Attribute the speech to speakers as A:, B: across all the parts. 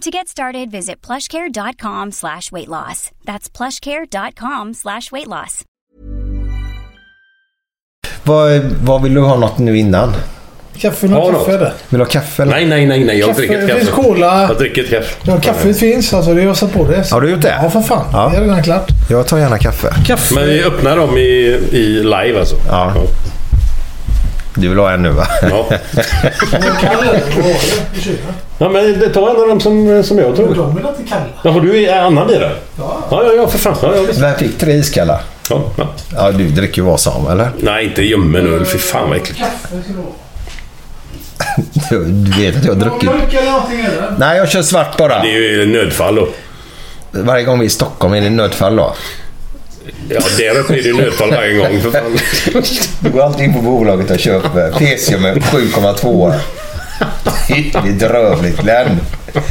A: To get started, visit plushcare.com slash weight loss. That's plushcare.com slash weight loss.
B: Vad, vad vill du ha något nu innan?
C: Kaffe, något
D: Har du
C: kaffe
D: något?
C: eller?
B: Vill du ha kaffe eller?
D: Nej, nej, nej, nej. Jag
C: Kaffe,
D: dricker
C: det
D: ett
C: finns
D: kaffe.
C: cola.
D: Jag dricker ett kaffe.
C: Ja, kaffet finns alltså. Det har jag satt på det.
B: Har du gjort det?
C: Ja, för fan.
B: Ja.
C: Det är redan klart.
B: Jag tar gärna kaffe.
C: Kaffe.
D: Men vi öppnar dem i, i live alltså.
B: Ja. Du vill ha en nu va?
D: Ja.
C: Kall eller vad var det? Vi kör.
D: ja men ta en av dem som, som jag
C: Men
D: tog.
C: De vill inte kalla.
D: Ja, har du en annan bira?
C: Ja.
D: Ja, ja, ja för fan. Ja, ja, visst.
B: Vem fick tre iskalla?
D: Ja, ja.
B: Ja, du dricker ju vad som eller?
D: Nej, inte ljummen öl. Fy fan vad äckligt.
C: Kaffe ska det vara.
B: Du, du vet att jag har druckit.
C: Mjölk eller någonting eller?
B: Nej, jag kör svart bara.
D: Det är ju nödfall då.
B: Varje gång vi är i Stockholm är det nödfall då.
D: Ja, där uppe är det ju nödfall varje gång. För fan.
B: Du går alltid in på bolaget och köper Pesium med 7,2. Det är bedrövligt Glenn.
D: Ja,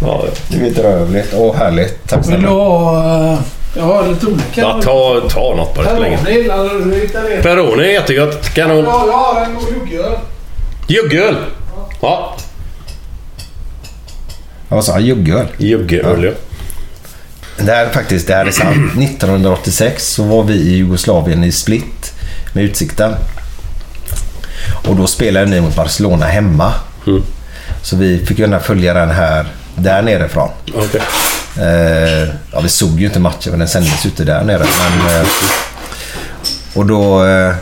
D: ja.
B: Det är bedrövligt. Åh, härligt. Tack
C: Vill du
B: snälla.
C: ha... eh, Ja, lite olika.
D: ja ta, ta något bara. Det spelar ingen roll.
C: Peroni, eller du hittar det.
D: Peroni är jättegött. Kanon.
C: Ja, jag har en jordgubb.
D: Juggöl! Ja,
B: Vad sa han? Jugguöl?
D: juggöl ja.
B: Det här, är faktiskt, det här är sant. 1986 så var vi i Jugoslavien i Split med Utsikten. Och då spelade ni mot Barcelona hemma.
D: Mm.
B: Så vi fick gärna följa den här där nerifrån.
D: Okej.
B: Eh, ja, vi såg ju inte matchen för den sändes ju inte där nere. Men, eh, och då... Eh,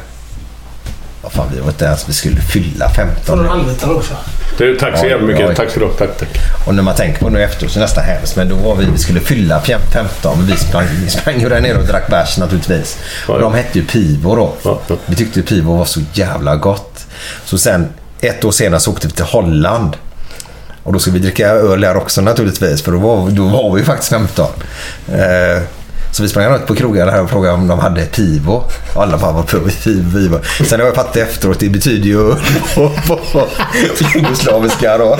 B: vad fan, vi var inte ens... Vi skulle fylla 15.
C: Halvlitare också.
D: Du, tack så
B: Ja,
D: jävla mycket.
B: ja.
D: Tack så du ha. Tack, tack.
B: Och när man tänker på det nu efteråt så är det nästan hemskt. Men då var vi, vi skulle fylla fem- 15 men vi sprang, vi sprang ju där nere och drack bärs naturligtvis.
D: Ja,
B: Och
D: ja.
B: de hette ju Pivo då.
D: Ja, ja.
B: Vi tyckte ju Pivo var så jävla gott. Så sen ett år senare så åkte vi till Holland. Och då skulle vi dricka öl där också naturligtvis för då var, då var vi ju faktiskt 15. Eh, så vi sprang runt på krogar här och frågade om de hade Pivo. Och alla bara, vad prov Pivo, Pivo? Sen har jag fattat efteråt, det betyder ju öl på, på, på jugoslaviska då.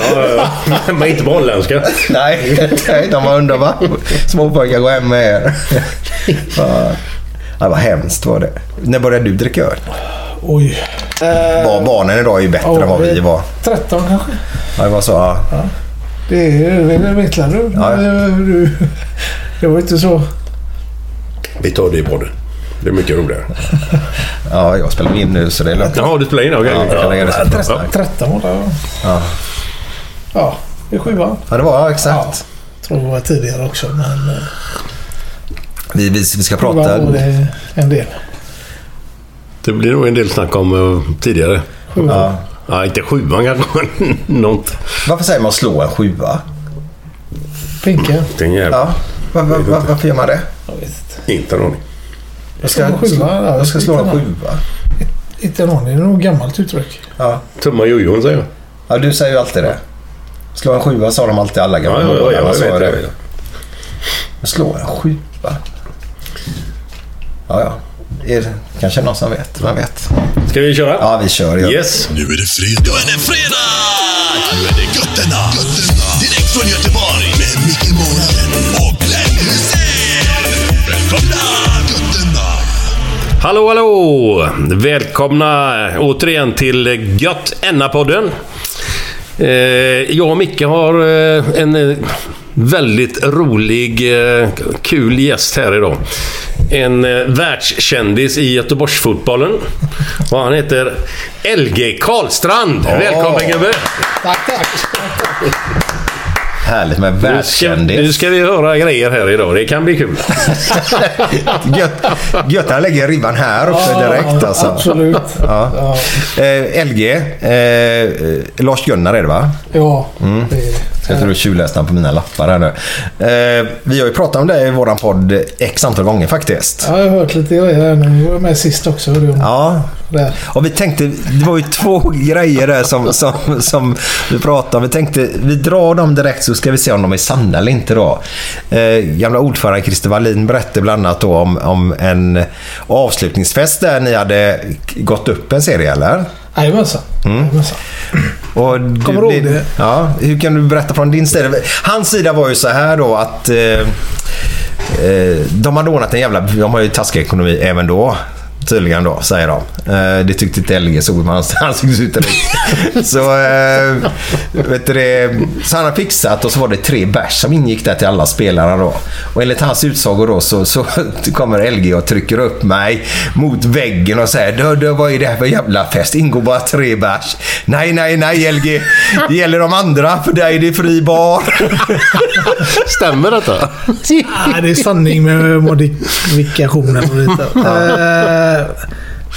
D: Men inte på holländska.
B: Nej, nej, de var underbara. Småpojkar, gå hem med er. Fan. Ja, vad hemskt var det. När började du dricka öl?
C: Oj.
B: Bar- Barnen idag är ju bättre än vad vi var.
C: 13 kanske?
B: Ja, det var så. Ja.
C: Det är väl vinklar du.
B: Ja.
C: Men, eh, du. Det var inte så...
D: Vi tar det i podden. Det är mycket roligare.
B: ja, jag spelar in nu så det är lugnt.
D: Jaha, du spelar in? Okej.
B: Ja, jag lägger det så.
C: 13, 13 var det.
B: Ja.
C: Ja, det är sjuan.
B: Ja, det var ja, exakt.
C: Tror det var tidigare också, men... eh,
B: Vi, vi, vi ska prata...
C: Sjuan var det en del.
D: Det blir nog en del snack om eh, tidigare.
B: Ja.
D: Ja, inte sjuan kanske. Någonting.
B: Varför säger man slå en sjua?
C: Pinka.
D: jävla...
B: Ja. Var, var, var, varför gör man det?
C: Jag vet inte.
D: Inte en aning.
C: Jag ska, slå en sjua.
B: slå,
C: ja,
B: jag ska slå en
C: inte någon-
B: sjua.
C: Inte en aning. Det är nog ett gammalt uttryck.
B: Ja.
D: Tumma jojon säger jag.
B: ja, du säger ju alltid det. Slå en sjua sa de alltid alla gamla
D: Ja, ja, ja,
B: målarna,
D: jag
B: sa
D: vet
B: det.
D: det.
B: Slå en sjua? Ja, ja. Är det kanske någon som vet. Vem vet?
D: Ska vi köra?
B: Ja, vi kör. Ja.
D: Yes.
E: Nu är det fredag! Nu är det fredag! Nu är det götterna! götterna. Direkt från Göteborg! Med Micke Månaden och Glenn Hysén! Välkomna! Götterna!
D: Hallå, hallå! Välkomna återigen till Gött Enna-podden. Eh, Jag och Micke har eh, en eh, väldigt rolig, eh, kul gäst här idag. En eh, världskändis i Göteborgsfotbollen. Och han heter LG Karlstrand. Välkommen gubbe!
C: Tack, tack.
B: Härligt med
D: Nu ska, nu
B: världskändis.
D: ska vi höra grejer här idag. Det kan bli kul.
B: Gött, gött han lägger ribban här uppe direkt alltså.
C: Absolut.
B: Ja. Eh, LG, eh, eh, Lars-Gunnar är det va?
C: Ja,
B: Mm.
C: det är det.
B: Ska inte du tjuvläsa på mina lappar här nu. Eh, vi har ju pratat om det i våran podd x antal gånger faktiskt.
C: Ja, jag har hört lite grejer här nu. Du var med sist också. Du,
B: Ja.
C: där.
B: Och vi tänkte, det var ju två grejer där som, som, som vi pratade om. Vi tänkte, vi drar dem direkt så ska vi se om de är sanna eller inte då. Eh, gamla ordförande Christer Wallin berättade bland annat då om, om en avslutningsfest där ni hade gått upp en serie eller?
C: Jajamensan.
B: Mm.
C: Jajamensan.
B: Och du,
C: Kommer du ihåg
B: din-
C: det?
B: Ja, hur kan du berätta från din sida? Hans sida var ju så här då att eh, eh, de hade ordnat en jävla... De har ju taskig ekonomi även då. Tydligen då, säger de. Eh, det tyckte inte LG såg man hans ansiktsuttryck. så, eh, vet du det, så han har fixat och så var det tre bärs som ingick där till alla spelarna då. Och enligt hans utsagor då så, så kommer LG och trycker upp mig mot väggen och säger "Du, du, vad är det här för jävla fest? Ingår bara tre bärs. Nej, nej, nej LG. Det gäller de andra. För dig är det fri bar.
D: Stämmer detta?
C: Nej, det är sanning med modifikationer och lite. Eh,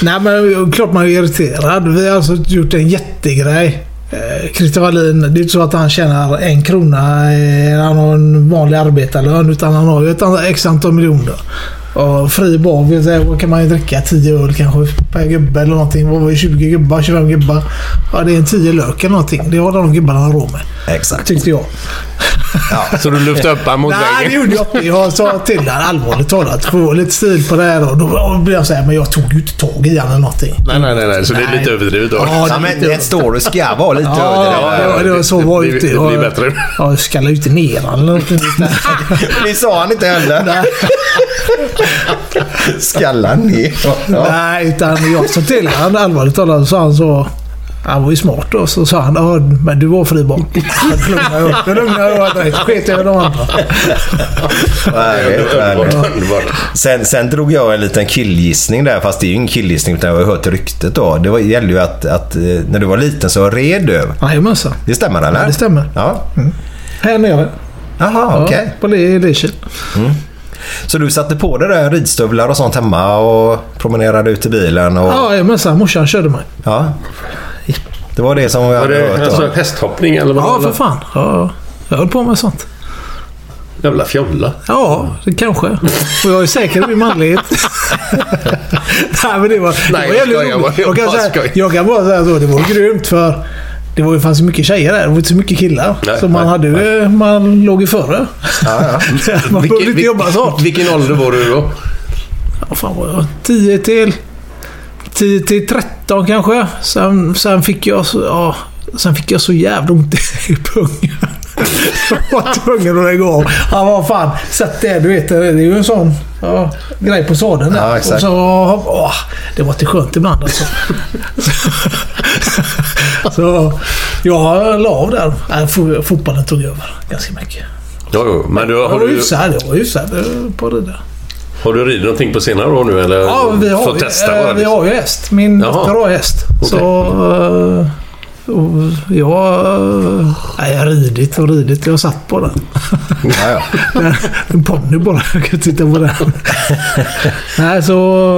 C: nej, men klart man är irriterad. Vi har alltså gjort en jättegrej. Eh, Christer Wallin, det är inte så att han tjänar en krona, eh, han har en vanlig arbetarlön, utan han har ju ett an- x antal miljoner. Och fri bar, vi säger, vad kan man ju dricka? 10 öl kanske per gubbe eller någonting. Vad var det? 20 gubbar, 25 gubbar? Ja, det är en 10 lök eller någonting. Det har de gubbarna råd med.
B: Exakt.
C: Tyckte jag.
D: Så du lyfte upp han mot
C: Nej, det
D: väggen?
C: gjorde jag inte. Jag sa till honom allvarligt talat. Få lite stil på det här. Och då blev jag såhär, men jag tog ju inte tag i honom eller någonting.
D: Nej, nej, nej, nej. Så det är lite
C: Nej.
D: överdrivet då.
C: Ja,
B: Ja, men ett story ska vara lite
C: Ja,
B: över
C: det
B: det där.
C: var- det var så
D: Det-
C: var
D: det-
C: ju inte.
D: det blir bättre.
C: Ja, jag skallade ju inte ner honom eller någonting.
B: Det sa han inte heller. Skallar ner. Ja.
C: Nej, utan jag sa till honom allvarligt talat. Så sa han så. Han var ju smart då. Så sa han, ja, men du var fri barn. Då lugnade jag- Då lugnade jag direkt. Sket jag i de andra.
B: Härligt,
D: Underbart,
B: härligt.
D: underbart.
B: Sen, sen drog jag en liten killgissning där, fast det är ju ingen killgissning utan jag har hört ryktet då. Det var, gällde ju att, att eh, när du var liten så red du.
C: Jajamensan.
B: Det stämmer eller?
C: Ja, det stämmer.
B: Ja.
C: Här nere.
B: Jaha,
C: Ja,
B: okej.
C: På Le- Lekil.
B: Så du satte på dig där ridstövlar och sånt hemma och promenerade ut i bilen och...
C: Ja, jajamensan. Morsan körde mig.
B: Ja. Det var det som vi
D: Var
B: hade
D: det
B: hört.
D: alltså,
B: då.
D: hästhoppning eller vad
C: Ja,
D: det var?
C: för fan. Ja, jag höll på med sånt.
D: Jävla fjolla.
C: Ja, det kanske. Och jag är säker i min manlighet. Nej, men det var,
D: Nej,
C: det var jävligt
D: jag skojar bara.
C: roligt. Jag
D: Jag
C: kan,
D: bara
C: säga,
D: skojar.
C: jag kan bara säga så, det var grymt för det var, ju- fanns ju mycket tjejer där. Det var inte så mycket killar.
D: Nej,
C: så man,
D: nej,
C: hade, ju- man låg ju före. man behövde inte jobba så hårt.
D: Vilken ålder var du då?
C: Ja, fan var jag? 10 till... 10 till 13 kanske. Sen, sen fick jag så... Ja, sen fick jag så jävla ont i pungen. Jag var tvungen att lägga av. Ja, vad fan. Sätt det, du vet. Det är ju en sån ja, grej på sadeln där.
B: Ja, exakt.
C: Och så, åh, det var inte skönt ibland alltså. så jag la av där. Nej, fo- Fotbollen tog över ganska mycket.
D: Jo, jo. Men du,
C: Jag
D: har,
C: var
D: du,
C: hyfsad. Jag var hyfsad eh, på det där.
D: har du ridit någonting på senare år nu eller?
C: Ja, vi har,
D: Fått testa
C: eh,
D: bara,
C: vi
D: liksom?
C: har ju häst. Min
D: Jaha.
C: dotter har häst. Så... eh, och jag... eh, Nej, jag har ridit och ridit. Jag har satt på den.
B: Ja, ja.
C: En ponny bara. Jag kan titta på den. Nej, så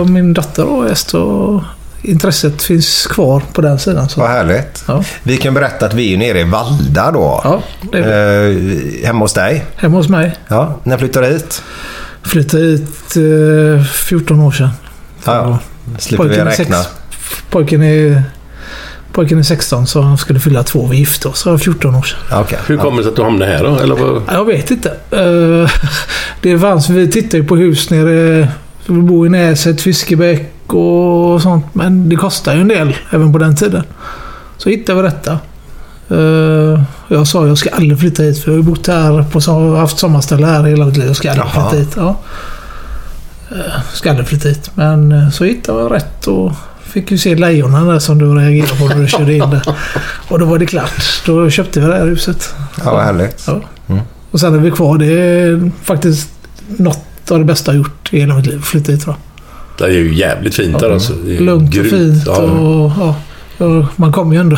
C: min dotter har häst och intresset finns kvar på den sidan.
B: Vad
C: Så.
B: härligt.
C: Ja.
B: Vi kan berätta att vi är ju nere i Valda då.
C: Ja, det är
B: Eh, hemma hos dig.
C: Hemma hos mig.
B: Ja, när flyttade du hit?
C: Flyttade hit eh, 14 år sedan.
B: Ja, ja. Slipper vi
C: är
B: räkna.
C: sex- pojken är... Pojken är 16 så han skulle fylla två. Vi gifte oss för 14 år sedan.
B: Ja, okej.
D: Hur kommer det sig att du hamnade här då? Eller vad?
C: Ja, Jag vet inte. Eh, Det fanns, vi tittade ju på hus nere... Vi bor i Näset, Fiskebäck och sånt. Men det kostar ju en del även på den tiden. Så hittade vi detta. Eh, Jag sa jag ska aldrig flytta hit för jag har ju bott här på som- haft sommarställe här hela mitt liv. Jag ska aldrig
B: Jaha.
C: flytta hit. Ja. eh, skadefritt. Men eh, så hittade jag rätt och fick ju se lejonen där som du reagerade på när du körde in där. Och då var det klart. Då köpte vi det här huset.
B: Ja, vad härligt.
C: Ja.
D: Mm.
C: Och sen är vi kvar. Det är faktiskt något av det bästa jag gjort i hela mitt liv. Flytta hit tror jag.
D: Det är ju jävligt fint där alltså. Det är
C: Lugnt och
D: grymt.
C: fint
D: Ja.
C: och ja, ja, man kommer ju ändå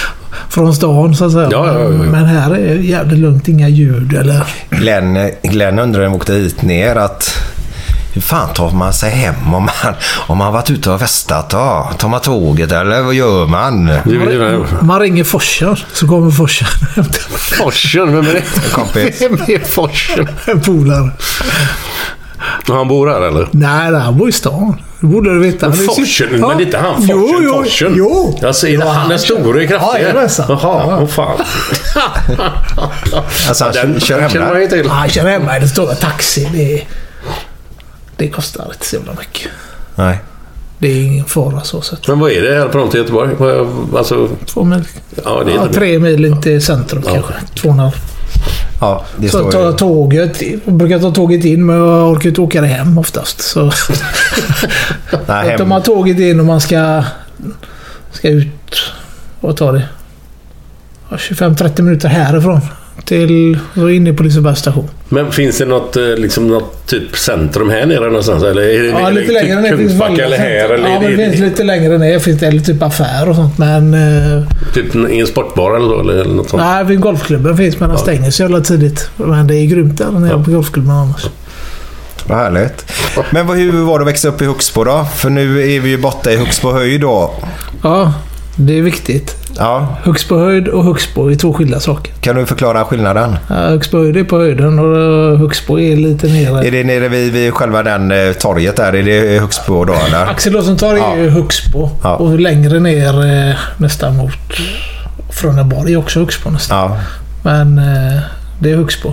C: från stan så att säga.
D: Ja, ja, ja, ja.
C: Men här är det jävligt lugnt. Inga ljud eller...
B: Glenn, Glenn undrade när vi åkte hit ner att hur fan tar man sig hem om man, om man varit ute och festat? Ja, tar man tåget eller vad gör man?
D: Det är ju-
C: Man ringer farsan så kommer farsan hämta
D: Forsen, vem är det?
B: Kompis.
D: Vem är Forsen?
C: en polare.
D: Han bor här eller?
C: Nej, nej, han bor i stan. Det borde du veta.
D: Men
C: Han är
D: Forsen,
C: cykel-
D: men
C: Ja.
D: det är inte han Forsen?
C: Jo, jo,
D: Forsen.
C: jo.
D: Alltså, är det
C: Jo,
D: han den store kraftiga?
C: Jajamensan.
D: Jaha, åh fan.
B: Alltså han
D: Den
B: kör hem
D: känner man
B: där.
D: ju till.
C: Ja, Han Ah, kör hemma i den stora taxin. Det, det kostar inte så jävla mycket.
B: Nej.
C: Det är ingen fara så sett.
D: Men vad är det härifrån till Göteborg? Vad- Alltså,
C: Två mil.
D: ja, det är
C: Ja,
D: inte
C: tre mil in till centrum
D: Ja.
C: kanske. Två och en halv.
B: Ja, det
C: Så
B: står
C: tar
B: ju.
C: jag tåget. Jag brukar ta tåget in men jag orkar inte åka det hem oftast. Så
B: Nej,
C: att om
B: hem.
C: man tåget in och man ska, ska ut... Vad tar det? Ja, 25-30 minuter härifrån. Till... Då är inne på Lisebergs station.
D: Men finns det något, eh, liksom, något typ centrum här nere någonstans? Eller är det,
C: Ja,
D: är det
C: lite längre ner
D: typ
C: finns
D: Kungsbacka
C: Valla
D: eller här?
C: centrum.
D: Eller
C: Ja,
D: är det,
C: men det finns lite längre ner. Finns det eller typ affär och sånt. Men... Eh,
D: typ en- i en sportbar eller, så, eller, eller något sånt?
C: nej, vid golfklubben finns men den stänger så jävla tidigt. Men det är grymt där nere på golfklubben annars.
B: Vad härligt. Men vad, hur var det att växa upp i Huxbo då? För nu är vi ju borta i Huxbo höjd då.
C: Ja, det är viktigt.
B: Ja,
C: Högsbohöjd och Högsbo är två skilda saker.
B: kan du förklara skillnaden?
C: Ja, Högsbohöjd är på höjden och eh, Högsbo är lite nere.
B: Är det nere vid, vid själva den eh, torget där? Är det Huxbo då eller?
C: Axel Rosenthal är ju Högsbo.
B: Ja.
C: Och längre ner eh, nästan mot Frönneborg är också Högsbo nästan.
B: Ja.
C: Men eh, det är Högsbo.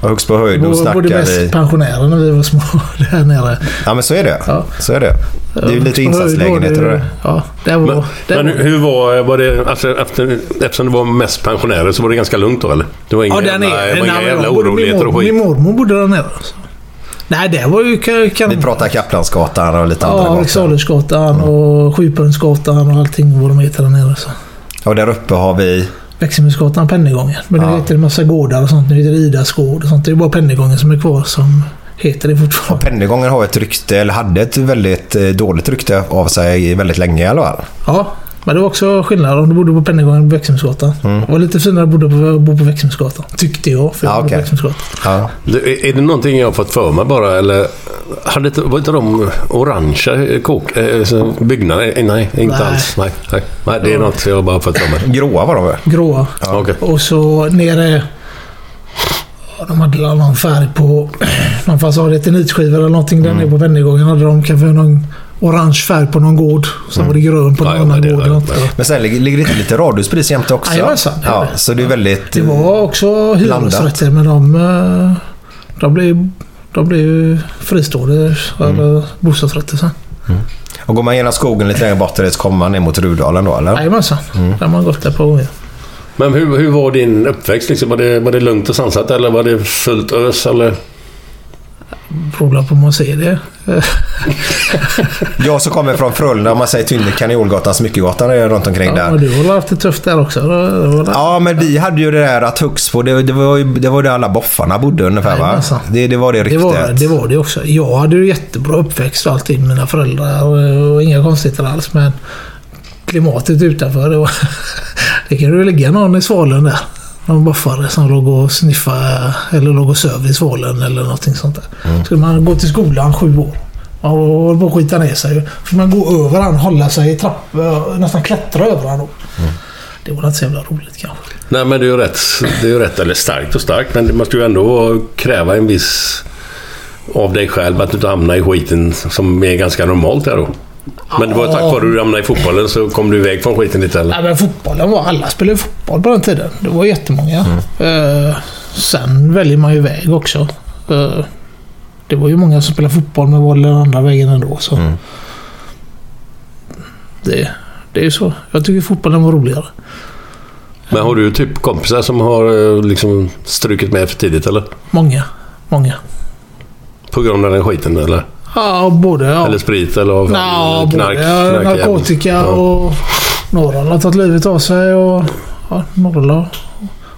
B: Och Huxbo höjd,
C: Då bodde
B: då snackar
C: mest
B: vi...
C: pensionärer när vi var små där nere.
B: Ja, men så är det.
C: Ja.
B: Så är det. Det är ju lite
C: Högsbo höjd
B: insatslägenheter
C: var
B: och
C: det-
B: det.
C: Ja, det var...
D: Men,
C: det
D: men
C: var-
D: hur var, var det, alltså, efter, eftersom det var mest pensionärer så var det ganska lugnt då eller? Det var inga
C: Ja, den är...
D: jävla, det var
C: nej,
D: inga
C: men
D: jävla
C: jag bodde-
D: oroligheter
C: min,
D: och
C: mor, min
D: skit.
C: mormor bodde där nere. alltså. Nej, det var ju kan-
B: Vi
C: kanon.
B: pratar Kaplansgatan och lite andra
C: Ja,
B: gator.
C: Alexandersgatan och Sjupunktsgatan och allting vad de heter där nere. Så.
B: Och där uppe har vi...
C: Växelmusgatan, Pennygången. Men nu
B: Ja.
C: heter det massa gårdar och sånt. Nu heter det Idas gård och sånt. Det är bara Pennygången som är kvar som heter det fortfarande.
B: Pennygången har ett rykte, eller hade ett väldigt eh, dåligt rykte av sig i väldigt länge i alla fall.
C: Ja, men det var också skillnad om du bodde på Pennygången på Växelmusgatan. Det var lite finare att bo på, bo på Växelmusgatan. Tyckte jag, för jag
B: Mm. Ja,
C: bodde på
B: okej.
C: Växelmusgatan.
B: Ja.
D: Det- Är är det någonting jag har fått för mig bara eller? Hade inte, var inte de orangea eh, kåk, eh, så- byggnader? Eh, Nej, inte
C: Nej.
D: alls. Nej, nej. nej, det är något jag bara har fått för mig.
B: Gråa var de väl?
C: Gråa.
D: Okej.
C: Och så nere... ja, De hade väl någon färg på någon fasad, eternitskivor eller någonting där nere på Pennygången. Hade de kanske någon orange färg på någon gård. Sen var det grön på någon
D: Ja, ja,
C: annan
D: men det-
C: gård.
D: ja,
C: eller
D: ja.
C: något.
B: Men sen ligger, ligger det inte lite radhuspris jämte också?
C: Jajamensan, det är
B: ja,
C: det.
B: så det är väldigt...
C: Det var också
B: Blandat.
C: hyresrätter men de, eh, de blev, de blev ju fristående eller bostadsrätter sen.
B: Och går man genom skogen lite längre bort så kommer man ner mot Rudalen då eller?
C: Jajamensan, där har man gått där på gånger.
D: Men hur, hur var din uppväxt? Liksom, var, det, var det lugnt och sansat eller var det fullt ös? Eller?
C: Problem på om man ser det.
B: Jag som kommer från Frölunda, om man säger Tynne, Kanolgatan, Smyckegatan är runt omkring
C: Ja,
B: där.
C: men du har väl haft det tufft där också? Det var där.
B: Ja, men vi hade ju det där att Huxbo, det, det var ju det, var där alla boffarna bodde ungefär va?
C: Jajamensan.
B: Det, det var det
C: Det
B: ryktet.
C: var, det var det också. Jag hade ju jättebra uppväxt och allting. Mina föräldrar och, och inga konstigheter alls. Men klimatet utanför. Det, var, det kan ju ligga någon i svalen där. Någon buffare som låg och sniffade eller låg och söv i svalen eller någonting sånt där. Skulle man gå till skolan sju år och håller på att skita ner sig. ju. Får man gå över han, hålla sig i trappor, nästan klättra över han då. Det var inte så jävla roligt kanske.
D: Nej, men det är ju rätt. Det är ju rätt, eller starkt och starkt, men det måste ju ändå kräva en viss av dig själv att du inte hamnar i skiten som är ganska normalt där då. Men det var tack vare att du hamnade i fotbollen så kom du iväg från skiten lite eller?
C: Nej, men fotbollen var... Alla spelade fotboll på den tiden. Det var jättemånga.
D: Mm.
C: Eh, sen väljer man ju väg också. Eh, det var ju många som spelade fotboll med boll den andra vägen ändå. Så.
D: Mm.
C: Det, det är ju så. Jag tycker fotbollen var roligare.
D: Men har du typ kompisar som har eh, liksom strukit med för tidigt eller?
C: Många. Många.
D: På grund av den skiten eller?
C: Ja, både ja.
D: Eller sprit eller av
C: Nå, både ja,
D: knark. knarkjävel.
C: narkotika
D: Ja.
C: och... Några har tagit livet av sig och... Ja, några har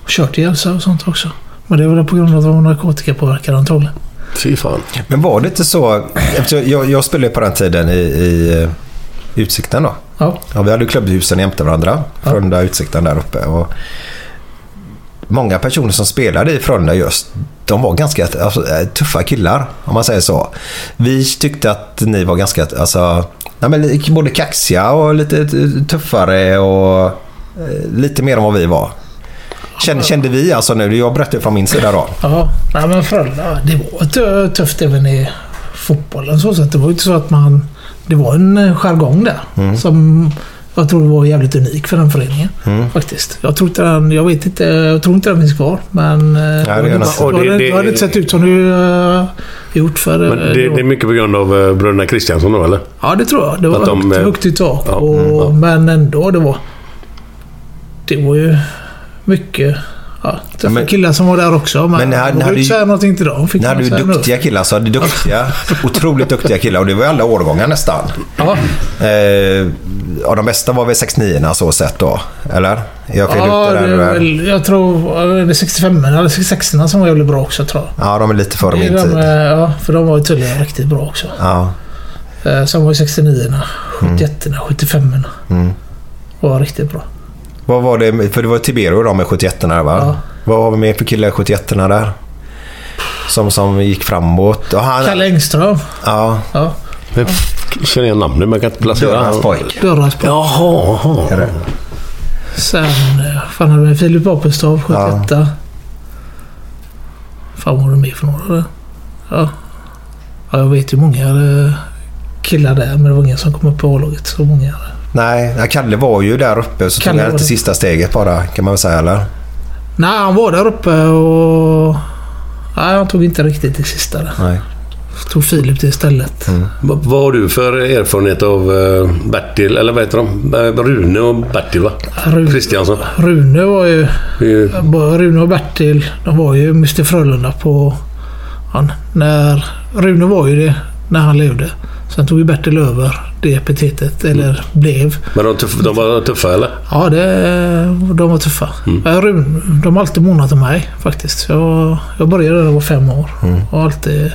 C: kört ihjäl sig och sånt också. Men det är väl på grund av att de var narkotikapåverkade antagligen.
D: Fy fan.
B: Men var det inte så... Eftersom jag, jag spelade ju på den tiden i, i eh, Utsikten då.
C: Ja.
B: Ja, vi hade ju klubbhusen jämte varandra. Frölunda Utsikten där uppe. Och många personer som spelade i Frölunda just, de var ganska alltså, eh, tuffa killar, om man säger så. Vi tyckte att ni var ganska, alltså, nej, men li- både kaxiga och lite t- tuffare och eh, lite mer än vad vi var. Kände, kände vi alltså nu, jag berättar ju från min sida då.
C: Ja, nej men Frölunda, det var tö- tufft även i fotbollen så sätt. Det var ju inte så att man... Det var en eh, jargong där
D: Mm.
C: som jag tror var jävligt unik för den föreningen.
D: Mm.
C: Faktiskt. Jag tror inte den... Jag vet inte. Jag tror inte den finns kvar. Men... eh,
B: är
C: det
B: en-
C: var-
D: och
C: det
D: det-
C: hade-
D: det-
C: det hade inte sett ut som du eh, gjort för... eh,
D: Men det,
C: det var-
D: det är mycket på grund av eh, bröderna Kristiansson då, eller?
C: Ja, det tror jag. Det var
D: Att de,
C: högt,
D: eh,
C: högt i tak.
D: ja,
C: och,
D: mm, ja.
C: Men ändå, det var... Det var ju mycket... Ja, tuffa
B: men-
C: killar som var där också. Men,
B: Men ni hade-
C: jag
B: ni
C: vågade inte
B: hade ju-
C: säga någonting till dem. Fick
B: Ni
C: man
B: hade ju
C: säga nu.
B: duktiga killar, så hade duktiga, otroligt duktiga killar och det var ju alla årgångar nästan.
C: Ja,
B: Eh, ja, de bästa var väl 69 så sett då, eller? Jag fel
C: ja det
B: ute där.
C: är
B: eller?
C: väl, jag tror... eller 65 eller 66 som var jävligt bra också tror jag.
B: Ja, de är lite före
C: Det är
B: min
C: de, eh,
B: tid.
C: ja, för de var ju tydligen riktigt bra också.
B: Ja.
C: Eh, Sen var ju 69
B: Mm.
C: 71 75 Var riktigt bra.
B: Vad var det? För det var Tiberio då med 71 där va?
C: Ja.
B: Vad har vi med för killar i 71 där? Som, som gick framåt. Och han,
C: Kalle Engström.
B: Ja,
C: Ja,
D: Jag känner igen namnet men jag kan inte placera
B: Dörrans pojk.
C: Dörrans på.
D: Jaha, jaha.
B: Är det?
C: Sen... eh, Fan hade vi Filip Apelstav 71 Fan vad var det med för några där? Ja. ja, jag vet ju många eh, killar där men det var ingen som kom upp på A-laget. Så många.
B: Nej, ja, Kalle var ju där uppe så
C: Kalle
B: tog han
C: var
B: inte
C: det.
B: sista steget bara kan man väl säga eller?
C: Nej, han var där uppe och... Nej, han tog inte riktigt det sista där.
B: Nej.
C: Så tog Filip det istället.
D: V- Vad har du för erfarenhet av eh, Bertil, eller vad heter de? Eh, Rune och Bertil va?
C: Rune.
D: Kristiansson.
C: Rune var ju...
D: Det är ju-
C: Rune och Bertil, de var ju Mr Frölunda på... Han, när, Rune var ju det när han levde. Sen tog ju Bertil över det epitetet,
B: Mm.
C: eller blev.
D: Men de, tuff, de var tuffa eller?
C: Ja, det, de var tuffa.
B: Mm.
C: Men Rune, de har alltid månat om mig faktiskt. Jag, jag började när jag var fem år.
B: Mm.
C: Och alltid...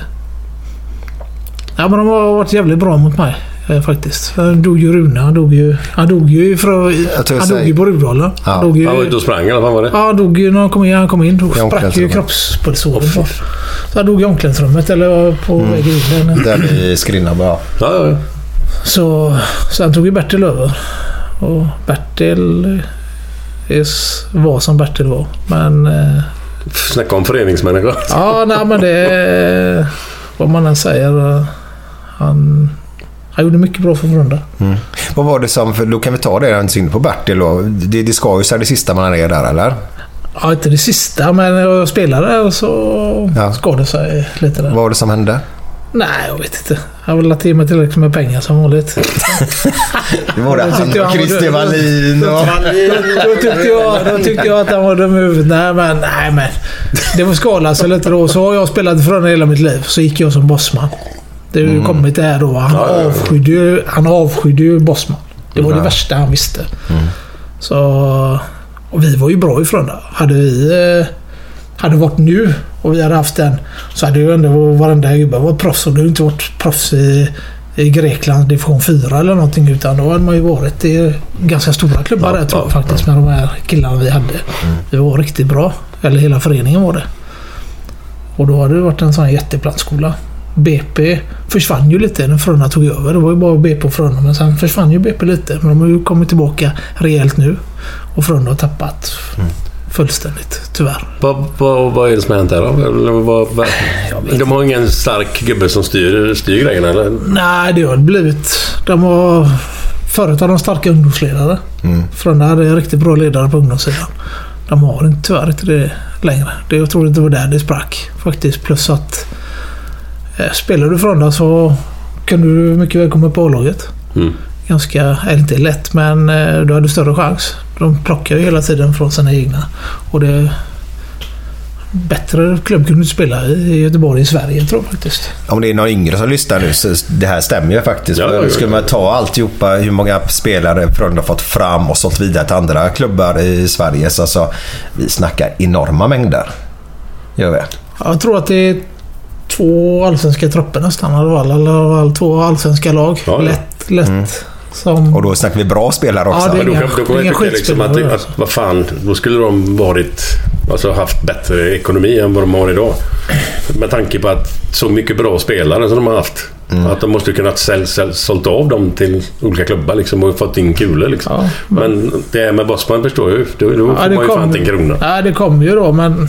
C: Ja, men de har varit jävligt bra mot mig eh, faktiskt. Han dog ju Rune. Han dog ju, han dog ju, ifrån,
B: Jag tror jag
C: han dog
B: säger-
C: ju på Rudala.
B: Ja.
C: Han dog ju...
D: Han var ute och sprang eller vad var det?
C: Ja, han dog ju när han kom in. Han kom in och
B: I
C: sprack ju
B: omklädningsrummet.
C: kroppspulsådern. så han dog i omklädningsrummet eller på
B: Mm.
C: vägen in. där.
B: Där i Skrinna ja.
D: Ja, ja, ja.
C: Så sen tog ju Bertil över. Och Bertil är, s- var som Bertil var. Men eh,
D: Snacka om föreningsmänniska.
C: ja, nej men det... Vad man än säger. eh, Han, han gjorde mycket bra för Frölunda.
B: Vad var det som, för då kan vi ta det när vi är inne på Bertil då. Det, det ska ju så här det sista man är där eller?
C: Ja, inte det sista, men jag spelade och så
B: Ja.
C: skadade sig lite där.
B: Vad var det som hände?
C: Nej, jag vet inte. Han har väl lagt i mig tillräckligt med pengar som vanligt.
B: Det var det
C: Jag tyckte
B: han och
C: han var
B: Christer
C: dum.
B: Wallin och...
C: Då tyckte, jag, då tyckte jag att han var dum i huvudet. Nej men, nej men. Det får skala sig lite då. Så har jag spelat i Frölunda hela mitt liv. Så gick jag som bossman. Det har ju kommit det här då. Han avskydde ju, han avskydde ju bossman. Det var det värsta han visste. Så... Och vi var ju bra i Frölunda. Hade vi... eh, Hade varit nu och vi hade haft den så hade ju ändå varenda gubbe varit proffs. Och det hade ju inte varit proffs i, i Grekland division 4 eller någonting. Utan då hade man ju varit i ganska stora klubbar där tror jag faktiskt. Med de här killarna vi hade. Vi var riktigt bra. Eller hela föreningen var det. Och då hade det varit en sån här jätteplantskola. BP försvann ju lite när Frölunda tog över. Det var ju bara BP och Frölunda. Men sen försvann ju BP lite. Men de har ju kommit tillbaka rejält nu. Och Frölunda har tappat fullständigt, tyvärr.
D: Vad, vad, vad är det som har hänt där då? Eller vad- vad- De har ingen stark gubbe som styr, styr grejerna eller?
C: Nej, det har det blivit. De var... Förut hade de starka ungdomsledare. Frölunda hade riktigt bra ledare på ungdomssidan. De har inte, tyvärr inte det längre. Det, jag tror det var där det sprack faktiskt. Plus att eh, spelar du Frölunda så kan du mycket väl komma på A-laget.
D: Mm.
C: Ganska, eller inte lätt, men eh, du hade större chans. De plockar ju hela tiden från sina egna. Och det... bättre klubb kunde du inte spela i i Göteborg i Sverige tror jag faktiskt.
B: Om det är någon yngre som lyssnar nu så det här stämmer ju faktiskt.
D: Ja, ja, ja.
B: Skulle man ta alltihopa hur många spelare Frölunda har fått fram och sålt vidare till andra klubbar i Sverige så alltså, vi snackar enorma mängder. Gör vi.
C: Jag tror att det är två allsvenska trupper nästan i alla fall. Eller i alla fall två allsvenska lag.
D: Ja, Mm. ja.
C: Lätt, lätt. Som...
B: Och då snackar vi bra spelare också.
C: Ja, det-
D: Men då
C: Inga-
D: kan, då kan man
C: inga
D: ju tycka liksom att,
C: skitspelare.
D: att vad fan, då skulle de varit, alltså haft bättre ekonomi än vad de har idag. Med tanke på att så mycket bra spelare som de har haft.
C: Mm.
D: Att de måste kunnat sälj, sälj, sålt av dem till olika klubbar liksom, och fått in kulor. Liksom.
C: Ja,
D: men... det här med Bosman förstår jag ju. Då, då får man ju fan inte en krona.
C: ja, det kom ju då, men...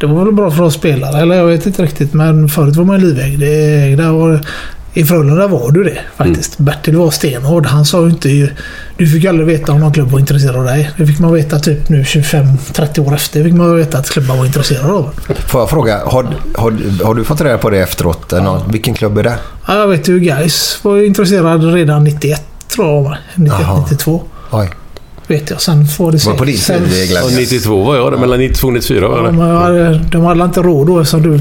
C: Det var väl bra för oss spelare, eller jag vet inte riktigt. Men förut var man ju livägd. Och I Frölunda var du det
D: Mm.
C: faktiskt. Bertil var stenhård. Han sa ju inte... Du fick ju aldrig veta om någon klubb var intresserad av dig. Det fick man veta typ nu 25-30 år efter. fick man veta att klubbar var intresserade av en.
B: Får jag fråga, har, har, har du fått reda på det efteråt? Någon, vilken klubb är det?
C: Ja, jag vet ju Gais var ju intresserad redan 91 tror jag. va? 91,
B: Jaha.
C: 92
B: Oj.
C: vet jag. Sen får det
B: Var det på din
C: sen-
B: tid det
D: Och
B: Glenn?
D: 92 var jag det, mellan 92 och 94 var jag
C: De
D: det.
C: hade, de hade inte råd då eftersom du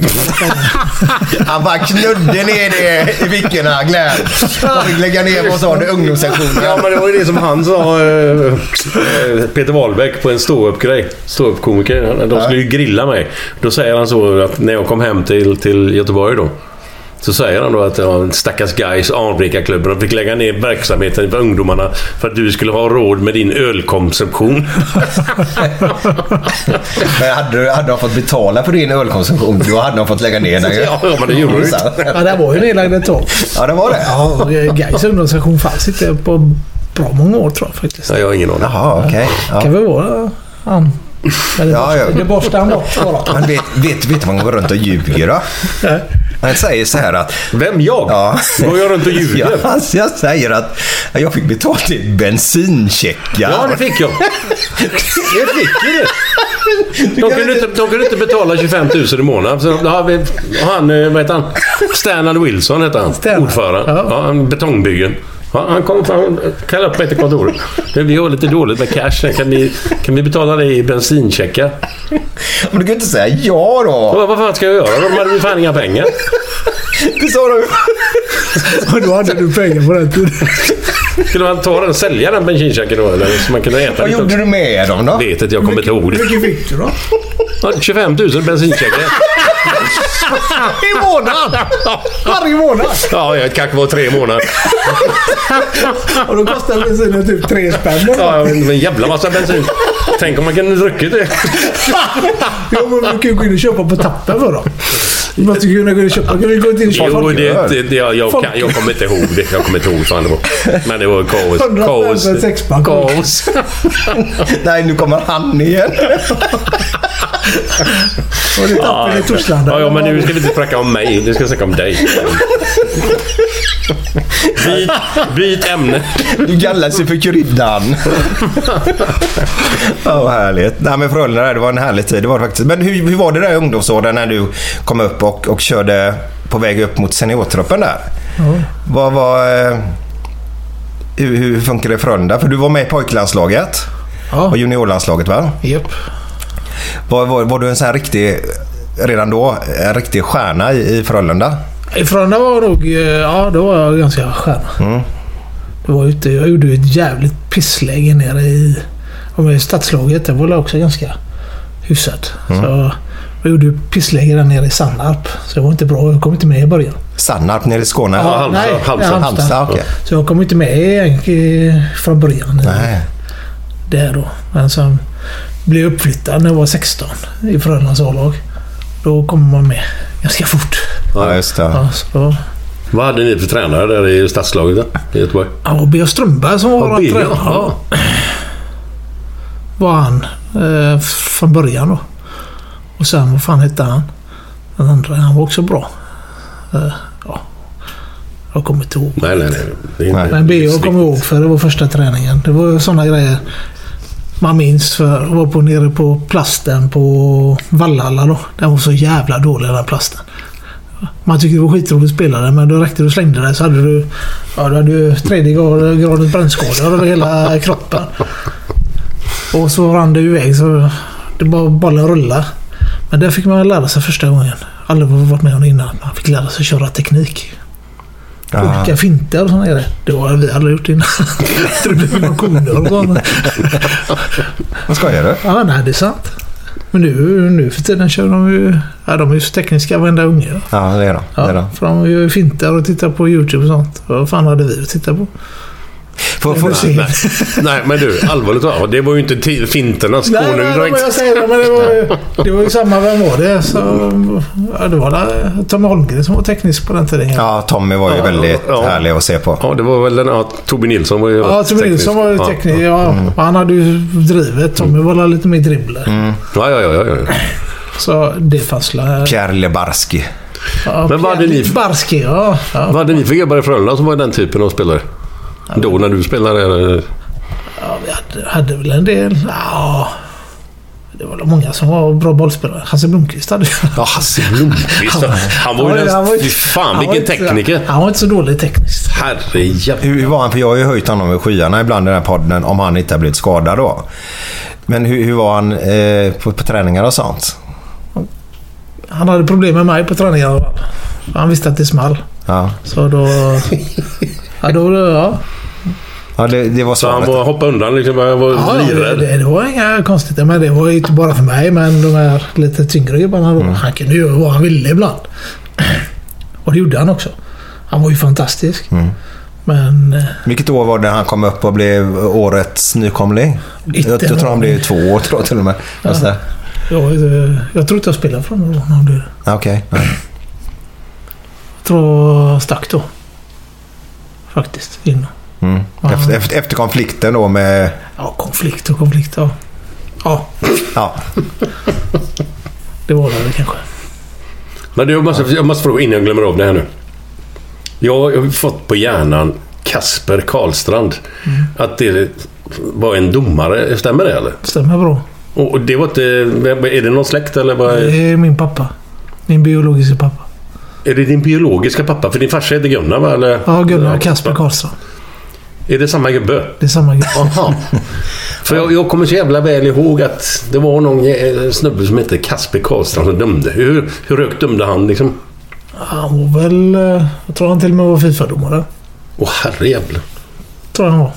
B: Han bara knudde ner det i fickorna Glenn. Han fick lägga ner, vad sa du,
D: Ja,
B: ungdomssektionen.
D: men det var ju det som han sa, eh, eh, Peter Wahlbeck, på en ståuppgrej. Ståuppkomiker. De skulle ju grilla mig. Då säger han så att när jag kom hem till, till Göteborg då. Så säger han då att ja, stackars guys, anrikarklubben, de fick lägga ner verksamheten för ungdomarna för att du skulle ha råd med din ölkonsumtion.
B: Men hade, du- hade de fått betala för din ölkonsumtion, då hade de fått lägga ner den ju.
D: Ja, men det gjorde de inte.
C: Ja, det var ju nedlagd ett tag.
B: Ja, det var det.
C: Ja, och Gais ungdomsstation fanns inte på bra många år tror jag faktiskt.
D: Nej, jag har ingen aning.
B: Jaha, okej.
C: kan
B: Ja.
C: väl vara han. Men det
B: Ja,
C: borstar-
B: ja.
C: det borstar han bort bara.
B: Men vet, vet, vet du vad man går runt och ljuger då? Han säger så här att...
D: Vem? Jag?
B: Ja.
D: Går jag runt och ljuger?
B: Ja, alltså, jag säger att jag fick betalt till bensincheckar.
D: Ja, det fick jag. Jag fick ju det. De kunde, inte, de kunde inte betala 25 000 i månaden. Så de, ja, vi, han, eh, vad heter han? Stanley Wilson heter han.
C: Stanley.
D: Ordförande.
C: Ja.
D: Ja, han, betongbyggen. Ja, han kom fram kallade upp mig till kontoret. Du, Vi har lite dåligt med cash. Kan vi, kan vi betala det i bensincheckar?
B: Men du kan ju inte säga ja då.
D: Vad, vad fan ska jag göra? De hade ju fan inga pengar.
B: Det sa du.
C: Och då hade du pengar på den tiden.
D: Skulle man ta den, sälja den bensinchecken då? Eller så man kunde äta
B: Vad
D: lite?
B: gjorde du med dem då?
D: Jag vet inte, jag kommer inte ihåg det.
C: Hur mycket fick du då?
D: Ja, 25 000 bensincheckar.
B: I månaden! Varje månad!
D: Ja, jag kanske var tre månader.
C: Och då kostade bensinen typ tre spänn.
D: Ja, men en jävla massa bensin. Tänk om man kunde druckit det.
C: Jo, men man kan ju gå in och köpa på tappen för dem. Man måste ju kunna gå in och köpa. Man kan ju gå in och köpa.
D: Jo,
C: folk-
D: det, det, det, jag, jag, kan, jag kommer inte ihåg det. Jag kommer inte ihåg fan det var. Men det var kaos.
C: 100
D: Kaos.
C: spänn för en sexpack.
D: Kaos.
B: Nej, nu kommer han igen.
C: Och det är tappen i Torslanda.
D: Ja, ja, men nu ska vi inte snacka om mig. Nu ska vi snacka om dig. Byt, byt ämne.
B: Du kallas ju för kryddan. Ja, vad härligt. Nej, men Frölunda, där, det var en härlig tid. Det var det faktiskt. Men hur, hur var det där i ungdomsåren när du kom upp och, och körde på väg upp mot seniortruppen där? Vad var... eh, Hur, hur funkade det i Frölunda? För du var med i pojklandslaget
C: Ja.
B: och juniorlandslaget, va?
C: Japp.
B: Var, var, var du en sån här riktig, redan då, en riktig stjärna i, i Frölunda?
C: Ifrån det var nog... eh, Ja, då var jag ganska skön.
D: Mm.
C: Det var ute, jag gjorde ju ett jävligt pissläge nere i... Jag var i stadslaget. Det var väl också ganska hyfsat.
D: Mm.
C: Så jag gjorde ju pissläge där nere i Sannarp. Så jag var inte bra. Jag kom inte med i början.
B: Sannarp nere i Skåne?
D: Ja, Halmstad.
C: nej,
D: Halmstad.
C: ja,
B: Halmstad, okej.
C: Så jag kom inte med i- i- från början.
B: Nej.
C: Där då. Men sen blev jag uppflyttad när jag var 16 i Frölundas A-lag. Då kommer man med ganska fort.
B: Ja, just det.
C: Ja, så
D: Vad hade ni för tränare där i stadslaget då, i Göteborg?
C: Ja, och B.A. Strömberg som var
D: Ja,
C: våran
D: Birger.
C: tränare.
D: Ja.
C: Var han eh, från början då. Och sen, vad fan hette han? Den andra, han var också bra. Eh, ja. Jag kommer inte ihåg.
D: Nej, nej, nej. Det är inte-
C: Men B.A. kommer jag ihåg för det var första träningen. Det var sådana grejer man minns för jag var på nere på plasten på Vallhalla då. Den var så jävla dålig den plasten. Man tyckte det var skitroligt att spela den men då räckte du slängde den så hade du, ja, då hade du tredje grad- gradens brännskador över hela kroppen. Och så rann det iväg så Det bara bollen rulla. Men det fick man lära sig första gången. Aldrig varit med om det innan. Man fick lära sig köra teknik.
B: Ja.
C: Olika finter och såna grejer. Det har vi aldrig gjort innan. Så det blir några koner och sånt.
B: Vad skojar du?
C: Ja, nej det är sant. Men nu, nu för tiden kör de ju... Ja, de är ju så tekniska varenda unge.
B: Ja, det är de. Det är de.
C: Ja, för de gör ju finter och tittar på YouTube och sånt. Vad fan hade vi att titta på?
B: Får, får,
C: Nej,
D: Nej, nej, men du allvarligt talat. Det var ju inte ti- finternas
C: nej,
D: konung.
C: nej,
D: det var
C: men
D: inte-
C: jag säger det. Men det, var ju, det var ju samma. Vem var det? Så, ja, det var där, Tommy Holmgren som var teknisk på den tiden.
B: ja, Tommy var ju
D: Ja,
B: väldigt
D: ja.
B: härlig att se på.
D: Ja, det var väl den... Ja, Tobbe Nilsson var ju
C: Ja, Tommy Nilsson var ju teknisk. Ja, Mm. Han hade ju drivet. Tommy var lite mer dribbler.
D: Ja, ja, ja. ja, ja.
C: Så det fanns la,
B: Pierre Lebarski.
C: ja,
D: Men vad hade ni-
C: Barski, ja. ja.
D: Vad hade ni för gubbar i Frölunda som var den typen av spelare? Då när du spelade? eh,
C: Ja, vi hade, hade väl en del. Ja. Det var många som var bra bollspelare. Hasse Blomqvist hade ju...
D: Ja, Hasse Blomqvist. Han var ju den... Fy fan,
C: han var
D: vilken
C: inte-
D: tekniker.
C: Han var inte så dålig tekniskt.
D: Herre jävlar.
B: Hur hur var han? För jag har ju höjt honom i skyarna ibland i den här podden om han inte har blivit skadad då. Men hur, hur var han eh, på, på träningar och sånt?
C: Han hade problem med mig på träningarna. Han visste att det small.
B: Ja,
C: Så då... Ja, då... Ja.
B: ja det, det var
D: Så han
B: svaret.
D: var, hoppade undan liksom. Han var
C: ja det,
D: livrädd.
C: det, det var inga konstigheter men det var ju inte bara för mig. Men de här lite tyngre gubbarna då. Han kunde göra vad han ville ibland. Och det gjorde han också. Han var ju fantastisk. Men... eh,
B: Vilket år var det han kom upp och blev årets nykomling?
C: Inte
B: jag, jag tror han
C: någon.
B: blev två år tror jag till och med. Alltså, Ja. Okej.
C: Jag, jag tror inte jag spelade från någon om det.
B: Ja, okej. Ja.
C: Jag tror jag stack då. Faktiskt. Innan.
B: Mm.
C: Ja.
B: Efter, efter, efter konflikten då med...
C: Ja, konflikt och konflikt. Ja, ja
B: Ja,
C: det var det väl kanske.
D: Men du, jag måste, jag måste fråga innan jag glömmer av det här nu. Jag har ju fått på hjärnan Kasper Karlstrand.
C: Mm.
D: Att det var en domare. Stämmer det eller?
C: Stämmer bra.
D: Och och det var inte... Är det någon släkt eller? Vad?
C: Det är min pappa. Min biologiska pappa.
D: Är det din biologiska pappa? För din farsa heter Gunnar va? Eller?
C: Ja, Gunnar och Kasper Karlsson.
D: Är det samma gubbe?
C: Det är samma grej.
D: Jaha. För jag, jag kommer så jävla väl ihåg att det var någon jä- eh, snubbe som hette Kasper Karlstrand som dömde. Hur, hur högt dömde han liksom?
C: Han var väl... eh, Jag tror han till och med var Fifa-domare.
D: Åh herrejävlar.
C: Tror jag han var.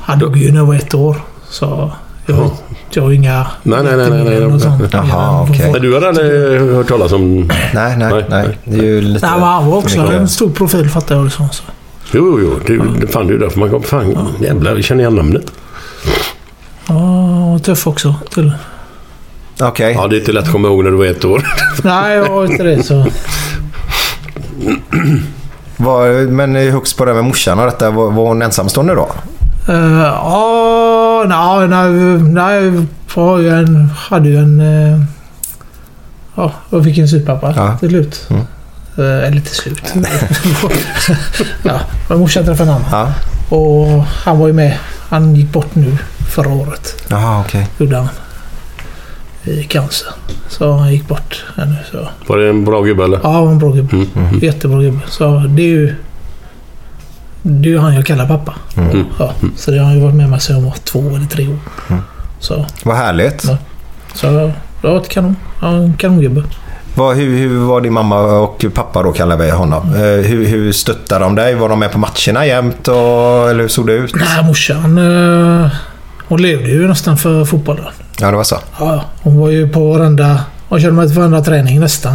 C: Han dog ju när jag var ett år. Så jag,
D: Ja.
C: jag har inga...
D: Nej, nej, nej, nej, nej.
C: och sånt.
B: Jaha,
C: De
B: okej.
C: får-
D: Men du har aldrig hört talas om...
B: nej, nej,
D: Nej,
B: nej.
D: nej.
B: Det är ju lite...
C: Nej, men han var också
B: för mycket.
C: en stor profil fattar jag det som. Så.
D: Jo, jo, jo. Det, det fan, det är ju därför man kom. Fan, jävlar. Jag känner igen namnet.
C: Ja, han var tuff också. Till.
B: Okej.
D: Ja, det är inte lätt att komma ihåg när du var ett år.
C: Nej, jag var inte det så...
B: Var- Men högst på det här med morsan och detta. Var, var hon ensamstående då?
C: Eh, Ja, nej, nej, nej. Jag har ju en- hade ju en... eh, Ja, jag fick en styvpappa
B: Ja.
C: till slut. Eh, Eller till slut. ja, men morsan träffade en annan.
B: Ja.
C: Och han var ju med. Han gick bort nu förra året.
B: Jaha, okej.
C: Gjorde han. I cancer. Så han gick bort här nu. Så.
D: Var det en bra gubbe eller?
C: Ja, han var en bra gubbe.
D: Mm.
C: Jättebra gubbe. Så det är ju... Det är ju han jag kallar pappa.
D: Mm.
C: Ja, så det har han ju varit med mig sedan jag var två eller tre år. Så,
B: Vad härligt.
C: Ja. så det var ett kanon. Ja, en kanongubbe.
B: Vad, hur, hur var din mamma och pappa då, kallar vi honom? Eh, hur, hur stöttade de dig? Var de med på matcherna jämt? Och, eller hur såg det ut?
C: Nej, morsan. Eh, hon levde ju nästan för fotbollen.
B: Ja, det var så.
C: Ja, ja. hon var ju på varenda... Hon körde med till varenda träning nästan.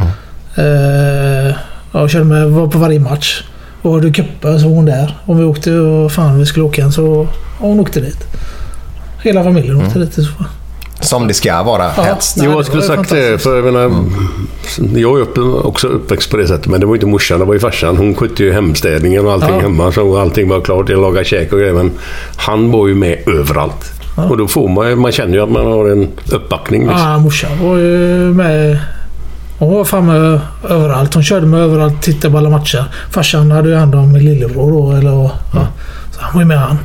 D: Mm.
C: Eh, ja, hon körde med var på varje match. Och hade cuper så var hon där. Om vi åkte och fan vi skulle åka igen så... Ja, hon åkte dit. Hela familjen
D: Mm.
C: åkte dit i så fall.
B: Som det ska vara,
C: Ja.
B: helst.
C: Nej,
D: Jo,
C: det var
D: jag skulle
C: ju
D: sagt det.
C: fantastiskt.
D: För jag, menar, jag är upp, också uppväxt på det sättet. Men det var inte morsan, det var ju farsan. Hon skötte ju hemstädningen och allting
C: Ja.
D: hemma. Så allting var klart. Jag lagade käk och grejer. Men han var ju med överallt. Och då får man ju, man känner ju att man har en uppbackning. Liksom.
C: Ja, morsan var ju med. Hon var fan med överallt. Hon körde med överallt, tittade på alla matcher. Farsan hade ju hand om min lillebror då. Eller, ja. Så han var ju med han.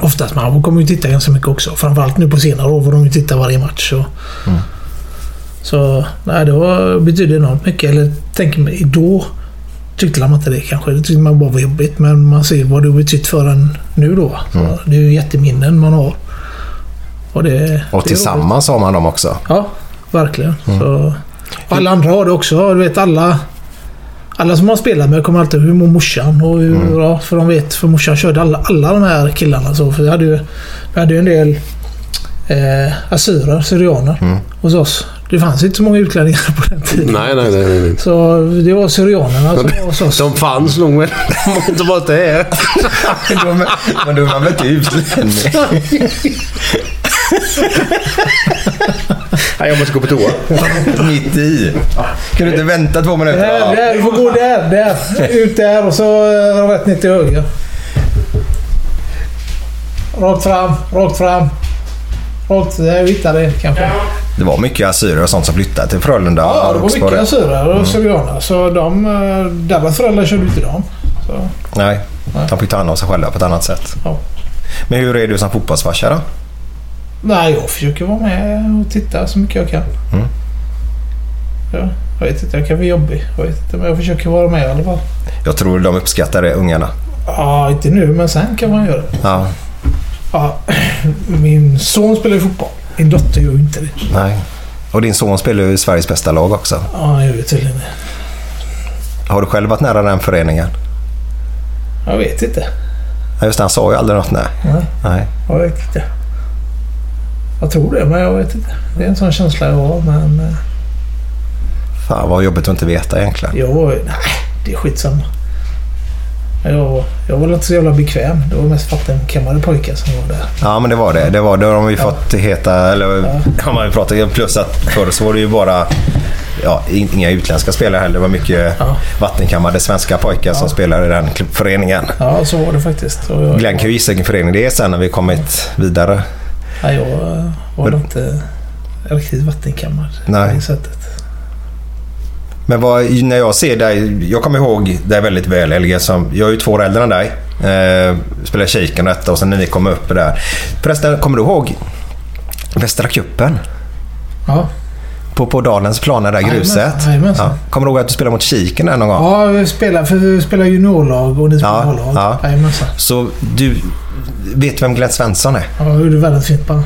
C: Oftast, men han kommer ju titta ganska mycket också. Framförallt nu på senare år var de ju titta varje match. Och, Så nej, det var, betydde enormt mycket. Eller tänk mig, då tyckte man inte det kanske. Det tyckte man bara var jobbigt. Men man ser vad det har betytt för en nu då. Så, Det är ju jätteminnen man har. Och, det,
B: Och
C: det är roligt.
B: tillsammans har man dem också.
C: Ja, verkligen. Så, och alla andra har det också. Du vet alla... Alla som man spelar med kommer alltid hur mår morsan och hur ja, För de vet, för morsan körde alla, alla de här killarna så. För vi hade ju, vi hade ju en del eh, assyrer, syrianer hos oss. Det fanns inte så många utlänningar på den tiden.
D: Nej, nej, nej. nej. nej.
C: Så det var syrianerna som var hos oss.
D: De fanns nog, men de var inte varit här.
B: De- Men då är man väl typ inte utlänning? Nej, jag måste gå på toa. Mitt i. Kan du inte vänta två minuter?
C: Där,
B: Ja.
C: där, du får gå där, där. Ut där och så eh, rätt ner till höger. Rakt fram, rakt fram. Rakt, där vi hittar det kanske.
B: Det var mycket assyrier och sånt som flyttade till Frölunda
C: Ja, det var
B: Roxborg.
C: mycket assyrier och syrianer. Så de, eh, deras föräldrar körde ut till dem. Så,
B: Nej, de fick ta hand om sig själva på ett annat sätt.
C: ja.
B: Men hur är du som fotbollsfarsa då?
C: Nej, jag försöker vara med och titta så mycket jag kan.
B: Mm.
C: Ja, jag vet inte, jag kan vara jobbig. Jag vet inte, men jag försöker vara med i alla fall.
B: Jag tror de uppskattar det, ungarna.
C: Ja, inte nu, men sen kan man göra det.
B: Ja,
C: Ja, min son spelar ju fotboll. Min dotter gör ju inte det.
B: nej. Och din son spelar ju i Sveriges bästa lag också.
C: Ja, han gör ju tydligen det.
B: Har du själv varit nära den föreningen?
C: Jag vet inte.
B: Ja, Just det, han sa ju aldrig något. Nej.
C: Nej,
B: nej.
C: jag vet inte. Jag tror det, men jag vet inte. Det är en sån känsla jag har, men... eh,
B: Fan vad jobbigt att inte veta egentligen.
C: Jag var... Nej, det är skitsamma. Jag var, jag var inte så jävla bekväm. Det var mest fattigkammade pojkar som var där.
B: Ja, men det var det. Det var det. har vi fått heta, eller har man ju pratat Plus att förr så var det ju bara ja, in- inga utländska spelare heller. Det var mycket
C: Ja.
B: vattenkammade svenska pojkar som spelade i den klubb- föreningen.
C: Ja, så var det faktiskt. Och jag,
B: Glenn kan ju gissa vilken förening det är sen när vi kommit vidare.
C: ja, jag eh, var
B: Men-
C: inte riktigt vattenkammad
B: Nej.
C: på det sättet.
B: Men vad, när jag ser dig, jag kommer ihåg dig väldigt väl Helge. Som, jag är ju två år äldre än dig. Eh, spelade Kiken och detta och sen när ni kom upp där. Förresten, kommer du ihåg Västra Kuppen?
C: Ja.
B: På, på Dalens plan, det där gruset.
C: Jajamensan, jajamensan.
B: Kommer du ihåg att du spelade mot Kiken där någon gång?
C: ja, vi spelar, för vi spelar juniorlag och ni spelar
B: Ja,
C: A-lag.
B: ja.
C: Jajamensan.
B: Så du vet vem Glenn Svensson är?
C: Ja, jag gjorde världens fint bara.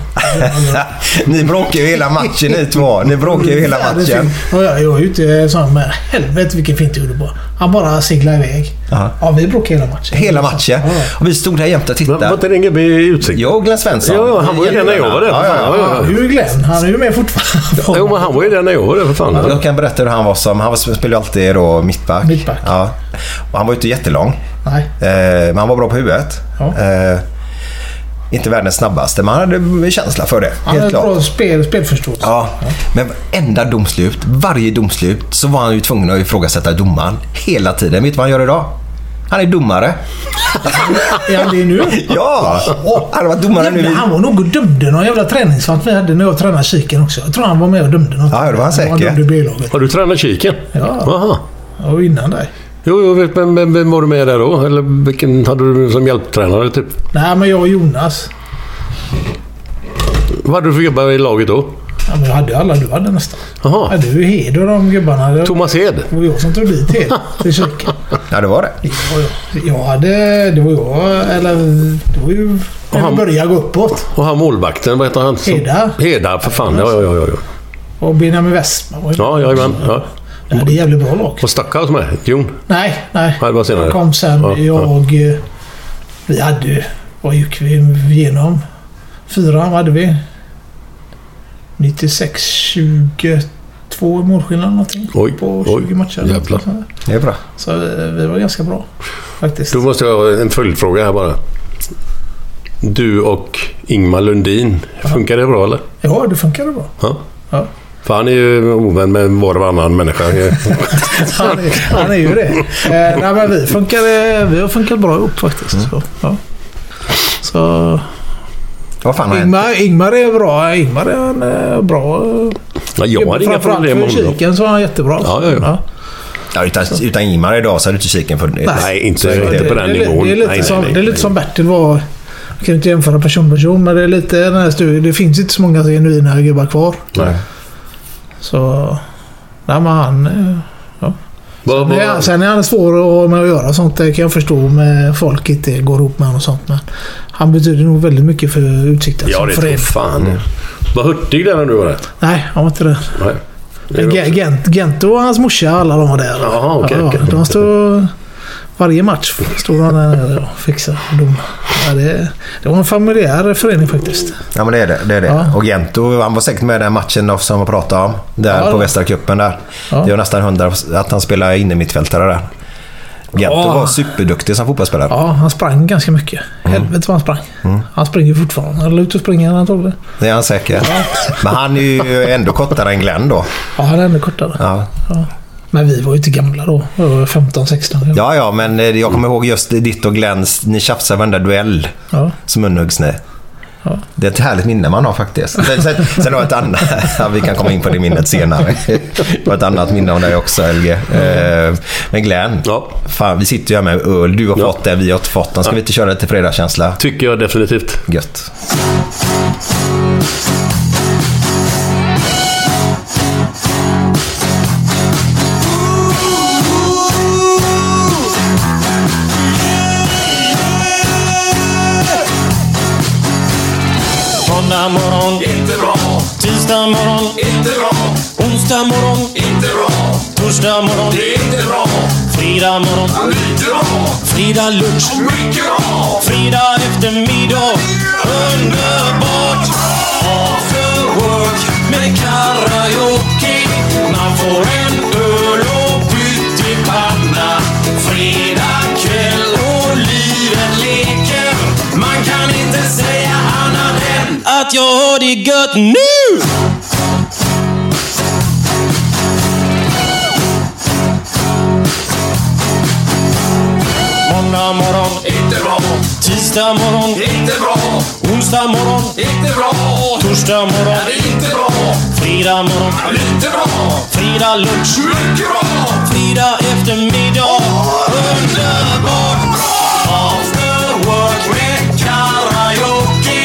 B: ni bråkar ju hela matchen ni två. Ni bråkar ju hela
C: Världens
B: matchen.
C: fint. Ja, jag jag är ju inte sån men helvete vilken fint du gjorde bara. Han bara siglar iväg.
B: Ja.
C: Ja, vi bråkade hela matchen.
B: Hela matchen.
C: Ja.
B: Och vi stod där jämte och
D: Men Var
B: tittade.
D: inte det en gubbe i utsikt?
B: Jo, Glenn Svensson.
D: Ja, ja, han var ju det när jag var där.
B: Ja, ja, ja.
C: Ja, hur är Glenn? Han är ju med fortfarande.
D: Jo, men han var ju där när jag var där, för fan.
B: Jag kan berätta hur han var som... Han spelade ju alltid då mittback.
C: Mittback.
B: Ja. Och han var ju inte jättelång.
C: Nej.
B: Eh, men han var bra på huvudet.
C: Ja.
B: Eh, inte världens snabbaste, men han hade känsla för det.
C: Han
B: helt
C: har
B: klart.
C: bra spel, spelförståelse.
B: Ja, men varenda domslut, varje domslut, så var han ju tvungen att ifrågasätta domaren hela tiden. Vet du vad han gör idag? Han är domare.
C: Är han det nu?
B: Ja! Han var domare nu.
C: Jävlar,
B: i-
C: han var nog och dömde någon jävla träningsmatch vi hade när jag tränade kiken också. Jag tror han var med och dömde något.
B: Ja, det var han
C: Han
B: säkert.
C: dömde B-laget.
D: Har du tränat kiken?
C: Ja.
D: Aha.
C: Ja, och innan dig.
D: Jo, jo, vet- men vem, vem var du med där då? Eller vilken hade du som hjälptränare, typ?
C: Nej, men jag och Jonas.
D: Vad hade du för gubbar i laget då?
C: Ja, men jag hade alla du hade nästan. Ja,
D: Jaha.
C: du är Hed och de gubbarna. Det
D: Thomas Hed.
C: var jag som tog dit Hed till kiken.
B: Ja, det var det.
C: Det var jag. Jag hade... Det var jag... Eller... Det var ju... När
D: han-
C: vi började gå uppåt.
D: Och han målvakten, vad heter han? Som-
C: Heda.
D: Heda, för fan. Ja, ja, ja. ja, ja.
C: Och Benjamin Westman var ju
D: Ja, jajamän. Ja.
C: Det är jävligt bra lag.
D: Och Stackhouse med? Jon?
C: Nej, nej.
D: Nej, det var senare.
C: Jag kom sen.
D: Ja,
C: jag... eh, Vi hade ju... Vad gick vi igenom? Fyran hade vi. 96, 22 i målskillnad någonting.
D: Oj,
C: på
D: oj,
C: 20 matcher.
D: jävlar.
B: Det är bra.
C: Så eh, vi var ganska bra faktiskt.
D: Då måste jag ha en följdfråga här bara. Du och Ingmar Lundin, funkar det bra eller?
C: Ja, det funkade bra.
D: Ja.
C: Ja.
D: För han är ju ovän med var och varannan människa.
C: Han är, han är ju det. Eh, nej, men vi, funkade, vi har funkat bra ihop faktiskt.
D: Mm.
C: Så, ja. så
B: Vad fan har hänt?
C: Ingmar, Ingmar är bra. Ingmar är en eh, bra... eh,
D: Ja, jag har inga
C: Framförallt
D: problem med
C: för
D: honom.
C: kiken så är han jättebra.
D: Ja, ja, ja.
B: Ja, utan, utan Ingmar idag så hade inte kiken funnits.
D: Nej, inte,
B: är det.
D: inte på den
C: det, är li-
D: nivån.
C: Det är lite,
D: nej,
C: som,
D: nej,
C: det är
D: nej,
C: lite som Bertil var. Jag kan inte jämföra person person, men det är lite den här studien. Det finns inte så många genuina gubbar kvar.
D: nej.
C: Så... Nej, men han... eh, Ja.
D: Vad-
C: Men
D: vad-
C: ja, sen är han svår att- med att göra sånt. Det kan jag förstå med folk inte går ihop med honom och sånt. Men han betyder nog väldigt mycket för Utsikten
D: Ja,
C: som
D: det tror
C: förening.
B: Mm.
D: fan. Vad hurtig den är du var där.
C: Nej, han var inte det.
D: Nej. Det är
C: Men
D: du
C: Ge-
D: också.
C: Gent, Gent och hans morsa, alla de var där.
D: Jaha, okej,
C: ja,
D: okej.
C: De stod... Varje match stod han där nere och fixade och dom. Ja, det, det var en familjär förening faktiskt.
B: Ja men det är det. det, är det.
C: Ja.
B: Och Gento, han var säkert med i den matchen då, som vi pratade om. Där
C: Ja.
B: på Västra Cupen där.
C: Ja.
B: Det var nästan hundra att han spelade innermittfältare där. Gento
D: Ja.
B: var superduktig som fotbollsspelare.
C: Ja, han sprang ganska mycket.
D: Mm.
C: Helvete vad han sprang. Han springer fortfarande. Han är ute och springer antagligen.
B: Det är han säkert. Men han är ju ändå kortare än Glenn då.
C: Ja, han är ännu kortare.
B: Ja.
C: Men vi var ju inte gamla då. Vi var 15, 16. kanske.
B: ja, ja, men eh, jag kommer ihåg just ditt och Glenns, ni tjafsade varenda duell.
C: Ja.
B: Som munhuggs ni. Det är ett härligt minne man har faktiskt. Sen, sen, sen har jag ett annat, ja, vi kan komma in på det minnet senare. Det var ett annat minne om dig också LG. Eh, Men Glenn,
D: Ja.
B: fan, vi sitter ju här med öl. Du har fått det, vi har inte fått den. Ska vi inte köra lite fredagskänsla?
D: Tycker jag definitivt.
B: Gött.
F: Måndag morgon, inte bra. Tisdag morgon, inte bra. Onsdag morgon, inte bra. Torsdag morgon, det är inte bra. Fredag morgon, lite bra. Fredag lunch, mycket bra. Fredag eftermiddag, underbart. After work med karaoke. Man får en öl och pyttipanna. Fredag kväll och livet leker. Man kan inte säga annat än att jag har det gött nu! Måndag morgon, inte bra. Tisdag morgon, inte bra. Onsdag morgon, inte bra. Torsdag morgon, inte bra. Fredag morgon, inte bra. Fredag lunch, mycket bra. Fredag eftermiddag, underbart bra. After work med karaoke.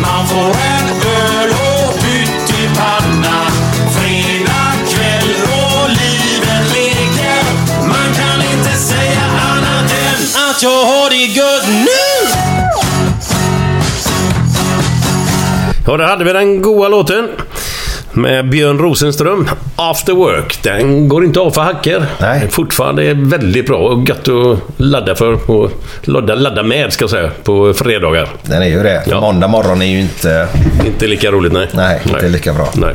F: Man får en öl och pyttipanna. Fredag kväll och livet leker. Man kan inte säga annat än att jag har det gött nu!
D: Ja, där hade vi den goa låten. Med Björn Rosenström, After Work. Den går inte av för hacker.
B: Nej.
D: Den Fortfarande är väldigt bra och gött att ladda för. Och ladda, ladda med, ska jag säga, på fredagar.
B: Den är ju det.
D: Ja.
B: Måndag morgon är ju inte...
D: Inte lika roligt, nej.
B: Nej, inte lika bra.
D: Nej.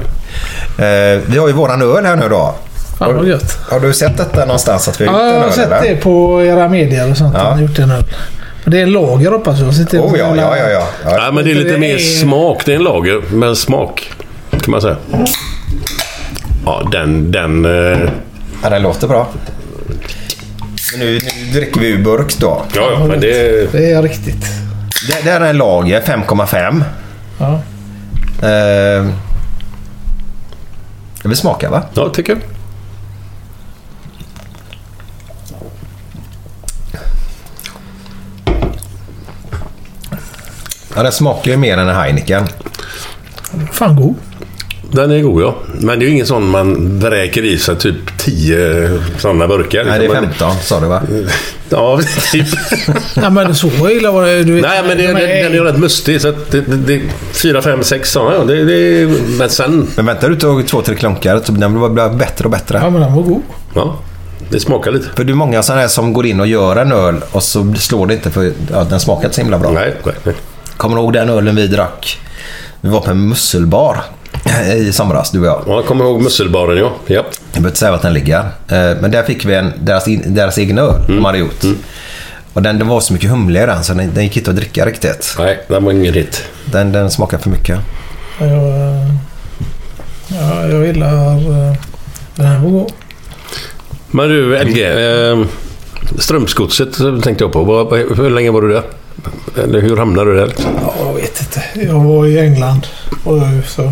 B: Eh, vi har ju våran öl här nu då.
C: Fan vad gött.
B: Har du sett detta någonstans? Att vi har
C: Ja,
B: gjort
C: jag
B: en
C: har
B: öl,
C: sett
B: eller?
C: det på era medier och sånt.
B: Ja.
C: Att ni gjort det nu. Men det är en lager hoppas jag. Sitter
B: Oh, ja, ja, ja, ja. ja.
D: Nej, men det är lite
C: Det
D: mer
C: är-
D: smak. Det är en lager, men smak. Kan man säga. Ja, den... den eh,
B: Ja, den låter bra. Men Nu, nu dricker vi ur burk då.
D: ja, ja, men det...
C: Det är riktigt.
B: Det, det här är en lager, 5,5.
C: Ja.
B: Eh, vi smakar va?
D: Ja, tycker jag.
B: Ja, den smakar ju mer än en Heineken.
C: Fan god.
D: Den är god, ja. Men det är ju ingen sån man vräker i sig typ 10 sådana burkar.
B: Nej, det
D: liksom.
B: är
D: Men-
B: 15 sa du va?
D: Ja, typ.
C: Nej men så illa var det. Du vet,
D: Nej, men det,
C: de
D: den, den är ju rätt mustig. Så att det, det, det, 4, 5, 6 sådana. Ja, det, det, men sen...
B: Men vänta du tog två, tre klunkar så den blir bara bättre och bättre.
C: Ja men den var god.
D: Ja, det smakar lite.
B: För det är många sådana här som går in och gör en öl och så slår det inte för ja, den smakar inte så himla bra.
D: Nej, nej, nej.
B: Kommer du ihåg den ölen vi drack? Vi var på en musselbar i somras, du och jag.
D: Ja, jag kommer ihåg musselbaren, ja. ja.
B: Jag behöver inte säga vart den ligger. Eh, Men där fick vi en, deras, in, deras egna öl
D: Mm.
B: de hade gjort. Och den, den var så mycket humle i den så den, den gick inte att dricka riktigt.
D: Nej, den var ingen hit.
B: Den, den smakar för mycket.
C: Ja, Jag, eh, ja, jag gillar... eh, Den här var god.
D: Men du, LG. Eh, Strömsgodset tänkte jag på. Vad- vad- hur länge var du där? Eller hur hamnade du där? liksom?
C: Ja, jag vet inte. Jag var i England och så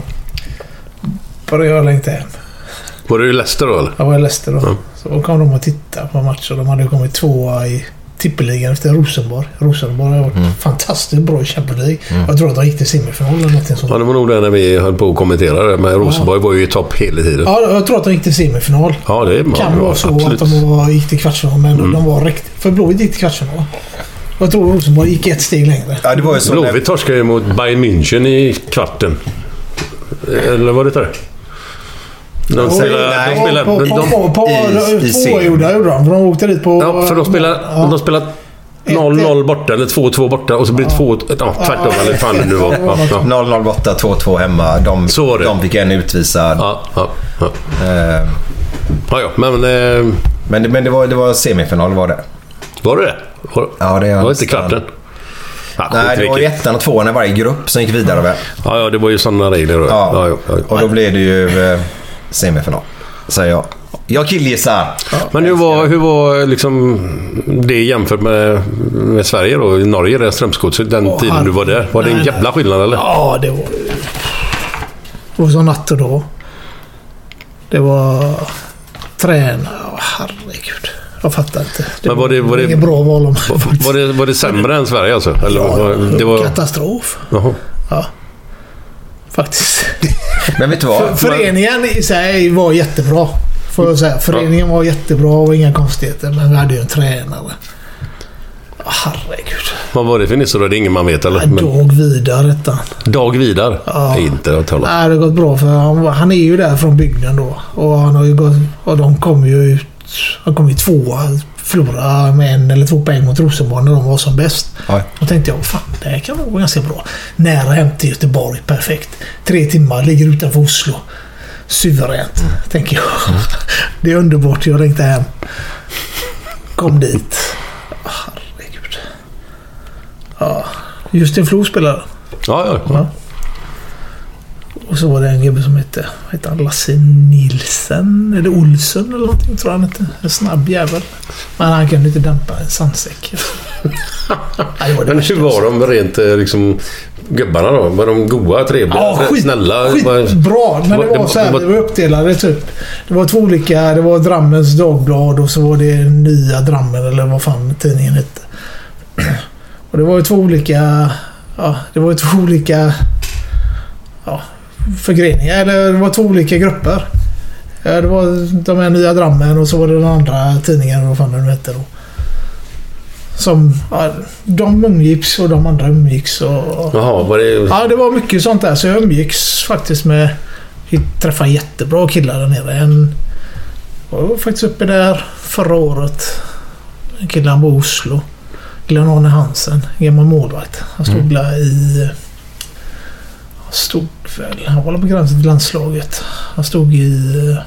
C: började jag längta hem.
D: Var du i Leicester då, eller?
C: Jag var i Leicester då.
D: Mm.
C: Så kom de och tittade på matchen. De hade kommit tvåa i tippeligan efter Rosenborg. Rosenborg har varit
D: Mm.
C: fantastiskt bra i Champions League. Jag tror att de gick till semifinal eller någonting sånt.
D: Ja, det var nog det när vi höll på att kommentera det. Men Rosenborg var ju i topp hela tiden.
C: Ja, jag tror att de gick till semifinal.
D: Ja, det är
C: kan
D: ja,
C: vara så
D: absolut. Mm.
C: att de var, gick till kvartsfinal, men de var riktigt... För Blåvitt gick till kvartsfinal. Jag tror Rosenborg gick ett steg längre.
B: Ja, det var ju så när-
D: Blåvitt torskade ju mot Bayern München i kvarten. Eller var det inte det? De
B: Oj,
D: spelade...
B: nej.
D: De spelade
C: på, på,
D: de,
C: på, på,
B: i- i serien.
C: oavgjorda gjorde de. För de åkte dit på...
D: ja, för de spelade,
C: Ja.
D: de spelade 0-0 borta eller 2-2 borta och så blir det 2... Ja, tvärtom eller fan det nu var. Ja, ja.
B: 0-0 borta, 2-2 hemma. De,
D: Så var det.
B: de fick en utvisad.
D: Ja, ja, ja.
B: Eh,
D: ja, ja. men... Eh,
B: Men, det, men det, var, det var semifinal var det.
D: var det det? Var,
B: Ja, det är
D: var det inte
B: nästan.
D: kvarten? Ja,
B: Nej, det var ju
D: skitvilket.
B: ettan och tvåan i varje grupp som gick vidare väl?
D: ja, ja, det var ju sådana regler då. Ja. Ja, ja, ja.
B: Och då blev det ju eh, semifinal, säger jag. Jag killgissar.
D: Men hur var, hur var liksom det jämfört med, med Sverige då? I Norge, det Strömsgodset, den
C: Åh,
D: tiden du var där. Var det en
C: nej,
D: jävla skillnad eller?
C: Ja, det var... Det var så natt och dag. Det var... Träna... Åh, Herregud. Jag fattar inte.
D: Men var det- var det-
C: inget bra val om
D: Var det, var det sämre än Sverige alltså? Eller,
C: Ja,
D: var, det var,
C: Katastrof.
D: Jaha.
C: Ja. Faktiskt.
B: Men vet du vad?
C: Föreningen i sig var jättebra. Får jag säga. Föreningen var jättebra och inga konstigheter. Men vi hade ju en tränare. Åh, Herregud.
D: vad var det för nisse då? Det är ingen man vet eller? Men,
C: Dag Vidar hette han.
D: Dag Vidar?
C: Ja.
D: Inte att tala om.
C: Nej, det har gått bra för han, han är ju där från bygden då. Och, han har ju gått, och de kom ju ut... Han kom ju tvåa. Förlorade med en eller två poäng mot Rosenborg när de var som bäst.
B: Ja.
C: Då tänkte jag, fan det här kan nog gå ganska bra. Nära hem till Göteborg, perfekt. Tre timmar, ligger utanför Oslo. Suveränt, tänker jag. Det är underbart, jag ringde hem. Kom dit. Herregud. Ja, Justin Flo spelade.
D: Ja, ja, ja.
C: Ja. Och så var det en gubbe som hette, vad hette han, Lasse Nilsen eller Olsen eller någonting tror jag han hette. En snabb jävel. Men han kunde inte dämpa en sandsäck. Ja, det var det
D: Men
C: värsta.
D: hur var de rent eh, liksom... Gubbarna då? Var de goa, trevliga,
C: Ja, skit,
D: snälla?
C: skitbra. Men det var så här, det var uppdelade typ. Det var två olika. Det var Drammens Dagblad och så var det Nya Drammen eller vad fan tidningen hette. Och det var ju två olika... Ja, det var ju två olika... Ja, förgreningar. Eller det var två olika grupper. Ja, det var de här Nya Drammen och så var det den andra tidningen, vad fan den nu hette då. Som... Ja, de umgicks och de andra umgicks och...
D: Jaha, var det...
C: Ja, det var mycket sånt där. Så jag umgicks faktiskt med... Jag träffade jättebra killar där nere. En jag var faktiskt uppe där förra året. En kille han bor i Oslo. Glenn-Arne Hansen, gammal målvakt. Han stod väl i... Han stod väl... Han var väl på gränsen till landslaget. Han stod i... eh,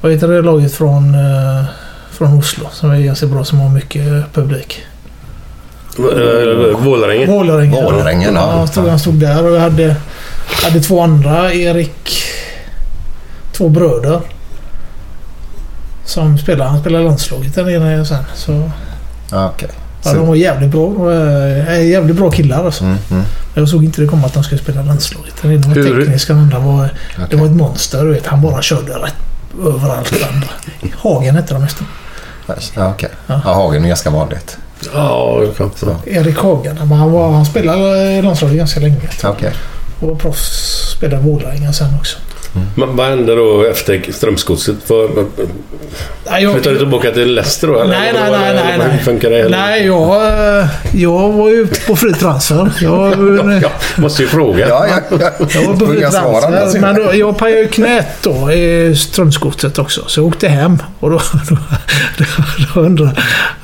C: Vad heter det laget från, eh, från Oslo som är ganska bra, som har mycket publik?
D: eh, Vålerenge?
C: Vålerengen.
B: Vålerengen, ja.
C: ja. Jag tror han stod där och jag hade, hade två andra. Erik... Två bröder. Som spelar. Han spelar i landslaget där nere sen. Så,
B: Ja, okej.
C: ja, de
B: Så-
C: var jävligt bra. De var, eh, jävligt bra killar alltså.
B: Mm, mm.
C: Jag såg inte det komma att de skulle spela i landslaget. Den ena var
D: Hur-
C: teknisk, den andra var... Det var ett monster. Du vet. Han bara körde rätt överallt. den andra. Hagen hette de nästan.
B: Ja, okej. Ja, Hagen är ganska vanligt.
D: Ja, ja, ja.
C: Erik Hagen. Men han, var, han spelade i landslaget ganska länge.
B: Ja, Okej.
C: Och var proffs. Spelade i Vålerengen sen också.
D: Men vad hände då efter Strömsgodset? Var-
C: Nej, jag,
D: Flyttade du tillbaka till Leicester då? eller?
C: nej,
D: Eller
C: nej,
D: var det-
C: nej, nej,
D: eller Hur
C: nej.
D: funkar det? eller?
C: Nej, jag, eh, jag var ju på fri transfer. Jag,
D: Ja, måste ju fråga.
B: Ja, ja, ja.
C: jag var på fri
B: Vågar svara annars.
D: alltså.
C: transfer. Men då, jag pajade ju knät då i Strömsgodset också. Så jag åkte hem och då, då, då, då undrade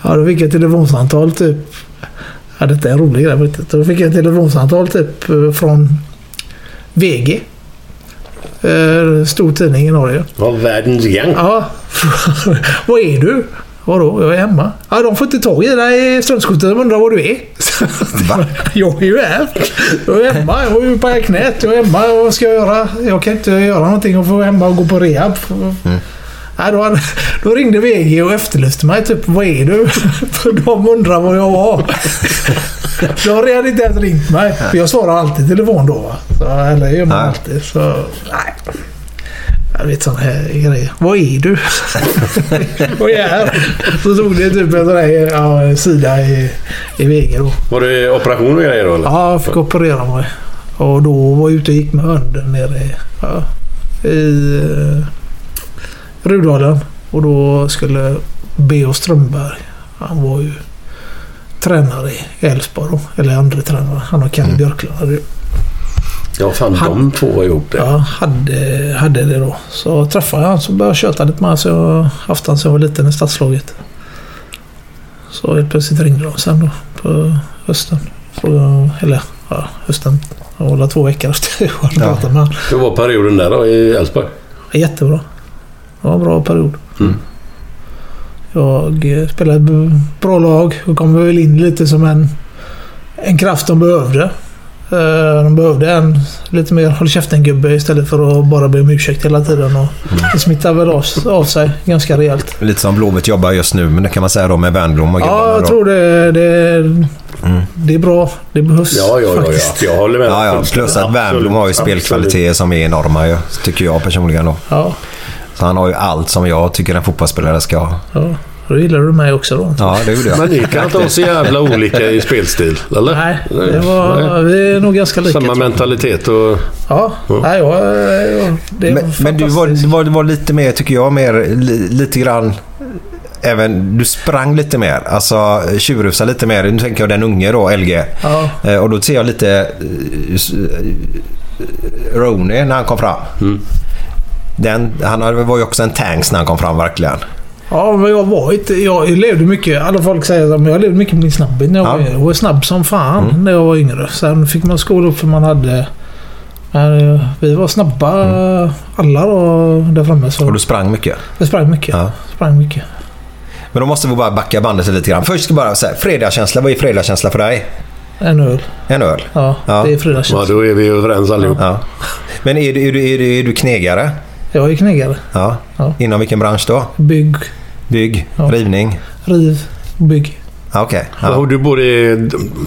C: ja, Då fick jag ett telefonsamtal typ. Ja, detta är en rolig grej. vet du. Då fick jag ett telefonsamtal typ eh, från VG. Eh, Stor tidning i Norge.
D: Var världens gäng.
C: Ja. Var är du? Vadå? Jag är hemma. Ja, de får inte tag i dig i Strömsgodset. De undrar var du är.
B: Va?
C: Jag är ju här. Jag är hemma. Jag har ju pajat knät. Jag är hemma. Vad ska jag göra? Jag kan inte göra någonting. Jag får vara hemma och gå på rehab. Ja, då, hade- då ringde VG och efterlyste mig. Typ, vad är du? För de undrar vad jag var. De har redan inte ens ringt mig. För jag svarar alltid i telefon då. va. Så, eller gör man
B: Nej.
C: alltid. Så, nej. Jag vet sådana här grejer. Vad är du? Vad är här? Så tog det typ en sån här ja, sida i, i vägen då.
D: Var det operation och grejer då eller?
C: Ja, jag fick operera mig. Och då var jag ute och gick med hunden nere i, ja, i eh, Rudalen. Och då skulle B.O. Strömberg, han var ju tränare i Elfsborg då, Eller andra tränare. Han och Kalle Björklund hade ju
D: Ja, fan de två var ihop det.
C: Ja, hade, hade det då. Så träffade jag honom så började jag köta lite med honom. Så jag har haft honom sedan jag var liten i stadslaget. Så helt plötsligt ringde de sen då på hösten. Frågade, eller ja, hösten. Det var väl två veckor efter jag hade pratat med honom.
D: Hur var perioden där då i Elfsborg?
C: Jättebra. Det var en bra period.
D: Mm.
C: Jag eh, spelade ett b- bra lag och kom väl in lite som en, en kraft de behövde. Eh, De behövde en lite mer håll käften-gubbe istället för att bara be om ursäkt hela tiden. Och
D: Mm.
C: det smittar väl av, av sig ganska rejält.
B: Lite som Blåvitt jobbar just nu, men det kan man säga då med Wernbloom och grabbarna
C: Ja, jag
B: då.
C: tror det. Det, det är bra. Det behövs
D: Mm. Ja, ja, ja,
C: faktiskt.
D: ja. Jag håller med.
B: Ja, ja. Plus att
D: Absolut,
B: Wernbloom har ju
D: absolut.
B: spelkvaliteter som är enorma ju, tycker jag personligen då.
C: Ja,
B: Så han har ju allt som jag tycker en fotbollsspelare ska ha.
C: ja. Då gillar du mig också då.
B: Ja, det gjorde jag.
D: Men ni kan inte vara så jävla olika i spelstil, eller?
C: Nej, det var, vi är nog ganska lika.
D: Samma mentalitet och...
C: Ja, nej, jag, jag, det är
B: Men, men du var, du var, du var lite mer, tycker jag, mer, li, lite grann... Även, du sprang lite mer, alltså tjurrusade lite mer. Nu tänker jag den unge då, LG.
C: Ja.
B: Eh, och då ser jag lite eh, s- eh, Rooney när han kom fram. Den, han hade- var ju också en tanks när han kom fram verkligen.
C: Ja, men jag var inte... Jag levde mycket... Alla folk säger att men jag levde mycket med min snabbhet när jag var
B: Ja. Mm.
C: yngre. Jag var snabb som fan när jag var yngre. Sen fick man skola upp för man hade... Men eh, vi var snabba alla då, där framme. Så
B: Och Mm. du sprang mycket.
C: vi sprang mycket.
B: Ja.
C: Sprang mycket.
B: Men då måste vi bara backa bandet lite grann. Först ska jag bara säga, fredagskänsla. Vad är fredagskänsla för dig?
C: En öl.
B: En öl?
C: Ja,
B: Ja.
C: det är fredags.
D: Ja, då är vi överens allihop.
B: Ja. Men är du, är du, är du, är du knegare?
C: Jag är knegare.
B: Ja.
C: Ja.
B: Inom vilken bransch då?
C: Bygg,
B: Bygg?
C: Ja.
B: Rivning?
C: riv, bygg.
B: Ja, Okej.
D: Ja.
B: Ja.
D: Och du är både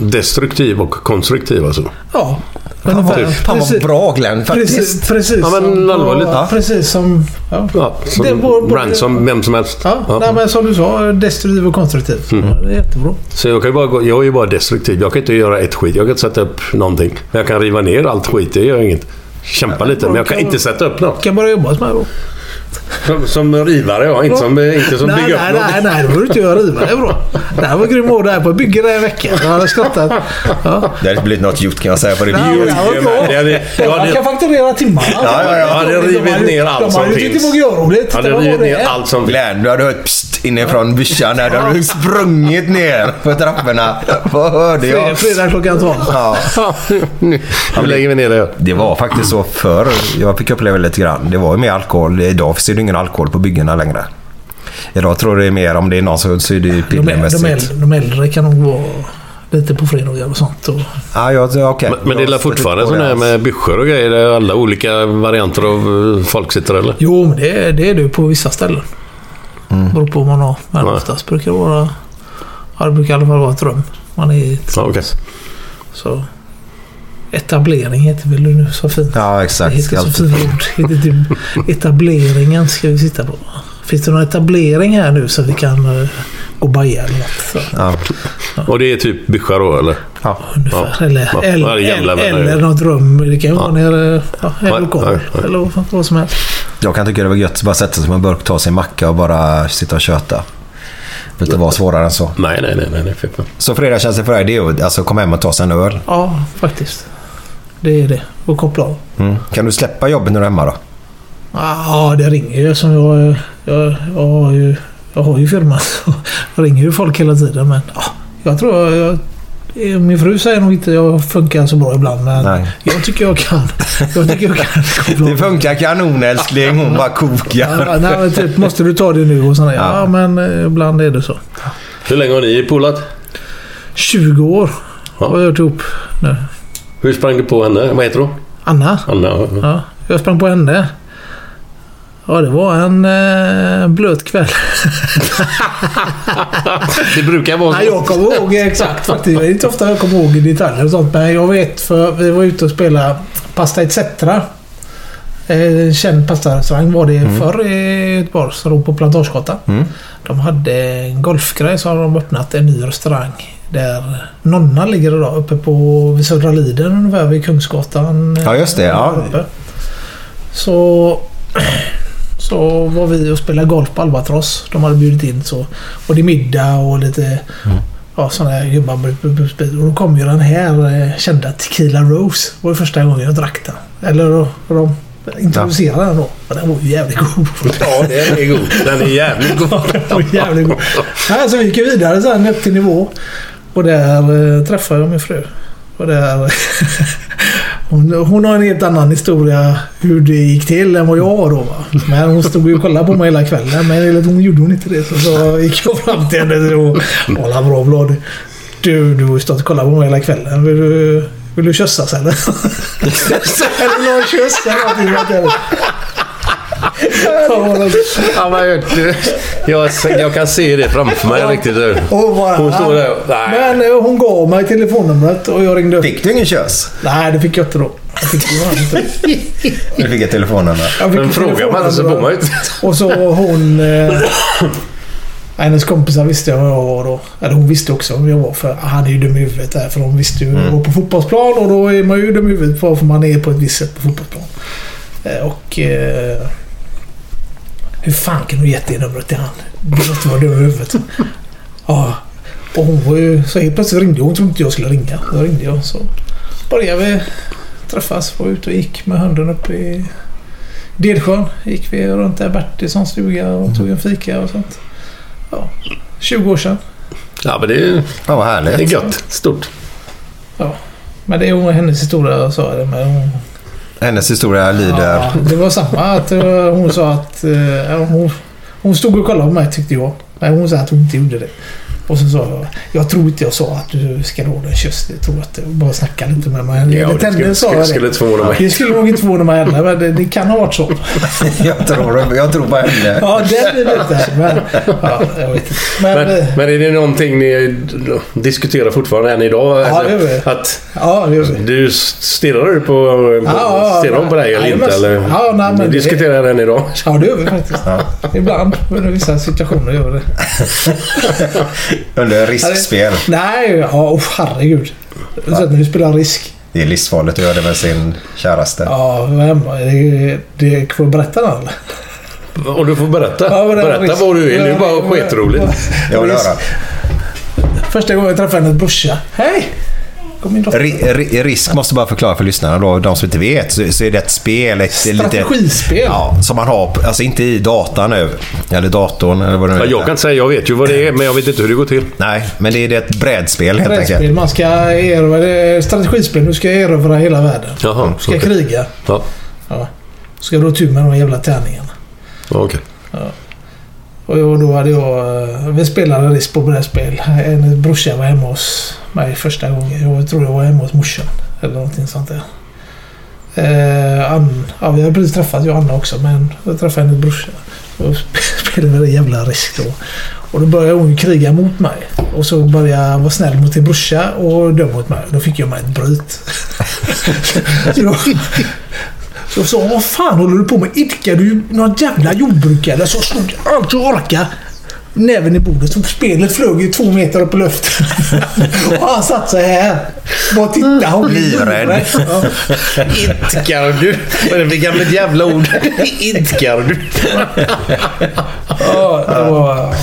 D: destruktiv och konstruktiv alltså?
C: Ja,
B: Fan
C: ungefär.
B: vad- Fan vad
C: Precis-
B: bra Glenn faktiskt.
C: Precis, precis,
D: Ja, men
C: som,
D: allvarligt,
B: ja.
C: precis som... Ja.
D: Ja, som
C: Det var både-
D: Ransom, vem som helst.
C: Ja, Nej, men som du sa, destruktiv och konstruktiv.
D: Mm.
C: Ja, det är jättebra.
D: Så jag, kan ju bara gå, jag är ju bara destruktiv. Jag kan inte göra ett skit. Jag kan inte sätta upp någonting. Men jag kan riva ner allt skit. Det gör inget. Kämpa lite, men jag kan inte sätta upp något.
C: kan bara jobba med då.
D: Som, som rivare, ja. Inte som, inte som
C: nej,
D: bygga
C: nej,
D: upp något.
C: nej, nej, det behöver du inte göra. Riva det är bra. Det här var grym år det här på bygge den här veckan. Jag hade skrattat. Ja.
B: Det har inte blivit något gjort kan jag säga för det.
C: Nej,
B: Jo,
C: det här var
D: men
C: bra.
D: det hade- jag hade-
C: Jag kan fakturera timmarna.
B: Ja, ja, ja.
D: Jag hade rivit ner allt som
C: De hade ju tyckt
D: finns.
C: det var görroligt.
D: Jag hade
C: Det var
D: rivit
C: det.
D: ner allt som finns.
B: Glenn, du hade hört psst inifrån byssjan där. Du hade sprungit ner för trapporna. Vad hörde
C: Fred-
B: jag?
C: Fredag klockan 12.
B: Ja.
D: Nu lägger vi ner det.
B: Det var faktiskt så förr. Jag fick uppleva lite grann. Det var ju mer alkohol. Idag finns det ju ingen alkohol på byggena längre. Idag tror jag det är mer om det är någon som så är det ju
C: De, äldre, de,
B: pillermässigt.
C: äldre, de äldre kan nog vara lite på fredagar och sånt. Och,
B: Ah, Ja, jag, ja, okej.
D: Men, men det är
B: Jag
D: väl
B: har
D: fortfarande
B: stött på det,
D: sådana här med byssjor och grejer? Där alla olika varianter av eh, folk sitter eller?
C: jo, men det, det är det ju på vissa ställen.
D: Mm.
C: Beror på vad man har. Men
D: Ja.
C: oftast brukar det vara... Ja, det brukar i alla fall vara ett rum. Man är i ett
D: Ja, okej.
C: Så etablering heter väl det nu så fint.
B: Ja, exakt.
C: Det heter så
B: Alltid.
C: fina ord. Det heter typ etableringen ska vi sitta på. Finns det någon etablering här nu så vi kan eh, gå och baja eller något? Så,
D: Och det är typ byssja då eller?
B: Ja.
C: ungefär. eller,
D: Ja,
C: eller,
D: ja, jävla
C: eller,
D: vänner.
C: något rum. Det kan ju vara nere ja,
D: Nej,
C: eller lokal.
D: nej, nej.
C: Eller vad, vad som helst.
B: Jag kan tycka det var gött att bara sätta sig på en burk, ta sin macka och bara sitta och köta. Det inte vara svårare än så.
D: Nej, nej, nej. nej, nej. fy fan.
B: Så fredagstjänsten för dig, det är ju alltså komma hem och ta sig en öl.
C: Ja, faktiskt. Det är det. Och koppla av.
B: Kan du släppa jobbet när du är hemma då?
C: Ja, det ringer ju som jag... Jag, jag, har, ju, jag har ju firma. Jag ringer ju folk hela tiden men... Ja, jag tror jag... jag min fru säger nog inte jag funkar så bra ibland men
B: Nej.
C: jag tycker jag kan. Jag tycker jag kan koppla av.
B: Det funkar kanon älskling, hon bara kokar.
C: Ja, nej, men typ, måste du ta det nu? Och sådär. Ja, men eh, ibland är det så.
D: Hur länge har ni polat?
C: 20 år
D: Ja.
C: har jag gjort ihop nu.
D: Hur sprang du på henne? Vad heter hon?
C: Anna.
D: Anna?
C: Ja, jag sprang på henne. Ja, det var en eh, blöt kväll.
D: Det brukar vara
C: Nej, jag kommer ihåg exakt faktiskt. Det är inte ofta jag kommer ihåg i detaljer och sånt. Men jag vet för vi var ute och spelade Pasta Etc. Eh, känd pastarestaurang var det
B: Mm.
C: förr i Göteborg som låg på Plantagegatan. De hade en golfgrej så har de öppnat en ny restaurang. Där Nonna ligger idag uppe på vid Södra Liden ungefär vid Kungsgatan. eh,
B: Ja, just det, ja.
C: där uppe. Så så var vi och spelade golf på Albatross. De hade bjudit in så. Och det är middag och lite ja, sådana här gubbar. br- br- br- br- Och då kom ju den här eh, kända Tequila Rose. Det var ju första gången jag drack den. Eller då, då de introducerade den då. Men den var ju jävligt god.
D: Ja, den är god. Den är jävligt god.
C: Den var jävligt god. Nej, så vi gick jag vidare sen upp till nivå. Och där eh, träffade jag min fru. Och där... Hon, hon har en helt annan historia hur det gick till än vad jag har då. Va? Men hon stod ju och kollade på mig hela kvällen. Men enligt hon gjorde hon inte det. Så, så gick jag fram till henne och kolla bra blad. Du, du har ju stått och kollat på mig hela kvällen. Vill du, vill du kyssas eller? eller vill du ha en kyss eller någonting? sånt där? Ja, hon-
D: Ja, men, jag- du, jag, jag kan se det framför mig riktigt. du.
C: Och bara, "Äh."
D: Hon står där och- nej.
C: Men eh, hon gav mig telefonnumret och jag ringde upp.
B: Fick du ingen kös?
C: Nej, det fick jag inte då. Jag fick, ju inte.
B: Du fick ett telefonnummer.
C: Jag fick
D: Men
C: ju
D: frågar man inte så får man ju inte.
C: Och så hon... Eh, hennes kompisar visste jag var jag var då. Eller hon visste också vem jag var. För han är ju dum i huvudet där. För hon visste ju jag var på fotbollsplan och då är man ju dum i huvudet på varför man är på ett visst sätt på fotbollsplan. Eh, och... Eh, hur fan kan du gett det numret till han? Du måste vara dum i huvudet. Ja. Och hon var ju... Så helt plötsligt ringde hon. Hon trodde inte jag skulle ringa. Då ringde jag. Så började vi träffas. Var ute och gick med handen upp i Delsjön gick vi runt där Bertilssons stuga och tog en fika och sånt. Ja, 20 år sedan.
D: Ja, men det är,
B: Fan vad
D: det är
C: Alltså.
B: härligt.
D: gött. Stort.
C: Ja. Men det är hon- hennes historia jag sa det men hon,
B: Hennes historia
C: ja,
B: lyder...
C: Det var samma att eh, hon sa att... eh, hon, hon stod och kollade på mig tyckte jag. Men hon sa att hon inte gjorde det. Och så sa jag, jag tror inte jag sa att du ska råda en kyss. Jag tror att du bara snackade lite med mig.
D: Ja,
C: Enligt
D: det
C: henne
D: skulle-
C: sa jag
D: skulle- skulle inte förvåna mig.
C: Det skulle nog inte förvåna mig heller, men det, det kan ha varit så.
B: Jag tror, jag tror på henne.
C: Ja, det blir lite. Men, ja, jag vet inte. Men,
D: Men,
C: eh,
D: men är det någonting ni diskuterar fortfarande än idag?
C: Ja,
D: Alltså,
C: det är det.
D: Att
C: ja, det gör vi.
D: du stirrar du på... på
C: Ja, ja,
D: stirrar hon på dig eller
C: ja,
D: inte?
C: men-
D: Eller?
C: ja, nej, men
D: ni
C: det-
D: diskuterar den idag?
C: Ja, det gör vi faktiskt. Ibland. Under vissa situationer gör vi det.
B: Under riskspel.
C: Nej, ja, oh, herregud. Så att när du spelar risk.
B: Det är livsfarligt att göra det med sin käraste.
C: Ja, vem? Det, det får jag berätta den eller?
D: Och du får berätta.
C: Ja, men det är
D: berätta
C: risk.
D: vad du vill. Det är
C: Ja,
D: bara
C: men-
D: skitroligt.
B: Jag vill höra.
C: Första gången jag träffade hennes brorsa. Hej! Kom min dotter.
B: Ri- ri- Risk måste bara förklara för lyssnarna då, de som inte vet, så, så är det ett spel. Ett, lite-
C: Strategispel.
B: Ja, som man har, på- alltså inte i datan nu. Eller datorn eller vad det nu
D: Ja,
B: heter.
D: jag kan inte säga. Jag vet ju vad det är, men jag vet inte hur det går till.
B: Nej, men det är det är ett brädspel helt
C: Brädspel.
B: enkelt.
C: Man ska erövra... det är Strategispel. Du ska erövra hela världen.
D: Jaha.
C: Du ska
D: okej.
C: kriga.
D: Ja,
C: Ja. Ska du ha tur med de jävla tärningarna.
D: okej.
C: Och jag- då hade jag... eh, Vi spelade risk på brädspel. En brorsa var hemma hos mig första gången. Jag tror jag var hemma hos morsan. Eller någonting sånt där. Eh, Ann, ja, vi hade precis träffat jag och Anna också men jag träffade hennes brorsa. Och spelade en jävla risk då. Och då började hon ju kriga mot mig. Och så började jag vara snäll mot din brorsa och döm mot mig. Då fick jag mig ett bryt. så då, så jag sa vad fan håller du på med? Idkar du någon jävla jordbrukare? Eller så slog jag allt jag orkade. Näven i bordet. Så spelet flög ju två meter upp i luften. och han satt så här. Bara titta. Han blev
B: Livrädd.
C: livrädd. Ja.
D: Idkar du? Vad är det för gammalt jävla ord? Idkar du?
C: Ja, det var...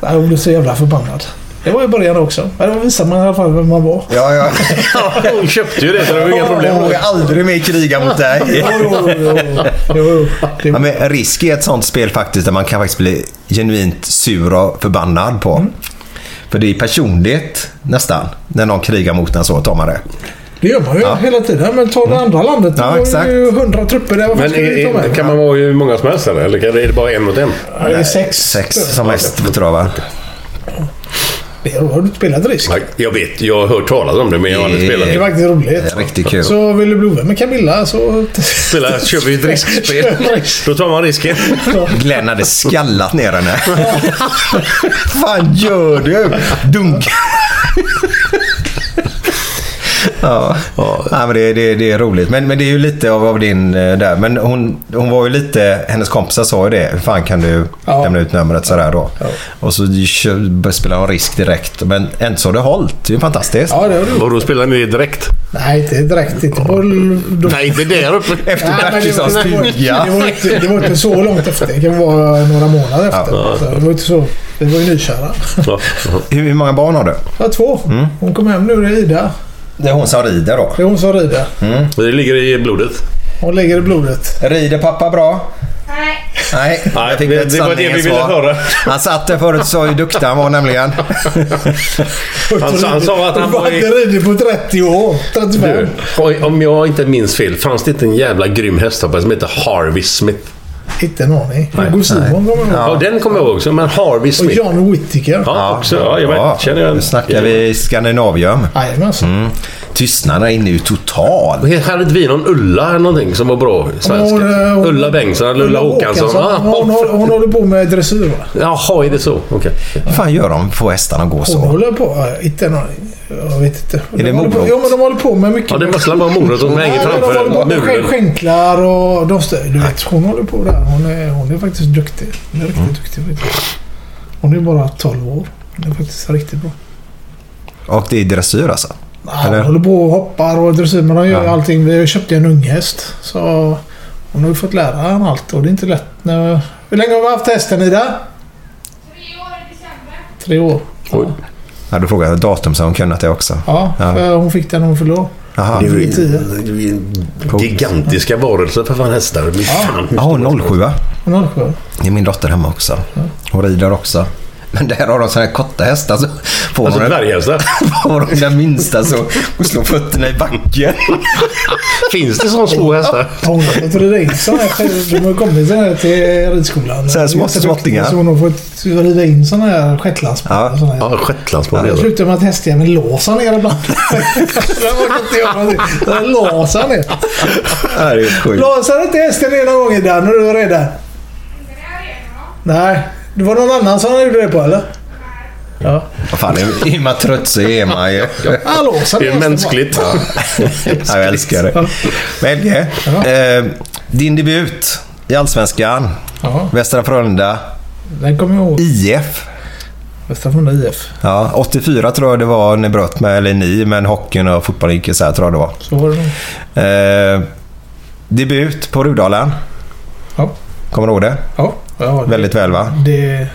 C: Nej, Jag blev så jävla förbannad. Det var i början också. Men då visade man i alla fall vem man var.
B: Ja, ja.
D: Ja, hon köpte ju det, så det var inga problem.
B: Jag vågar aldrig mer kriga mot dig.
C: Jo, jo, jo. Det
B: Ja,
C: var,
B: men risk är ett sånt spel faktiskt där man kan faktiskt bli genuint sur och förbannad på.
D: Mm.
B: För det är personligt nästan. När någon krigar mot en så tar man det.
C: det gör man ju hela tiden. Men ta det andra landet.
B: Mm. Ja,
C: Ja, det var
B: exakt.
C: ju hundra trupper där. Varför
D: Men
C: ska vi ta
D: är,
C: med?
D: är, kan man vara hur många som helst eller? Eller kan- är det bara en mot en?
C: Ja, det är sex.
B: Sex som mest tror jag va?
C: Det har du inte spelat risk.
D: Nej, Jag vet, jag har hört talas om det men jag har aldrig spelat
C: Det är
D: det.
C: faktiskt
B: Det
C: roligt.
B: är riktigt kul.
C: Så vill du bli ovän med Camilla så...
D: Spela, kör vi ett riskspel. Då tar man risken.
B: Glenn hade skallat ner henne. Fan gör du? Dunk. Ja. Ja. men det, det, det är roligt. Men, men det är ju lite av, av din eh, där. Men hon, hon var ju lite, hennes kompisar sa ju det. Hur fan kan du
C: Ja.
B: lämna ut numret sådär då? Och så kö- spelar hon risk direkt. Men ändå så har det hållit. Det är ju fantastiskt.
C: Ja, det har du.
D: Och då spelar ni direkt?
C: Nej, inte direkt. Inte på... Då...
D: Nej, inte där uppe.
B: Efter
C: Nej, men det, var,
B: Bertilssons
C: det, var,
B: stuga.
C: det, var inte, det var inte så långt efter. Det kan vara några månader efter. Så det var inte så. Vi var ju nykära.
D: Ja.
B: Hur, hur många barn har du?
C: Jag har två.
D: Mm.
C: Hon kom hem nu. Det är Ida.
B: Det är hon som rider då.
C: Det är hon som rider.
D: Det ligger i blodet.
C: Hon lägger i blodet.
B: Rider pappa bra? Nej. Nej,
D: Nej,
B: jag fick
D: det-
B: ett
D: det var det vi
B: sanningens
D: ville
B: svar.
D: höra.
B: Han satt där förut och sa hur duktig han var nämligen.
D: Han sa- han sa att han
C: Hon
D: var i-
C: inte rider på 30 år. 35.
D: Du, oj, om jag inte minns fel, fanns det inte en jävla grym hästhoppare som hette Harvey Smith?
C: Inte en aning. Hugo Simon kommer jag ihåg.
D: Ja, den kommer jag ihåg också, men Harvey
C: Och
D: Smith.
C: John Whittaker.
D: Ja, också. Ja, jag vet. Känner jag
B: nu snackar vi Skandinavium.
C: Jajamensan.
D: Mm,
B: Tystnaden inne är ju total.
D: Hade inte vi någon Ulla eller någonting som var bra? Svenska?
C: Hon har, eh, hon-
D: Ulla Bengtsson eller Ulla Håkansson? Ah,
C: Hon, hon, håller- hon håller på med dressyr va?
D: Jaha, är det så? Okej.
B: Hur fan gör de för hästarna att gå
C: Hon
B: så?
C: håller på... ja, Inte en aning. Jag vet inte.
B: det
C: De håller på-
B: morot?
C: Jo men de håller på med mycket.
D: Ja, det måste väl vara morot som hänger
C: Nej, men de håller
D: framför
C: på med sk-
D: muren.
C: skänklar och de stö- Du vet, hon håller på där. Hon är, hon är faktiskt duktig. Hon är
D: Mm.
C: riktigt duktig faktiskt. Hon är bara 12 år. Hon är faktiskt riktigt bra.
B: Och det är dressyr alltså?
C: Ja,
B: Eller?
C: Hon håller på och hoppar och dressyr, men de gör ju
B: Ja.
C: allting. Vi köpte ju en unghäst. Så hon har ju fått lära henne allt och det är inte lätt när... Hur länge har vi haft hästen Ida? Tre år i december. Tre år?
D: Oj.
B: Ja, du frågade datum så har hon kunnat det också.
C: Ja,
B: Ja.
C: för hon fick den när hon fyllde år.
B: Jaha.
D: Det är ju-
C: tio.
D: det är ju gigantiska varelser för fan hästar. Men fan.
B: Ja, hon 07 va?
C: Hon har sjö.
B: Det är min dotter hemma också. Hon rider också. Men där har de såna här korta hästar. Så får
D: Alltså
B: hon en-
D: dvärghästar.
B: Får hon den minsta så och slår fötterna i backen.
D: Finns det sådana små hästar?
C: Hon har fått rida in sådana här själv. De har ju kommit såna här till ridskolan.
B: Så här små
C: Jätteduktig,
B: småttingar.
C: Så hon har fått rida in såna här shetlandsspår.
B: Ja.
C: Såna här.
D: Ja, shetlandsmål.
C: Det
D: Ja,
C: slutade med att hästjäveln lås han ner ibland. Den var inte jag någonting. Den lås han ner.
B: Ja, det är sjukt.
C: Blåsade inte hästen ena gången Ida när du var redan? Nej. Det var någon annan som han gjorde det på eller? Ja.
B: Vad fan, är- är man trött så är man ju...
C: Han låsade
D: det är
C: hästen
D: mänskligt.
B: Ja, jag älskar det. Belge, eh, din debut i Allsvenskan.
C: Ja.
B: Västra Frölunda,
C: bara. Den kommer jag ihåg.
B: IF.
C: Västra Frölunda IF.
B: Ja, 84 tror jag det var ni bröt med, eller ni, men hockeyn och fotbollen gick isär tror jag det var.
C: Så var det nog.
B: Eh, debut på Rudalen.
C: Ja.
B: Kommer du ihåg det?
C: Ja. ja det,
B: Väldigt väl va?
C: Det...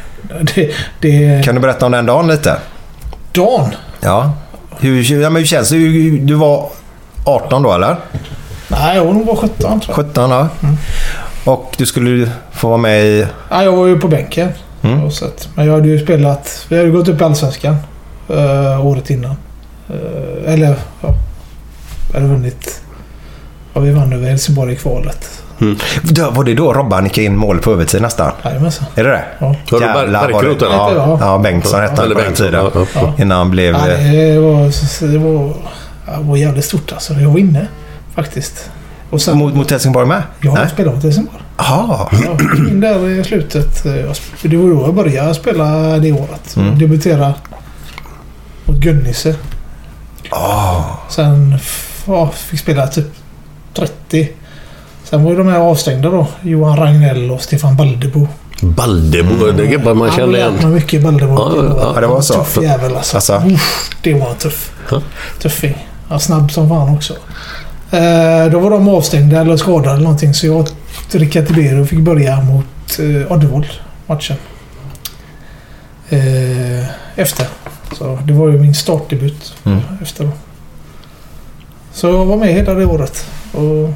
C: Det... det
B: Kan du berätta om den dagen lite?
C: Dan.
B: Ja. Hur, ja, men hur känns det? Hur- Du var 18 då eller?
C: Nej, hon var 17 tror jag.
B: 17 ja.
C: Mm.
B: Och du skulle ju få vara med i...
C: Ja, jag var ju på bänken. Och sett. Men jag hade ju spelat... Vi hade ju gått upp i Allsvenskan. eh, året innan. Eh, eller... Ja, vi hade vunnit... Ja, vi vann över Helsingborg i kvalet.
B: Då- Var det då Robban nickade in mål på övertid nästan?
C: Jajamensan.
B: Är det det?
C: Ja.
D: Var det Ber-
B: vad det-
D: Berkerot, eller?
B: Ja,
C: Ja.
B: ja, Bengtsson hette han
D: Eller
B: på den
D: Bengtsson,
B: tiden.
D: ja, ja.
B: Innan han blev...
C: Ja, det var... Det var, ja, det var jävligt stort alltså. Jag var inne faktiskt. Och sen...
B: Mot, mot Helsingborg med?
C: jag har
B: Nej.
C: spelat mot Helsingborg.
B: Jaha.
C: Ja, in där i slutet. eh, jag sp- Det var då jag började spela det året. Debutera mot Gunnisse. Sen f- ja, fick spela typ 30. Sen var ju de här avstängda då. Johan Ragnell och Stefan Baldebo.
D: Baldebo, det är gubbar man känner
C: Han
D: igen.
C: lärde mig mycket Baldebo.
D: Ja, ja, ja,
B: det var så.
C: Tuff jävel alltså.
B: Alltså.
C: Uff, det var en tuff.
D: Ja.
C: Tuffing. Ja, snabb som fan också. Eh, då var de avstängda eller skadade eller någonting så jag och Rickard Tibero fick börja mot eh, Oddevold matchen. Eh, efter. Så det var ju min startdebut.
B: Mm.
C: Efter då. Så jag var med hela det året. Och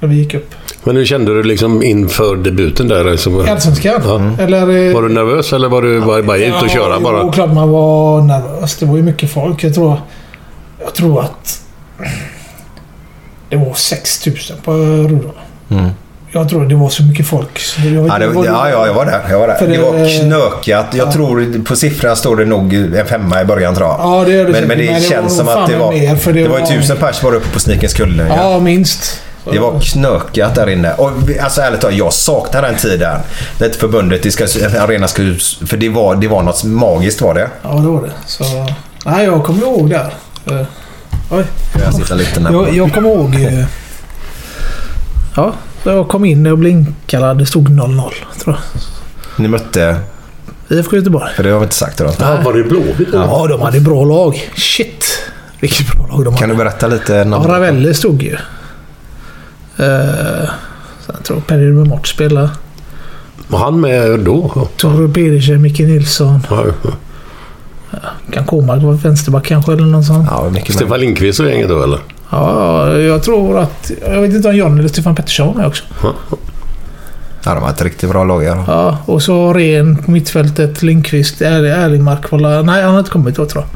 C: när vi gick upp.
D: Men hur kände du liksom inför debuten där? Liksom?
C: I Allsvenskan.
D: Ja.
C: Eller... eh,
D: Var du nervös eller var du bara, bara ut och köra
C: Ja,
D: bara?
C: jo, klart man var nervös. Det var ju mycket folk. Jag tror, jag tror att det var 6000 på Rudolf.
B: Mm.
C: Jag tror det var så mycket folk. så jag vet
B: Ja, det,
C: inte vad
B: ja, ja, jag var där. Jag var där.
C: För
B: Det
C: det-
B: var knökat. Jag tror på siffrorna står det nog en femma i början tror jag.
C: Ja, det gör det
B: men,
C: säkert,
B: men
C: men
B: det
C: det var nog
B: känns som att
C: fan
B: det var...
C: mer, för
B: det,
C: det
B: var ju
C: var-
B: tusen pers var uppe på Snikens kulle. ja.
C: Ja, minst.
B: Det var knökat där inne. Och vi- alltså ärligt talat, jag saknar den tiden. Det förbundet i Skas- Arena Skus- För det var, det var något magiskt var det.
C: Ja, det var det. Så, nej, jag kommer ihåg där. Eh, Oj.
B: Jag sitter lite
C: Jag,
B: närmare.
C: jag kommer ihåg... eh, Ja, jag kom in och blev inkallad. Det stod 0-0, tror
B: Ni mötte...
C: jag. IFK Göteborg.
B: För det har vi inte sagt idag.
D: Ja, var det Blåvitt?
C: Ja, de hade bra lag. Shit! Vilket bra lag de
B: Kan
C: hade.
B: du berätta lite?
C: Ja,
B: namn?
C: Ravelli stod ju. Uh, sen tror jag Perry Remort spelade.
D: Var han med då?
C: Toro Pedersen, Micke Nilsson.
D: Ja.
C: Kan Kåmark vara vänsterback kanske eller något sånt.
B: Ja, mycket möjligt.
D: Stefan Lindqvist och gänget då eller?
C: Ja, jag tror att... Jag vet inte om John eller Stefan Pettersson var med också.
B: Ja, de var ett riktigt bra lag. Ja.
C: Ja, och så Ren på mittfältet, Lindqvist, Erlingmark. Nej, han har inte kommit då tror jag.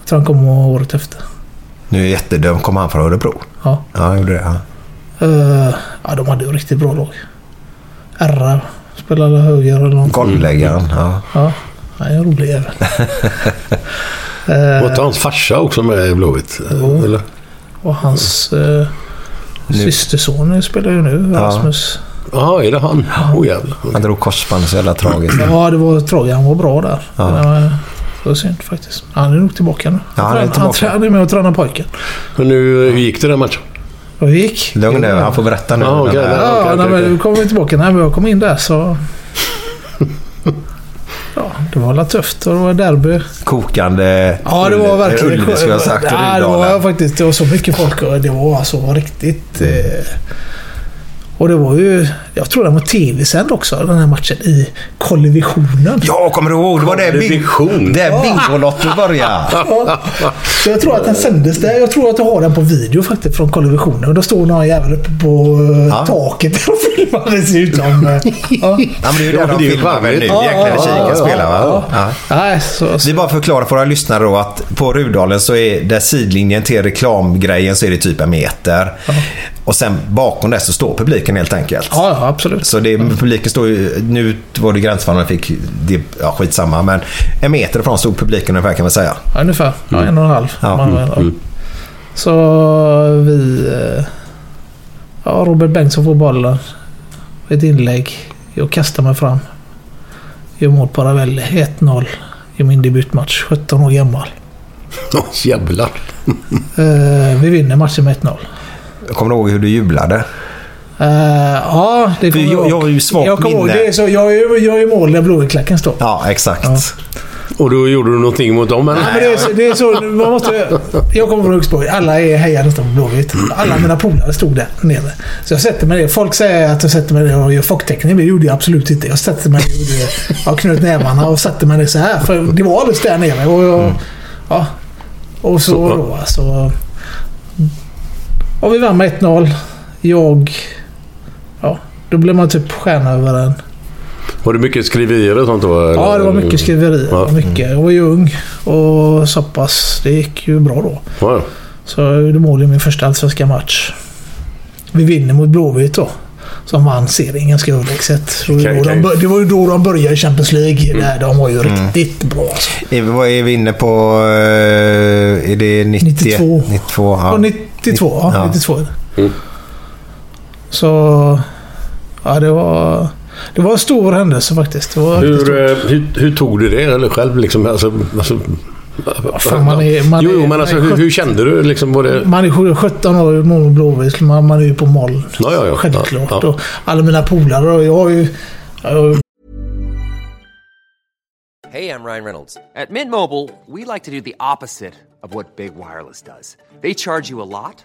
C: Jag tror han kom året efter.
B: Nu är jag jättedöm. Kom han från Örebro?
C: Ja.
B: Ja, han gjorde det. Ja.
C: Eh, ja, de hade ju riktigt bra lag. RR spelade höger eller något.
B: Golvläggaren. Ja.
C: Ja, han är en rolig jävel. Eh.
D: Var inte hans farsa också med i Blåvitt? eh,
C: Jo.
D: Eller?
C: Och hans eh, systerson spelar ju nu, Rasmus.
D: Ja, är det han? Åh jävlar.
B: Han drog korsbandet så jävla tragiskt.
C: Ja, det var tragiskt. Han var bra där. Men, eh, Det var synd faktiskt. Han är nog tillbaka nu.
B: Ja, han är
C: trän-
B: tillbaka.
C: Han, trä- han är med och tränar pojken.
D: Men nu, eh, hur gick det den matchen?
C: Och det gick.
B: Lugn nu. Han får berätta nu.
D: Ja, okej,
B: Den här-
C: Ja,
D: okej,
C: nej,
D: okej.
C: men du kommer vi tillbaka. Nej, men jag kom in där så... Ja, det var väl tufft och det var derby.
B: Kokande
C: Ja, det var
B: ulle-
C: verkligen...
B: ulle, skulle jag ha sagt. och
C: Ja, det
B: Rydala.
C: var faktiskt. Det var så mycket folk och det var alltså riktigt... Eh, och det var ju... Jag tror den var tv-sänd också, den här matchen i kollivisionen.
B: Ja, kommer du ihåg? Det var där, bing
D: Vision.
B: där Bingolotto började.
C: Så jag tror att den sändes där. Jag tror att jag har den på video faktiskt från kollivisionen. Och då står någon jävel uppe på eh, taket och filmar. Det ser ut som... eh, ja.
B: Ja, men det är ju
D: Ja,
B: där
D: men
B: de
D: det är ju
B: filmar väl nu.
D: charmigt.
B: Jäklar i kiken spelar va? Ja.
C: Nej, så,
B: Vi bara förklarar för våra lyssnare då att på Rudalen så är där sidlinjen till reklamgrejen så är det typ en meter. Och sen bakom det så står publiken helt enkelt.
C: Ja, ja, absolut.
B: Så det, publiken står ju... Nu var det gränsfall man fick... Det, ja, skitsamma. Men en meter ifrån stod publiken ungefär kan man säga.
C: Ja, ungefär. En och en halv.
B: Ja, Mm.
C: Man, ja. Så vi... eh, Ja, Robert Bengtsson får bollen. Ett inlägg. Jag kastar mig fram. Gör mål på Ravelli. 1-0 i min debutmatch. 17 år gammal.
D: Åh, Jävlar.
C: Eh, vi vinner matchen med 1-0.
B: Kommer du ihåg hur du jublade?
C: Eh, ja, det
B: För
C: kommer
B: jag-
C: ihåg.
B: jag har ju svagt
C: jag kommer ihåg,
B: minne.
C: det är så, jag, är, jag är i mål där Blåvittklacken står.
B: Ja, exakt.
D: Och då gjorde du någonting mot dem
C: Nej, men
D: eller?
C: det är så, det är så man måste, jag kommer från Högsborg. Alla är hejar nästan på Blåvitt. Alla mina polare stod där nere. Så jag sätter mig ner. Folk säger att jag sätter mig ner och gör focktecken. Men det gjorde jag absolut inte. Jag satte mig ner och gjorde, jag knöt nävarna och satte mig ner så här. För det var alldeles där nere. Och, jag, ja. och så,
D: Mm. Så-
C: då alltså. Och vi vann med 1-0. Jag... Ja, då blev man typ stjärna över en
D: Var det mycket skriverier och sånt då?
C: Ja,
D: eller?
C: det var mycket skriverier.
D: Ja.
C: Mycket. Jag var ju ung och så pass. Det gick ju bra då.
D: Ja, ja.
C: Så jag gjorde mål i min första allsvenska match. Vi vinner mot Blåvitt då. Som vann serien ganska överlägset. Det var ju då
D: Okej, Mm.
C: de
D: okej.
C: bör- Det var ju då de började i Champions League. Där de var ju riktigt bra. alltså.
B: Är, vi- vad är vi inne på? eh, Är det 90,
C: 92?
B: 92, ja.
C: Ja, 92. Ja,
B: Ja.
C: 92.
D: Mm.
C: Så... Ja, det var... Det var en stor händelse faktiskt. Det var riktigt
D: Hur,
C: stort.
D: eh, hur, hur tog du det eller själv? Liksom, alltså, alltså,
C: fan, man är- man
D: jo, jo,
C: är-
D: men
C: man
D: alltså,
C: är
D: hur,
C: sjut-
D: hur kände du? Liksom, var det...
C: Man är sju- 17 år och gjort mål och blåvitt. Man, man är ju på moln.
D: Ja, ja, ja.
C: Självklart.
D: Ja, ja.
C: Och alla mina polare och jag har ju... Jag har ju
G: Hey, I'm Ryan Reynolds. At Mint Mobile, we like to do the opposite of what Big Wireless does. They charge you a lot,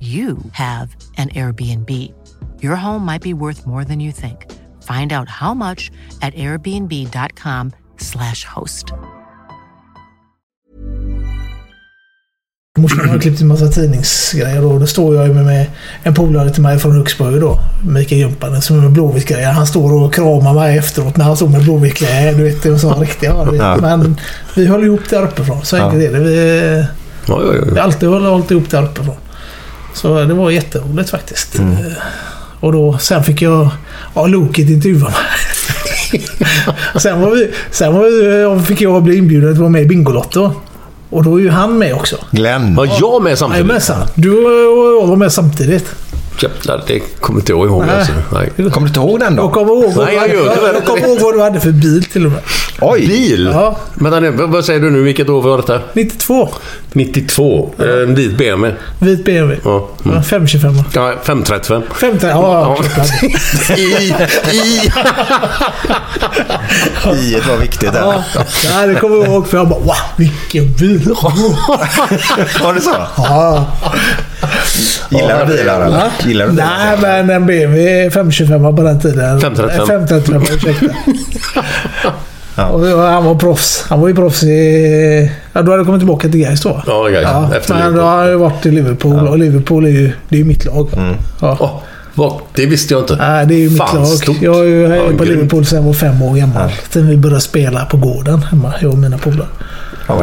H: you have an Airbnb. Your home might be worth more than you think. Find out how much at airbnb.com/slash host.
C: Morsan har klippt en massa tidningsgrejer då. Då står jag ju med, med en polare till mig från Huxborg då. Mikael Jumpanen som är med Blåvittgrejer. Han står och kramar mig efteråt när han står med Blåvittgrejer. Du vet, det var sån riktig ja, du vet. Men vi höll ihop där uppifrån. Så
D: Ja.
C: enkelt är det. Vi,
D: Ja, ja,
C: vi har alltid hållit, hållit ihop där uppifrån. Så det var jätteroligt faktiskt.
D: Mm.
C: Eh, Och då, sen fick jag... Ja, Loket intervjuade mig. sen var vi, sen var vi, eh, fick jag bli inbjuden att vara med i Bingolotto. Och då är ju han med också.
B: Glenn.
D: Var jag med samtidigt?
C: Jajamensan. Du och jag var med samtidigt.
D: Jävlar, det kommer inte jag ihåg
C: Nej.
D: alltså. Nej.
B: Kommer du inte ihåg den då?
C: Jag kommer ihåg, vad du
D: Nej, jag
C: hade-
D: gör det.
C: jag kommer ihåg vad du hade för bil till och med.
B: Oj!
D: Bil?
C: Ja.
D: Vänta nu, vad vad säger du nu? Vilket år var detta?
C: 92.
D: 92. Eh, En vit BMW.
C: Vit BMW.
D: Ja. Mm.
C: Ja, 525.
D: Ja, 535.
C: 15, ja,
D: Ja.
C: klart.
B: I, i. I var viktigt där.
C: ja. ja, det kommer jag ihåg för jag bara wow, vilken bil.
B: Var det så?
C: Ja.
B: Gillar du bilar eller? Gillar du bilar?
C: Nej, men en BMW 525 på den tiden.
D: 535.
C: Eh, 535, ursäkta.
B: Ja.
C: Och han var proffs. Han var ju proffs i... Ja, du hade kommit tillbaka till Gais då?
D: Ja, Gais. Efter
C: men då
D: Liverpool.
C: har jag ju varit i Liverpool och Liverpool är ju, det är ju mitt lag. Ja.
D: Åh, vad- det visste jag inte.
C: Nej, det är ju mitt
D: Mm. Fan,
C: lag.
D: stort.
C: Jag är ju här
D: Ja,
C: på
D: grymt.
C: Liverpool sedan jag var fem år gammal. Sen vi började spela på gården hemma, jag och mina polare.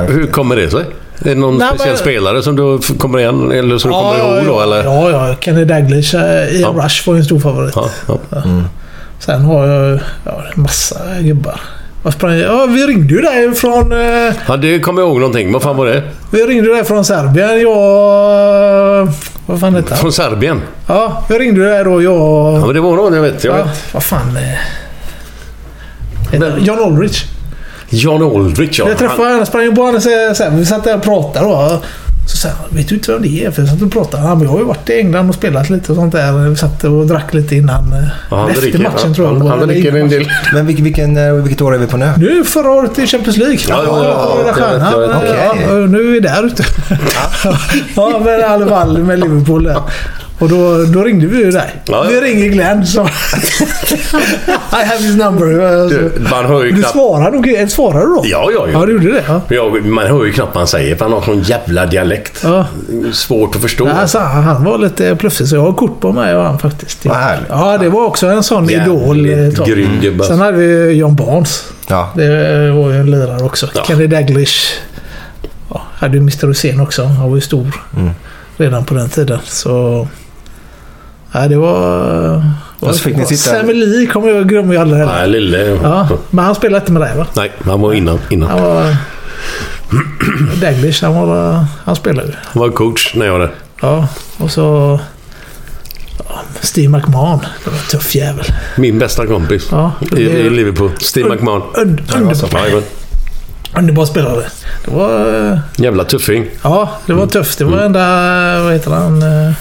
D: Hur kommer det sig? Är det någon
C: Nej,
D: speciell
C: men-
D: spelare som du f- kommer igen eller som du kommer ihåg då?
C: ja,
D: Eller?
C: ja, ja. Kenny Daglish, eh, Ian
D: Ja.
C: Rush var ju en stor favorit.
D: Ja, ja.
C: Sen har jag ja, en massa gubbar. Vad sprang jag? Ja, vi ringde ju dig från... eh,
D: ja, det kommer jag ihåg någonting. Vad fan var det?
C: Vi ringde dig från Serbien. Jag... Vad fan hette han?
D: Från Serbien?
C: Ja, vi ringde dig då. Jag...
D: Ja, men det var någon jag vet. Jag
C: Ja,
D: vet.
C: vad fan... eh,
D: Men-
C: heter- John Ulrich.
D: John Aldrich, ja.
C: Jag träffade honom, sprang in på honom och så, så här, vi satt där och pratade då. Så sa han, vet du inte vem det är? För jag satt och pratade. Han bara, jag har ju varit i England och spelat lite och sånt där. Vi satt och drack lite innan. eh,
D: Ja, han
C: efter
D: dricker,
C: matchen
D: ja.
C: tror jag. det
D: Han,
C: var,
D: han
C: eller
D: dricker
C: innan
D: en
C: matchen.
D: del.
B: Men vilken, vilken, eh, vilket år är vi på nu?
C: Nu förra året i Champions League.
D: Ja, ja, ja, ja,
C: Röda
D: jag vet, jag
C: Stjärnan.
D: vet.
C: Ja,
B: Okej.
C: och Nu är vi där ute. ja, men i alla fall med Liverpool där. Och då, då ringde vi ju dig.
D: Ja, ja.
C: Vi ringer Glenn så. I have his number.
D: Du, man hör ju
C: du
D: knappt-
C: svarar nog. Svarar du då?
D: Ja, ja, ja.
C: Ja, du gjorde det. Ja.
D: Ja, man hör ju knappt vad han säger, för han har sån jävla dialekt.
C: Ja.
D: Svårt att förstå.
C: Ja, Alltså, han var lite pluffig så jag har kort på mig och han faktiskt.
B: Vad härligt.
C: Ja, det var också en sån
D: Jävligt
C: idol. eh, tag.
D: grym gubbe.
C: Sen hade vi John Barnes.
B: Ja.
C: Det var ju en lirare också.
D: Ja.
C: Kenny Daglish. Ja, hade ju Mr. Hussein också. Han var ju stor
B: Mm.
C: redan på den tiden. Så... Ja, det var...
B: Och så fick ni sitta-
C: Sammy Lee kommer jag glömmer ju aldrig heller.
D: Nej, lille...
C: Ja, men han spelade inte med dig va?
D: Nej, han var innan. innan.
C: Han var... Daglish, han var... Han spelade ju.
D: Han var coach när jag var där.
C: Ja, och så... ja, Steve McMahon. Det var en tuff jävel.
D: Min bästa kompis
C: Ja,
D: i,
C: det-
D: i Liverpool. Steve McMahon.
C: Und, underbar,
D: Ja, jajamän.
C: underbar spelare. Det var... eh,
D: jävla tuffing.
C: Ja, det var tufft. Det var enda... Vad heter han? eh,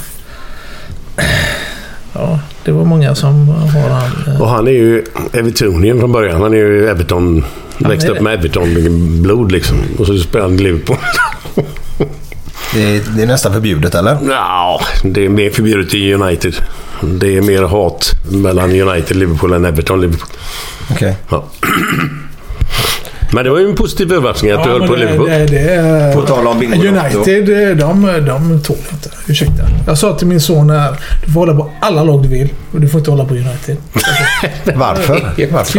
C: Ja, det var många som har han. eh,
D: Och han är ju Evertonien från början. Han är ju Everton...
C: är
D: växte upp
C: det.
D: med Everton-blod liksom. Och så spelade han i Liverpool.
B: Det, är- det är nästan förbjudet eller?
D: Ja, det är mer förbjudet i United. Det är mer hat mellan United-Liverpool än Everton-Liverpool.
B: Okej.
D: Ja. Men det var ju en positiv överraskning att du
C: Ja,
D: höll
C: men
D: på
C: det-
D: Liverpool.
C: det- det är-
B: På tal om Bingolotto.
C: United, eh, de, de tål inte. Ursäkta. Jag sa till min son här. Du får hålla på alla lag du vill. Men du får inte hålla på United.
B: Varför? Varför?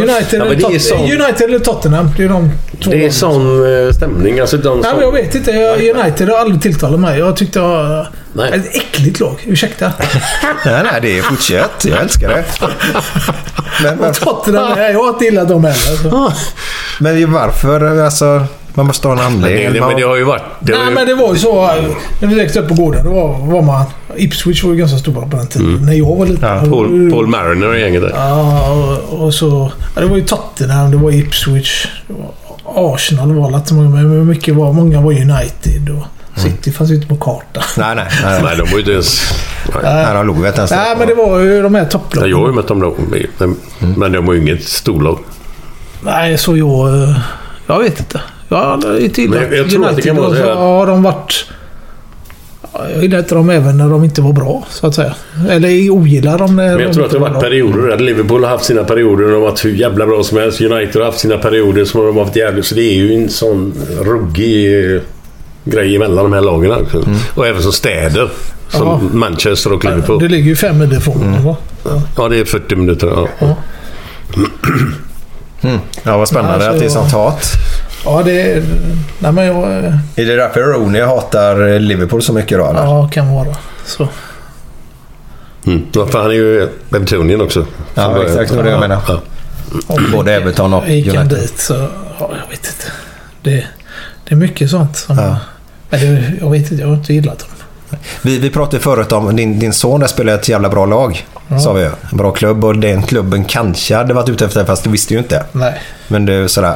C: United,
D: Ja, men
C: eller,
D: det är
C: Tot-
D: sån-
C: United eller Tottenham. Det är de två
D: Det är
C: lagen.
D: sån eh, stämning. Alltså, de
C: Nej,
D: som-
C: men jag vet inte. Jag, United har aldrig tilltalat mig. Jag tyckte jag var
D: Nej.
C: ett äckligt lag. Ursäkta.
B: Nej, nej, det är fortsätt. Jag älskar det. Men varför?
C: Tottenham, nej, jag har inte gillat dem heller. Så.
B: Men varför? Alltså, Man måste ha en anledning.
D: Men det- men det har ju varit...
C: Nej, men det var ju så. eh, När vi växte upp på gården, då var, var man... Ipswich var ju ganska stora på den tiden. När jag var liten.
D: Ja, Paul, Paul Mariner och gänget där.
C: Mm. Ja, och, och så... Ja, det var ju Tottenham, det var Ipswich. det var Arsenal var det inte många med, men mycket var, många var United. Och City fanns ju inte på kartan.
B: Nej, nej. Nej,
D: nej de var ju inte ens... Nej,
C: Nej,
B: de låg inte
C: Nej, men det var ju de här topplagen.
D: Jag har ju mött dem då. men- Men de var ju inget storlag.
C: Nej, så jag... eh, Jag vet inte. Jag har aldrig inte gillat
D: Men jag- jag tror att det kan vara
C: United,
D: så
C: och
D: här-
C: så har de varit... Ja, Jag gillade inte dem även när de inte var bra, så att säga. Eller ogillar dem när
D: Men
C: de
D: jag tror att
C: inte
D: det har
C: var bra.
D: varit perioder. där Liverpool har haft sina perioder och de har varit hur jävla bra som helst. United har haft sina perioder som de har varit jävligt... Så det är ju en sån ruggig eh, grej mellan de här lagen också.
C: Mm.
D: Och även som städer. Som
C: Ja.
D: Manchester och Liverpool.
C: Det ligger ju fem mil ifrån
D: Mm.
C: dem, va?
D: Ja, det är 40 minuter. Ja.
B: Ja, vad spännande
C: Alltså,
B: att det är sånt hat.
C: Ja, det... Nej, men jag... eh,
B: Är det därför Rooney hatar Liverpool så mycket då? eller?
C: Ja, kan vara. Så.
D: Mm. Ja, för han är ju Evertonian också.
B: Ja,
D: Så-
B: exakt, det var det jag menade.
D: Ja.
B: Både Everton och
C: Gick han
B: United.
C: dit så... Ja, jag vet inte. Det, det är mycket sånt som... Men det, jag vet inte, jag har inte gillat dem.
B: Vi, vi pratade förut om din, din son där spelar ett jävla bra lag.
C: Ja.
B: Sa vi ju. En bra klubb och den klubben kanske hade varit ute efter fast du visste ju inte.
C: Nej.
B: Men du sådär.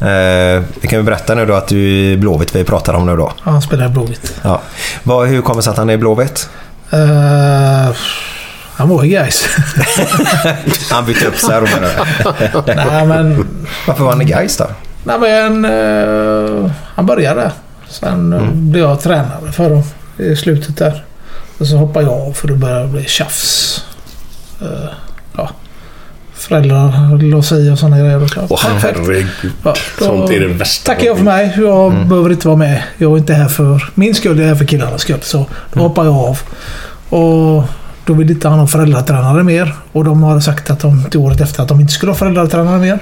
B: Eh, vi kan ju berätta nu då att du är i Blåvitt vi pratar om nu då.
C: Ja, Han spelar i Blåvitt.
B: Ja. Vad, hur kommer det sig att han är i Blåvitt?
C: Eh, han var i Gais.
B: Han bytte upp sig här och bara-
C: Nej, men...
B: Varför var han i Gais då?
C: Nej, men eh, han började där. Sen eh,
D: Mm.
C: blev jag tränare för dem i slutet där. Och så hoppade jag av för det började bli tjafs. Eh, ja. Föräldrar la sig i och sådana grejer. Och klart.
D: Åh,
C: Perfekt.
D: herregud.
C: Ja, då
D: Sånt är det värsta.
C: Tackar jag för mig. Jag behöver inte vara med. Jag är inte här för min skull. Jag är här för killarnas skull. Så då hoppar jag av. Och då vill inte han ha föräldratränare mer. Och de har sagt att de till året efter att de inte skulle ha föräldratränare mer.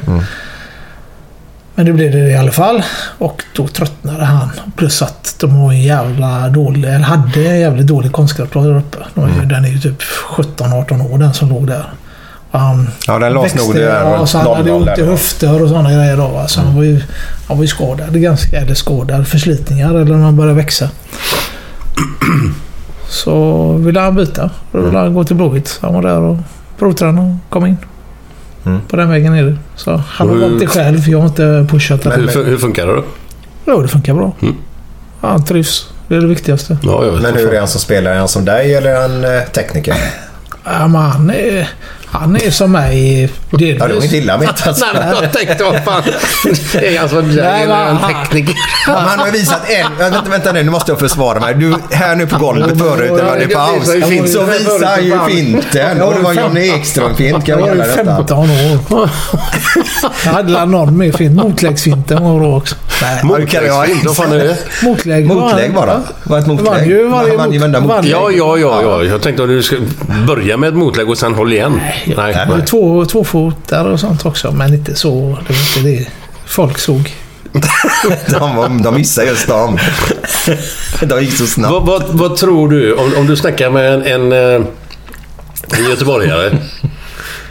C: Men det blev det i alla fall. Och då tröttnade han. Plus att de har en jävla dålig, eller hade en jävligt dålig konstgräsplan där uppe. De är, ju- Den är ju typ 17-18 år den som låg där. Och han
B: Ja, den lades
C: växte-
B: nog där
C: ja,
B: runt
C: så han hade
B: 00
C: ont i
B: där.
C: höfter och sådana grejer då. va. Så han var ju, han var ju skadad ganska, eller skadad, förslitningar eller när han började växa. Så ville han byta. Då ville han gå till Blåvitt. Så Han var där och provtränade och kom in.
B: Mm.
C: På den vägen är det. Så han har
D: Hur-
C: valt det själv. Jag har inte pushat det.
D: Hur, fun- hur funkar det då?
C: Jo, det funkar bra.
B: Mm.
C: Ja, Han trivs. Det är det viktigaste.
D: Ja, jag vet
B: Men
D: inte.
B: hur är han som spelare? Är han som dig eller är han eh, tekniker?
C: Ja, men han är, han är som mig. delvis.
B: Ja, det var inte illa menat. alltså.
D: Nej, men jag tänkte vad fan. Det är alltså en
C: Nej,
D: jävel,
C: men-
D: en tekniker.
B: Ja, men han har visat en... Ja, Vänta, vänta nu, nu måste jag försvara mig. Du, här nu på golvet förut, det var det paus. Så visar han ju finten. Och det var Johnny Ekström-fint kan
C: Jag
B: vi
C: var ju
B: kalla detta.
C: 15 år. Jag hade väl någon med fint. Motläggsfinten var bra också. Nej.
B: Ja, det kan jag
D: Motläggsfint,
B: inte.
D: vad fan är det?
C: Motlägg var
B: Motlägg
C: han.
B: bara. Var ett motlägg.
C: Vann ju varje
B: han vann ju
C: mot-
B: varenda
C: vann-
B: motlägg.
D: Ja, ja, ja, ja. Jag tänkte att du ska börja med ett motlägg och sen håll igen. Nej, nej.
C: Det var Två, två fotar och sånt också, men inte så. Det var inte det folk såg.
B: De, var- de missade just dem. De gick så snabbt.
D: Vad, vad, vad tror du, om, om du snackar med en, en, eh, en göteborgare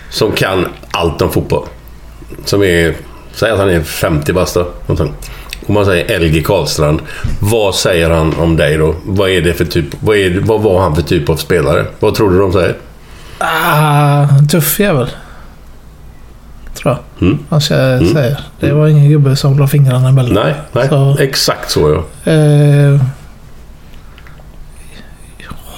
D: som kan allt om fotboll. Som är, säg att han är 50 bast då, någonting. Om man säger LG Karlstrand, vad säger han om dig då? Vad är det för typ, vad, är, vad var han för typ av spelare? Vad tror du de säger?
C: Ah, en tuff jävel. Tror jag.
D: Mm.
C: Han säger. säger. Det var ingen gubbe som la fingrarna emellan.
D: Nej, nej.
C: Så,
D: Exakt så ja.
C: eh,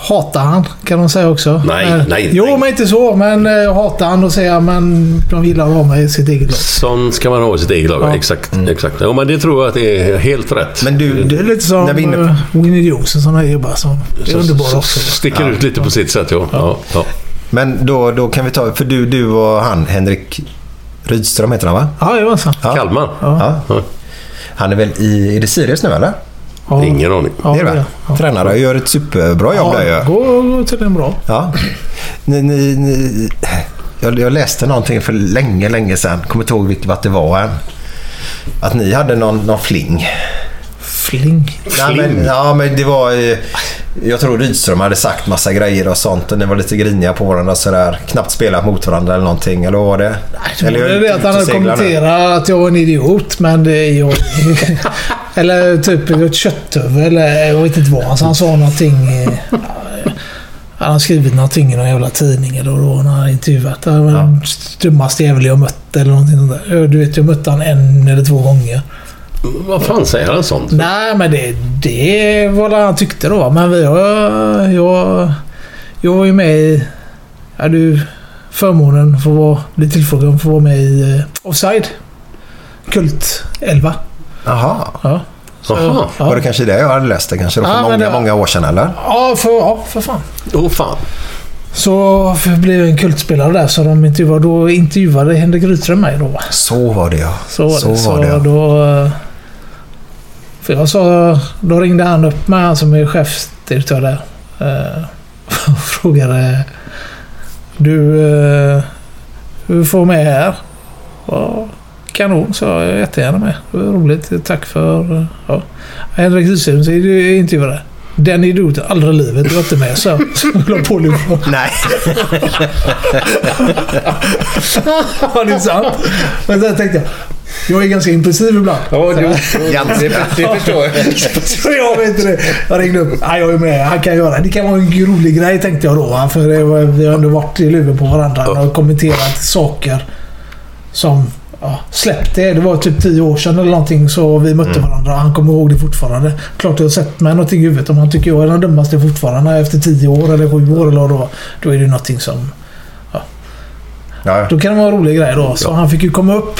C: hatar han kan de säga också.
D: Nej,
C: Eh,
D: nej,
C: Jo,
D: nej.
C: men inte så. Men eh, jag hatar han och säger men de gillar att ha mig i sitt eget lag.
D: Sån ska man ha i sitt eget lag. Exakt.
C: Mm.
D: exakt. Ja, men det tror jag att det är helt rätt.
B: Men du,
C: Det är lite som
B: När vi är inne på-
C: eh, Winnie Johnson sådana här gubbar som är underbara också.
D: sticker ut lite på sitt sätt, ja. ja. ja.
B: Men då, då kan vi ta... För du, du och han, Henrik Rydström heter han va?
C: Ja, det var så.
B: Ja.
D: Kalmar?
B: Ja. Han är väl i... Är det Sirius nu eller?
C: Ja.
D: Ingen aning.
C: Ja,
B: det är
C: det
B: det
C: är
B: va?
C: det. Ja.
B: Tränare gör ett superbra jobb där ju.
C: Ja, går, går tydligen bra.
B: Ja. Ni, ni, ni, jag, jag läste någonting för länge, länge sedan. Kommer inte ihåg vilket vad det var än. Att ni hade någon, någon fling.
C: Fling.
B: Nej, men, ja, men det var... eh, Jag tror Rydström hade sagt massa grejer och sånt och ni var lite griniga på varandra och sådär. Knappt spelat mot varandra eller någonting. Eller vad var det?
C: Eller jag vet att han hade kommenterat att jag var en idiot, men det är jag. eller typ ett kötthuvud eller jag vet inte vad. Alltså, han sa någonting. eh, ja, Han har skrivit någonting i någon jävla tidning eller vad det var när han intervjuat. Det var den dummaste jävel jag mött eller någonting sånt där. Ja, Du vet, jag mötte han en eller två gånger.
D: Vad fan säger han sånt?
B: Typ.
C: Nej, men det, det var vad han tyckte då. Men vi har... Jag, jag var ju med i... Ja, du... Förmånen för att vara, bli tillfrågad om att få vara med i eh, Offside. Kult 11.
B: Jaha.
C: Ja.
B: Aha.
C: Ja.
B: Var det kanske det jag hade läst det kanske då för
C: Ja, men
B: många,
C: det-
B: många år sedan eller?
C: Ja, för, ja, för fan.
D: Åh oh, fan.
C: Så jag blev en kultspelare där så de intervjuade. Då intervjuade Henrik Rydström mig då. va?
B: Så var det ja.
C: Så var det. Så
B: var det ja.
C: då... eh, För jag sa... Då ringde han upp mig, han som är chefsdirektör där. eh, Och frågade... Du... eh, Hur får med här? Ja, kanon, sa jag. jag. är Jättegärna med. Det var roligt. Tack för... eh, Ja. Henrik Rydström säger du intervjuade. Den idioten, aldrig i livet. Du var inte med, så. Så jag la på luren.
B: Nej.
C: ja, det är sant. Men sen tänkte jag, jag är ganska impulsiv ibland.
D: Ja,
C: Så-
B: det, det förstår jag.
C: Så jag vet inte det. Jag ringde upp. Ja, jag är med. Han kan göra. Det kan vara en rolig grej tänkte jag då. va? För det var, vi har ändå varit i luven på varandra och kommenterat saker som ja, släppte. Det var typ tio år sedan eller någonting så vi mötte
B: Mm.
C: varandra. Han kommer ihåg det fortfarande. Klart jag har sett mig någonting i huvudet. Om han tycker jag är den dummaste fortfarande efter tio år eller sju år eller vad det var. Då är det någonting som...
B: Ja.
C: Då kan det vara en rolig grej då. Så han fick ju komma upp.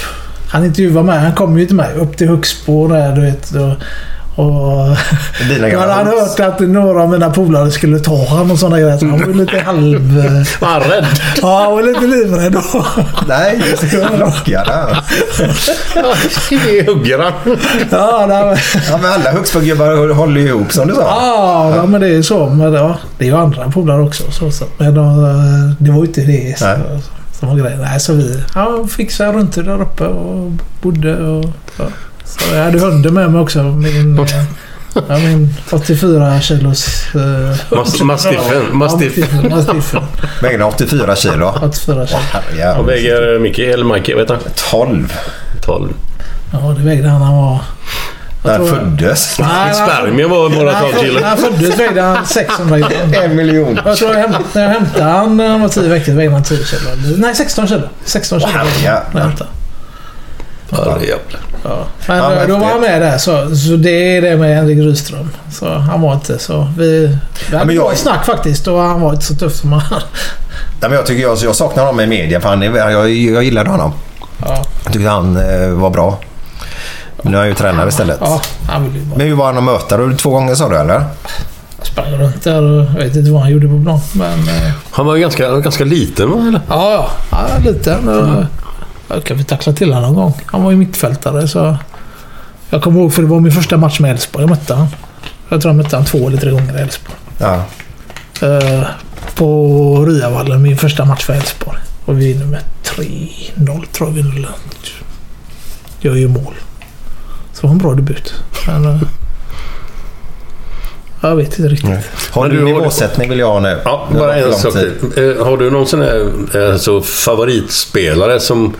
C: Han intervjuade mig. Han kom ju till mig. Upp till Högsbo där du vet. Och, och
B: Dina
C: då hade
B: gamla
C: han
B: hus.
C: hört att några av mina polare skulle ta honom och sådana grejer. Så han var ju lite halv...
D: Var han rädd?
C: Ja, han var lite livrädd då.
B: Nej, just det. Han rockade. ja.
D: Det hugger han.
C: Ja, nej, men,
B: Ja, men alla Huxbogubbar håller ju ihop som du sa.
C: Ah, ja, ja, men det är så. Men, ja, det är ju andra polare också. Så, så. Men de, det var ju inte det så,
B: Nej.
C: som var grejen. Nej, så vi ja, fixade runt det där uppe och bodde och... Ja. Så jag hade hunden med mig också. Min, eh, ja, min 84 kilos... eh,
D: Mas- Mastiffen. Mastiff.
C: Ja, mastiffen.
B: Vägde 84 kilo.
C: 84 kilo.
D: Han
B: Herrejävlar.
D: väger mycket. Eller Mike, vet han?
B: 12.
D: 12.
C: Ja, det vägde han när han var...
B: När han
C: tror-
B: föddes.
C: Nej,
D: Spermien var bara 12 kilo.
C: När han föddes vägde han 600 gram.
B: En miljon.
C: Jag tror jag hämtade, när jag hämtade han när han var 10 veckor vägde han 10 kilo. Eller- Nej, 16 kilo. 16 kilo.
B: Ja.
C: när jag hämtade.
D: Herrejävlar.
C: Ja. Men
B: Ja, men
C: då var han
B: häftigt.
C: med där. Så, så det är det med Henrik Rydström. Så han var inte så... Vi, vi hade
B: men jag-
C: bra snack faktiskt och han var inte så tuff som han.
B: Nej, men jag, tycker jag, jag saknar honom i media för han är, jag, jag gillade honom.
C: Ja.
B: Jag tyckte han eh, var bra. Nu är han ju tränare istället.
C: ja, han ville ju bara
B: Men hur var han att möta? Då? Två gånger sa du eller?
C: sprang runt där och jag vet inte vad han gjorde på plan. Men... eh,
D: Han var ju ganska, ganska liten, va? Eller?
C: Ja, ja. ja lite. Mm. Jag kan vi tackla till honom någon gång. Han var ju mittfältare så... Jag kommer ihåg för det var min första match med Elfsborg. Jag mötte han. Jag tror jag mötte han två eller tre gånger i Elfsborg.
B: Ja.
C: Eh, på Ryavallen, min första match för Elfsborg. Och vi vinner med 3-0 tror jag vi vinner. Gör ju mål. Så det var en bra debut. Men, eh, jag vet inte riktigt.
B: Har
D: Men
B: du
D: du har-
B: nivåsättning vill jag ha nu.
D: Ja,
B: Det har
D: bara
B: gått
D: en
B: lång
D: sak
B: tid.
D: till. Eh, Har du någon sån här eh, så favoritspelare som,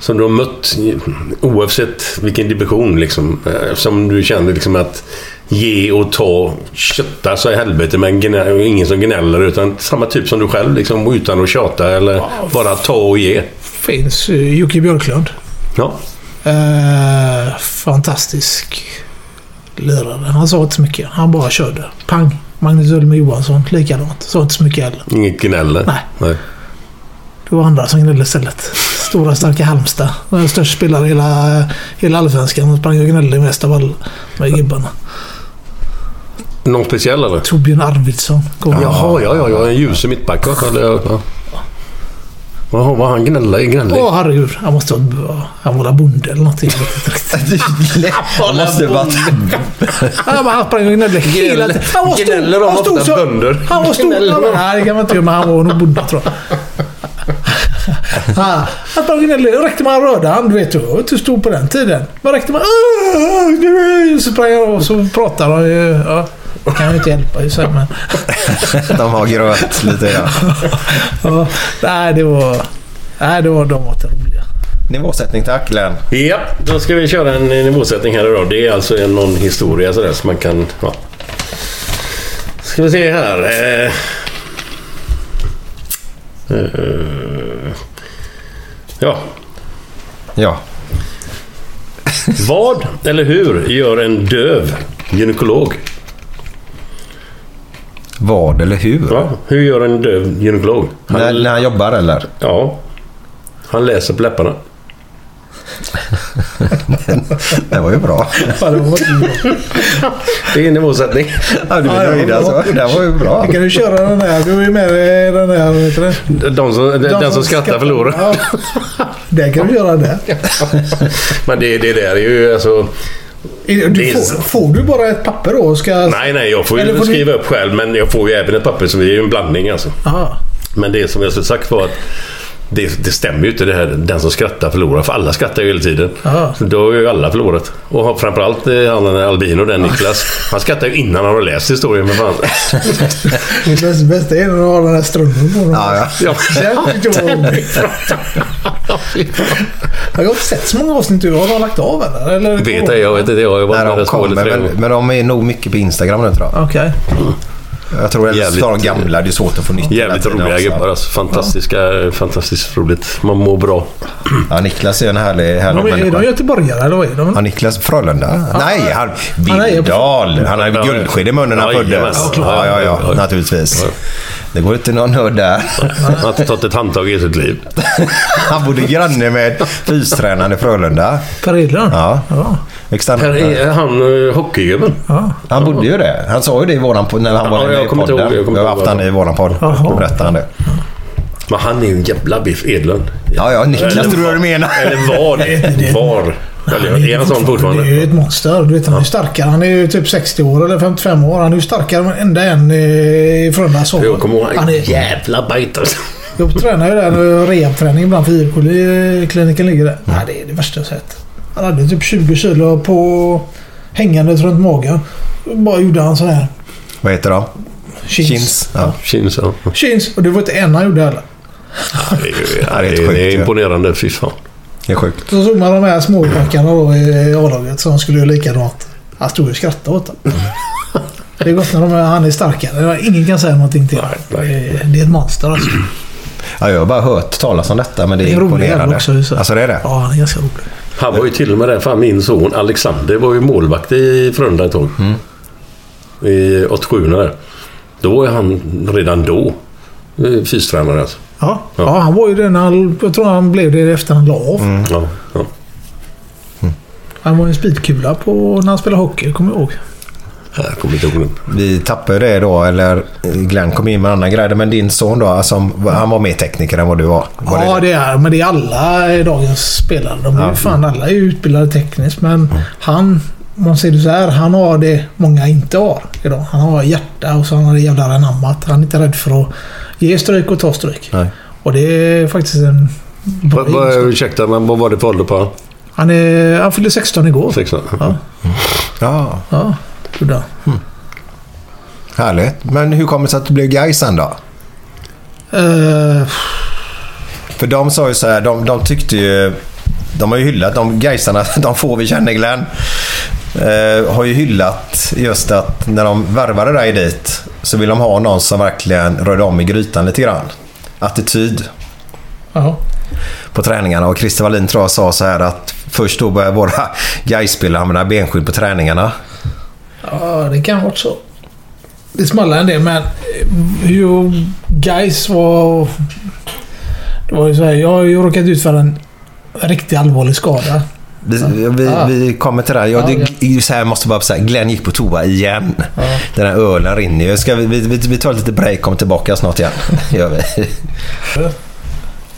D: som du har mött i- oavsett vilken division liksom? eh, Som du kände liksom att ge och ta, kötta så i helvete men gnä- ingen som gnäller utan samma typ som du själv liksom utan att tjata eller bara ta och ge.
C: Finns ju Jocke Björklund.
D: Ja.
C: Eh, fantastisk lirare. Han sa inte så mycket. Han bara körde. Pang! Magnus Ulmer Johansson, likadant. Sa inte så mycket heller.
D: Inget gnäller.
C: Nej. Det var andra som gnällde istället. Stora starka Halmstad. De var störst spelare i hela, hela allsvenskan. De sprang och gnällde mest av alla med gubbarna.
D: Någon speciell eller?
C: Torbjörn Arvidsson. kom ihåg.
D: Jaha, ja, ja, ja. En ljus i mittback va? Eller, ja. Jaha, vad han gnäller, gnäller.
C: Åh herregud. Han måste ha... Han var bonde eller någonting. Jag vet inte riktigt.
B: Han måste ju varit...
C: Han bara- han sprang och gnällde hela tiden. Han var stor.
D: Gnäller de
C: han
D: ofta
C: stod så-
D: bönder?
C: Han var stor.
D: Gnäller
C: Han
D: de?
C: var, nej, det kan man inte göra, men han var nog bonde tror jag. Han han sprang och gnällde. Räckte man röda hand, du vet ju hur stor på den tiden. Man räckte man... Så sprang han och så pratade han ju. Ja. Det kan jag inte hjälpa i sig, men...
B: De har gröt lite grann.
C: ja, nej, det var... Nej, det var de åt roliga.
B: Nivåsättning tack Glenn.
D: Ja, då ska vi köra en nivåsättning här idag. Det är alltså en- någon historia sådär som man kan... Ja. Ska vi se här. Eh. Eh. Ja.
B: Ja.
D: Vad eller hur gör en döv gynekolog?
B: Vad eller hur?
D: Ja, hur gör en döv gynekolog? Han,
B: När, när han jobbar eller?
D: Ja. Han läser på läpparna.
B: Det var ju bra.
C: Fan, det var
D: Det är en nivåsättning.
B: Ja, du är nöjd alltså. Det var ju bra.
C: Kan du köra den här? Du är ju med i den här... Vet du det?
D: De som, den, den som skrattar förlorar.
C: Ja. Den kan du göra där.
D: Men det, det där är ju alltså...
C: Du
D: Det är-
C: får, får du bara ett papper då? och Ska...
D: Nej, nej, jag får
C: Eller
D: ju
C: får ni-
D: skriva upp själv men jag får ju även ett papper så det är ju en blandning alltså.
C: Aha.
D: Men det som jag skulle sagt var att det, det stämmer ju inte det här den som skrattar förlorar, för alla skrattar ju hela tiden.
C: Ja.
D: Så då har ju alla förlorat. Och framförallt eh, han den här albino, den Niklas. Han skrattar ju innan han har läst historien, men fan.
C: Det bästa- bästa är när du har den här strummen på.
B: Ja, ja.
D: Ja.
C: Den tyckte jag var rolig. Jag har inte sett så många avsnitt du har. Har de lagt av eller? eller
D: Vet jag, jag vet inte. Jag har ju varit
B: När
D: med
B: de
D: där två eller
B: kommer.
D: tre
B: Men,
D: gånger.
B: men de är nog mycket på Instagram nu tror jag.
C: Okej.
B: Jag tror eller så
D: Jävligt-
B: tar de gamla. Det är svårt att få nytt. hela
D: Jävligt
B: tiden
D: roliga
B: också.
D: gubbar alltså. Fantastiska, fantastiskt roligt. Man mår bra.
B: Ja, Niklas är en härlig, härlig
C: De är, är
B: människa.
C: de göteborgare eller vad är de?
B: Ja, Niklas Frölunda? Nej, han,
C: Han är-
B: Vildal. Han har ju guldsked i munnen när han
D: Ja, jajamän.
B: föddes. Ja, ja, ja, naturligtvis. Det går inte någon nöd där.
D: Han har inte tagit ett handtag i sitt liv.
B: Han bodde granne med fystränaren i Frölunda.
C: Per Edlund?
B: Ja.
C: Ja.
D: Här
B: Extern-
D: är han eh, hockeygubben.
C: ja.
B: Han bodde ju det. Han sa ju det i våran podd när han var
D: Ja,
B: med
D: jag
B: i
D: kommer inte
B: podden.
D: ihåg, jag kommer
B: Vi har
D: inte
B: haft
D: ihåg.
B: han i våran podd. Då
C: Jaha.
B: berättade han det.
D: Men han är ju en jävla biff, Edlund.
B: Ja, ja, Niklas tror jag du menar.
D: Eller var det. Var. Eller, är han sån
C: Det
D: fortfarande?
C: är ju ett monster. Du vet, han är ju starkare. Han är ju typ 60 år eller 55 år. Han är ju starkare än enda en eh, i Frölunda. så.
D: Jag kommer ihåg.
C: Han är-
D: Jävla bajt alltså.
C: Jag tränar ju där nu. Rehabträning ibland för IFK. li- Kliniken ligger där.
D: Mm.
C: Nej, det är det värsta jag sett. Han hade typ 20 kilo på hängandet runt magen. Bara gjorde han så här.
B: Vad heter de?
C: Chins. Chins.
B: Chins. Ja.
D: Kins, ja.
C: Och det var inte en han gjorde heller.
D: Det är ju-
B: Ja, det är
D: det är- det
B: sjukt,
D: är
B: ja.
D: imponerande. Fy fan.
B: Det är sjukt.
C: Så såg man de här småpojkarna då i A-laget som skulle göra likadant. Han stod och skrattade åt dem. Det är gott när de är, han är starkare. Ingen kan säga någonting till honom.
D: Nej, nej.
C: Det- Det är ett monster alltså.
B: Ja, jag har bara hört talas om detta, men det är,
C: Det är en rolig jävel
B: imponerande.
C: också. Så.
B: Alltså det är det?
C: Ja, han är ganska rolig.
D: Han var ju till och med där. Fan, min son Alexander var ju målvakt i Frölunda ett tag. I 87 där. Då är han redan då eh, fystränare alltså.
C: Ja, ja. han var ju det när han... Jag tror han blev det efter han la av.
D: Ja, ja.
C: Han var ju en spikkula på när han spelade hockey, kommer jag ihåg.
D: Jag kommer inte ihåg nu.
B: Vi tappade det då, eller Glenn kom in med en annan grej. Men din son då, alltså, han var mer tekniker än vad du var? var
C: ja, det är Men det är alla i dagens spelare. De är ju fan alla är utbildade tekniskt. Men han, om man ser det så här, han har det många inte har idag. Han har hjärta och så han har det jävla anammat. Han är inte rädd för att ge stryk och ta stryk.
B: Nej.
C: Och det är faktiskt en...
D: Va, va, ursäkta, men vad var det för ålder på honom?
C: Han, är, han fyllde 16 igår.
D: 16?
C: Ja,
B: Ja,
C: ja. gjorde han.
B: härligt. Men hur kommer det sig att du blev Gais sen då?
C: Eh,
B: För de sa ju så här, de, de tyckte ju... De har ju hyllat, de Gaisarna, de får vi känner Glenn. Eh, har ju hyllat just att när de värvade dig dit så vill de ha någon som verkligen rörde om i grytan lite grann. Attityd
C: ja.
B: på träningarna och Christer Wallin tror jag sa så här att först då började våra Gais-spelare använda benskydd på träningarna.
C: Ja, det kan vara så. Det smallade en del, men ju guys var... Det var ju så här, jag har ju råkat ut för en riktigt allvarlig skada.
B: Vi, vi,
C: Ah.
B: vi kommer till det här. Jag,
C: Ja,
B: det, Så här måste jag bara säga. Glenn gick på toa igen. Den här ölen rinner ju. Ska vi, vi, vi, vi tar lite break och kommer tillbaka snart igen. gör vi.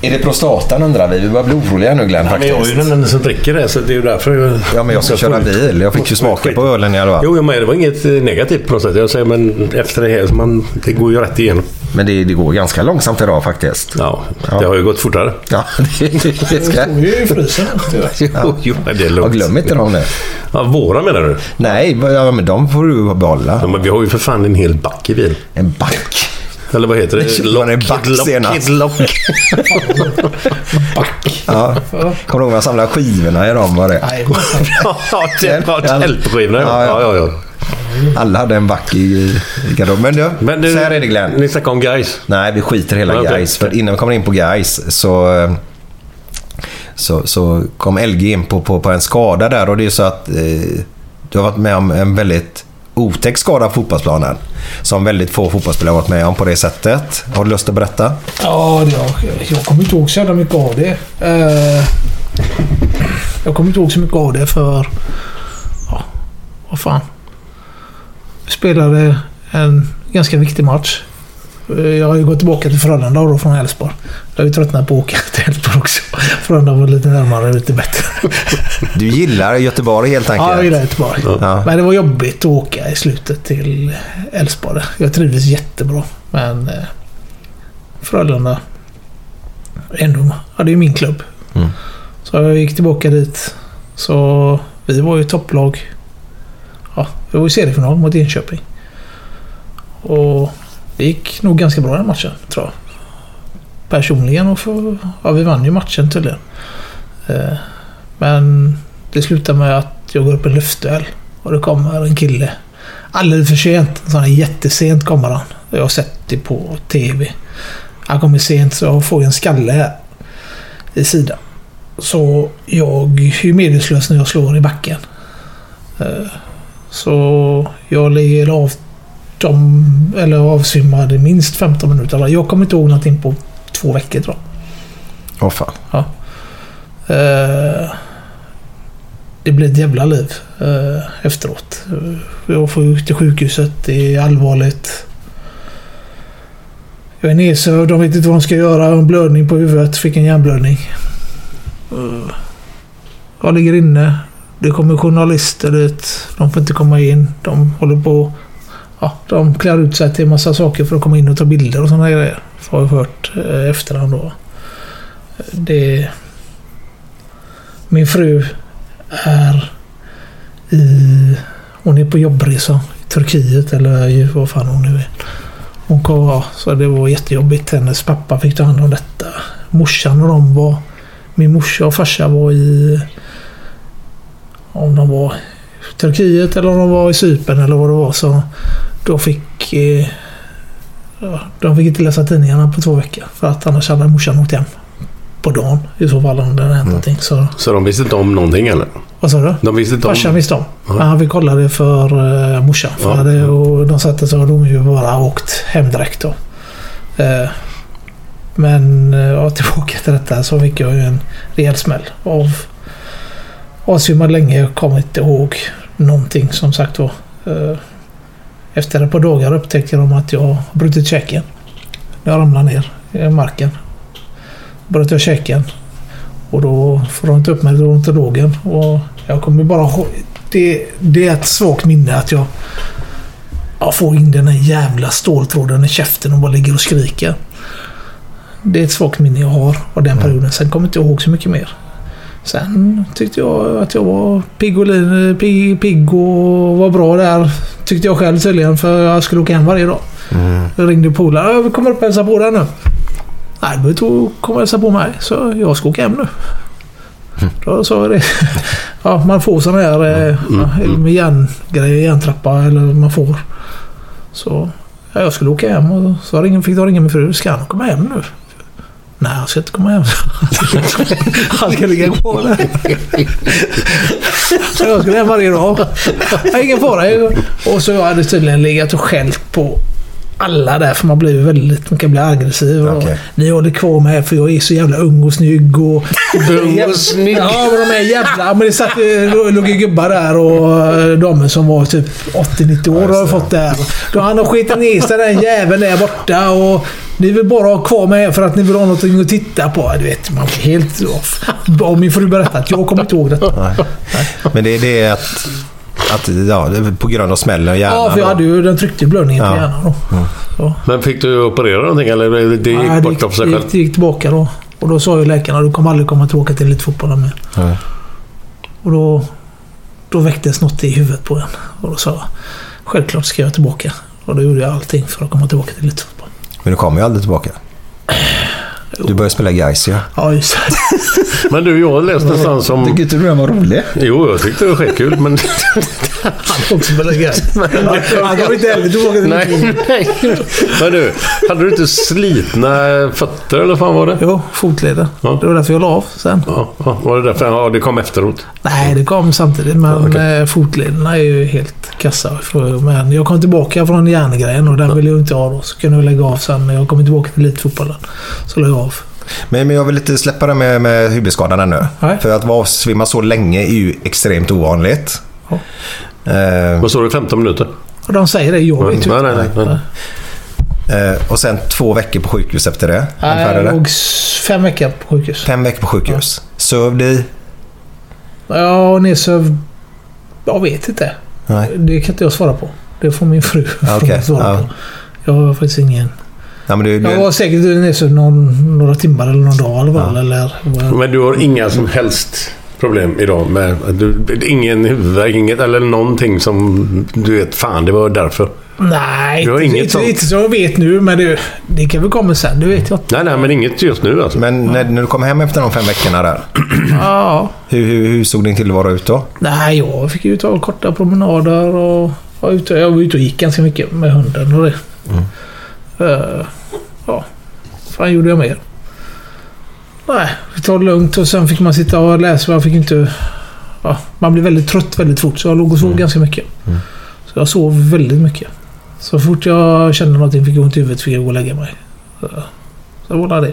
B: Är det prostatan undrar vi? Vi börjar bli oroliga nu Glenn
D: Ja, men
B: faktiskt.
D: jag är ju den enda som dricker det, så det är ju därför jag...
B: Ja, men jag ska köra bil. Jag fick ju smaka på ölen i alla fall.
D: Jo, jag menar, det var inget eh, negativt på något sätt. Jag säger, men efter det här, så man, det går ju rätt igenom.
B: Men det, det går ganska långsamt idag faktiskt.
D: Ja, det har ju gått fortare.
B: Ja, det, det, det ska...
C: står ju i frysen. tyvärr.
D: Jo, jo, men det är
B: Ja,
D: lugnt.
B: glöm inte dem nu.
D: Ja, våra menar du?
B: Nej, vad- ja, men de får du behålla.
D: Ja, men vi har ju för fan en hel back i bil.
B: En back.
D: Eller vad heter det?
B: Det var en back
D: lock,
B: senast.
D: lock.
B: Ja. Kommer du ihåg jag samlade skivorna i dem? Var det?
C: Nej,
D: ja, det var tältskivorna. Ja, ja, ja. ja.
B: Alla hade en back i, i garderoben. Men, du,
D: Men du,
B: så här är det Glenn.
D: Ni snackar om guys.
B: Nej, vi skiter i hela
D: Ja, okej.
B: Gais. För innan vi kommer in på Gais så, eh, så, så kom LG in på, på, på en skada där och det är så att eh, du har varit med om en väldigt otäck skada på fotbollsplanen. Som väldigt få fotbollsspelare har varit med om på det sättet. Har du lust att berätta?
C: Ja, det, jag, jag kommer inte ihåg så jävla mycket av det. Eh, jag kommer inte ihåg så mycket av det för... Ja, vad fan. Jag spelade en ganska viktig match. Eh, Jag har ju gått tillbaka till Frölunda då från Elfsborg. Jag har ju tröttnat på att åka till Elfsborg också. Frölunda var lite närmare och lite bättre.
B: Du gillar Göteborg helt enkelt?
C: Ja, jag gillar Göteborg.
B: Ja.
C: Men det var jobbigt att åka i slutet till Elfsborg. Jag trivdes jättebra. Men eh, Frölunda ändå, ja, det är ju min klubb.
B: Mm.
C: Så jag gick tillbaka dit. Så vi var ju topplag. Ja, vi var i seriefinal mot Enköping. Och det gick nog ganska bra den matchen, tror jag. Personligen och för, ja, vi vann ju matchen tydligen. Eh, Men det slutar med att jag går upp i en luftduell och det kommer en kille. Alldeles för sent. Så han är jättesent kommer han. Jag har sett det på TV. Han kommer sent så jag får ju en skalle här i sidan. Så jag är ju medvetslös när jag slår i backen. Eh, Så jag ligger av dem, eller avsvimmad i minst 15 minuter. Jag kommer inte ihåg någonting på två veckor tror jag.
B: Åh fan.
C: Eh, det blir ett jävla liv eh, efteråt. Eh, Jag får ut till sjukhuset. Det är allvarligt. Jag är nedsövd. De vet inte vad de ska göra. Jag har en blödning på huvudet. Fick en hjärnblödning. Eh, Jag ligger inne. Det kommer journalister dit. De får inte komma in. De håller på... Ja, de klär ut sig till en massa saker för att komma in och ta bilder och sådana grejer. Har jag hört eh, efterhand då. Eh, Det... Min fru är i... Hon är på jobbresa i Turkiet eller i- vad fan hon nu är. Hon kom, ja, så det var jättejobbigt. Hennes pappa fick ta hand om detta. Morsan och de var... Min morsa och farsa var i... Om de var i Turkiet eller om de var i Cypern eller vad det var. Så då fick... Eh, ja, de fick inte läsa tidningarna på två veckor. För att annars hade morsan åkt hem. På dagen i så fall om det hade hänt någonting. Så,
D: Så de visste inte om någonting eller?
C: vad sa du?
D: De visste inte om...
C: Farsan visste om.
D: Ja.
C: Men han fick kolla det för uh, morsan.
D: Ja.
C: För hade, och de satte sig och de ju bara åkt hem direkt då. Eh, men eh, ja, tillbaka till detta så fick jag ju en rejäl smäll av avsvimmad länge. Jag kommer inte ihåg någonting som sagt var. Eh, efter ett par dagar upptäcker de att jag har brutit käken. Jag ramlar ner i marken. Bröt jag käken. Och då får de inte upp mig till odontologen. Och jag kommer bara ihåg... Det, det är ett svagt minne att jag, jag får in den här jävla ståltråden i käften och bara ligger och skriker. Det är ett svagt minne jag har av den perioden. Sen kommer jag inte ihåg så mycket mer. Sen tyckte jag att jag var pigg och, lin, pigg, pigg och var bra där. Tyckte jag själv tydligen för jag skulle åka hem varje dag. Jag ringde polare. "Ja, Vi kommer upp och hälsar på dig nu. Nej, du behöver inte komma och hälsa på mig. Så jag ska åka hem nu. Då sa jag det. Ja, man får sån här eh, ja, med järngrejer, järntrappa eller man får. Så ja, jag skulle åka hem och så ring- fick jag ringa min fru. Ska han komma hem nu? Nej, han ska inte komma hem. Han ska ligga kvar där. Så jag skulle hem varje dag. Ja, Ingen fara. Och så jag hade tydligen legat och skällt på alla där för man blir ju väldigt, man kan bli aggressiv. Och
B: Okej.
C: Ni håller kvar mig för jag är så jävla ung och snygg och...
D: Ung och snygg.
C: Ja, men de är jävla... Men det satt, eh, låg ju gubbar där och eh, damer som var typ 80-90 år har fått det här. Då han har skitit ner sig den jäveln där borta och Ni vill bara ha kvar mig här för att ni vill ha någonting att titta på. Du vet, man blir helt off. Om min fru berättat. Jag kommer inte ihåg detta.
B: Men det, det är att, att ja, det är på grund av smällen och hjärnan.
C: Ja, för jag hade ju den tryckte blödningen på
B: Ja.
C: hjärnan då.
D: Men fick du operera någonting eller det- det gick
C: Nej, det
D: bort av sig
C: det
D: själv?
C: gick, det gick tillbaka då. Och då sa ju läkarna du kommer aldrig komma tillbaka till elitfotbollen mer.
B: Nej.
C: Och då, då väcktes något i huvudet på en. Och då sa jag självklart ska jag tillbaka. Och då gjorde jag allting för att komma tillbaka till elitfotbollen.
B: Men du kommer ju aldrig tillbaka. Du började spela Gais ja.
C: Ja, just det.
D: Men du, jag har läst någonstans om... Tycker
B: inte du den var rolig?
D: Jo, jag tyckte det var skitkul, men...
C: Han kom också med det Han kommer inte heller tillbaka till
D: Nej, nej. Men du, hade du inte slitna fötter eller vad fan var det?
C: Jo, fotleder. Det var därför jag la av sen.
D: Ja, ja, var det därför? Ja, det kom efteråt.
C: Nej, det kom samtidigt. Men eh, fotlederna är ju helt kassa. För- Men jag kom tillbaka från järngrejen och den ville jag inte ha då. Så kunde jag lägga av sen. Men jag kom tillbaka till elitfotbollen. Så la jag av.
B: Men, men jag vill inte släppa det med, med huvudskadan ännu. För att vara avsvimmad så länge är ju extremt ovanligt. Eh,
D: Vad står det? 15 minuter?
C: Och de säger det. Jag vet ju
D: Nej,
C: inte.
D: nej, nej. nej.
B: Eh, och sen två veckor på sjukhus efter det. Ungefär
C: Nej,
B: är
C: jag
B: det.
C: låg s- fem veckor på sjukhus.
B: Fem veckor på sjukhus. Sövd i?
C: Ja, och nedsövd... Jag vet inte.
B: Nej.
C: Det kan inte jag svara på. Det får min fru
B: Ja,
C: får
B: Okej.
C: svara
B: Ja.
C: på. Jag har faktiskt ingen...
B: Nej, men du,
C: Jag
B: du,
C: var säkert nedsövd någon, några timmar eller någon dag eller vad. Eller, vad jag-
D: Men du har inga som helst problem idag med... Du, ingen huvudvärk, inget eller någonting som du vet, fan det var därför.
C: Nej,
D: Du har
C: inte,
D: inget
C: inte,
D: sånt?
C: inte så jag vet nu. Men det, det kan väl komma sen. Det vet jag inte.
D: Nej, nej, men inget just nu alltså.
B: men när, när du kom hem efter de fem veckorna där.
C: Ja.
B: Hur, hur, hur såg din tillvaro ut då?
C: Nej, jag fick ju ta korta promenader och var ute, jag var ute och gick ganska mycket med hunden och det.
D: Mm.
C: Eh, ja, vad fan gjorde jag mer? Nej, vi tar det lugnt och sen fick man sitta och läsa. Jag fick inte... Ja, man blev väldigt trött väldigt fort så jag låg och
D: Mm.
C: sov ganska mycket. Så jag sov väldigt mycket. Så fort jag kände någonting fick jag ont i huvudet fick jag gå och lägga mig. Så, så var det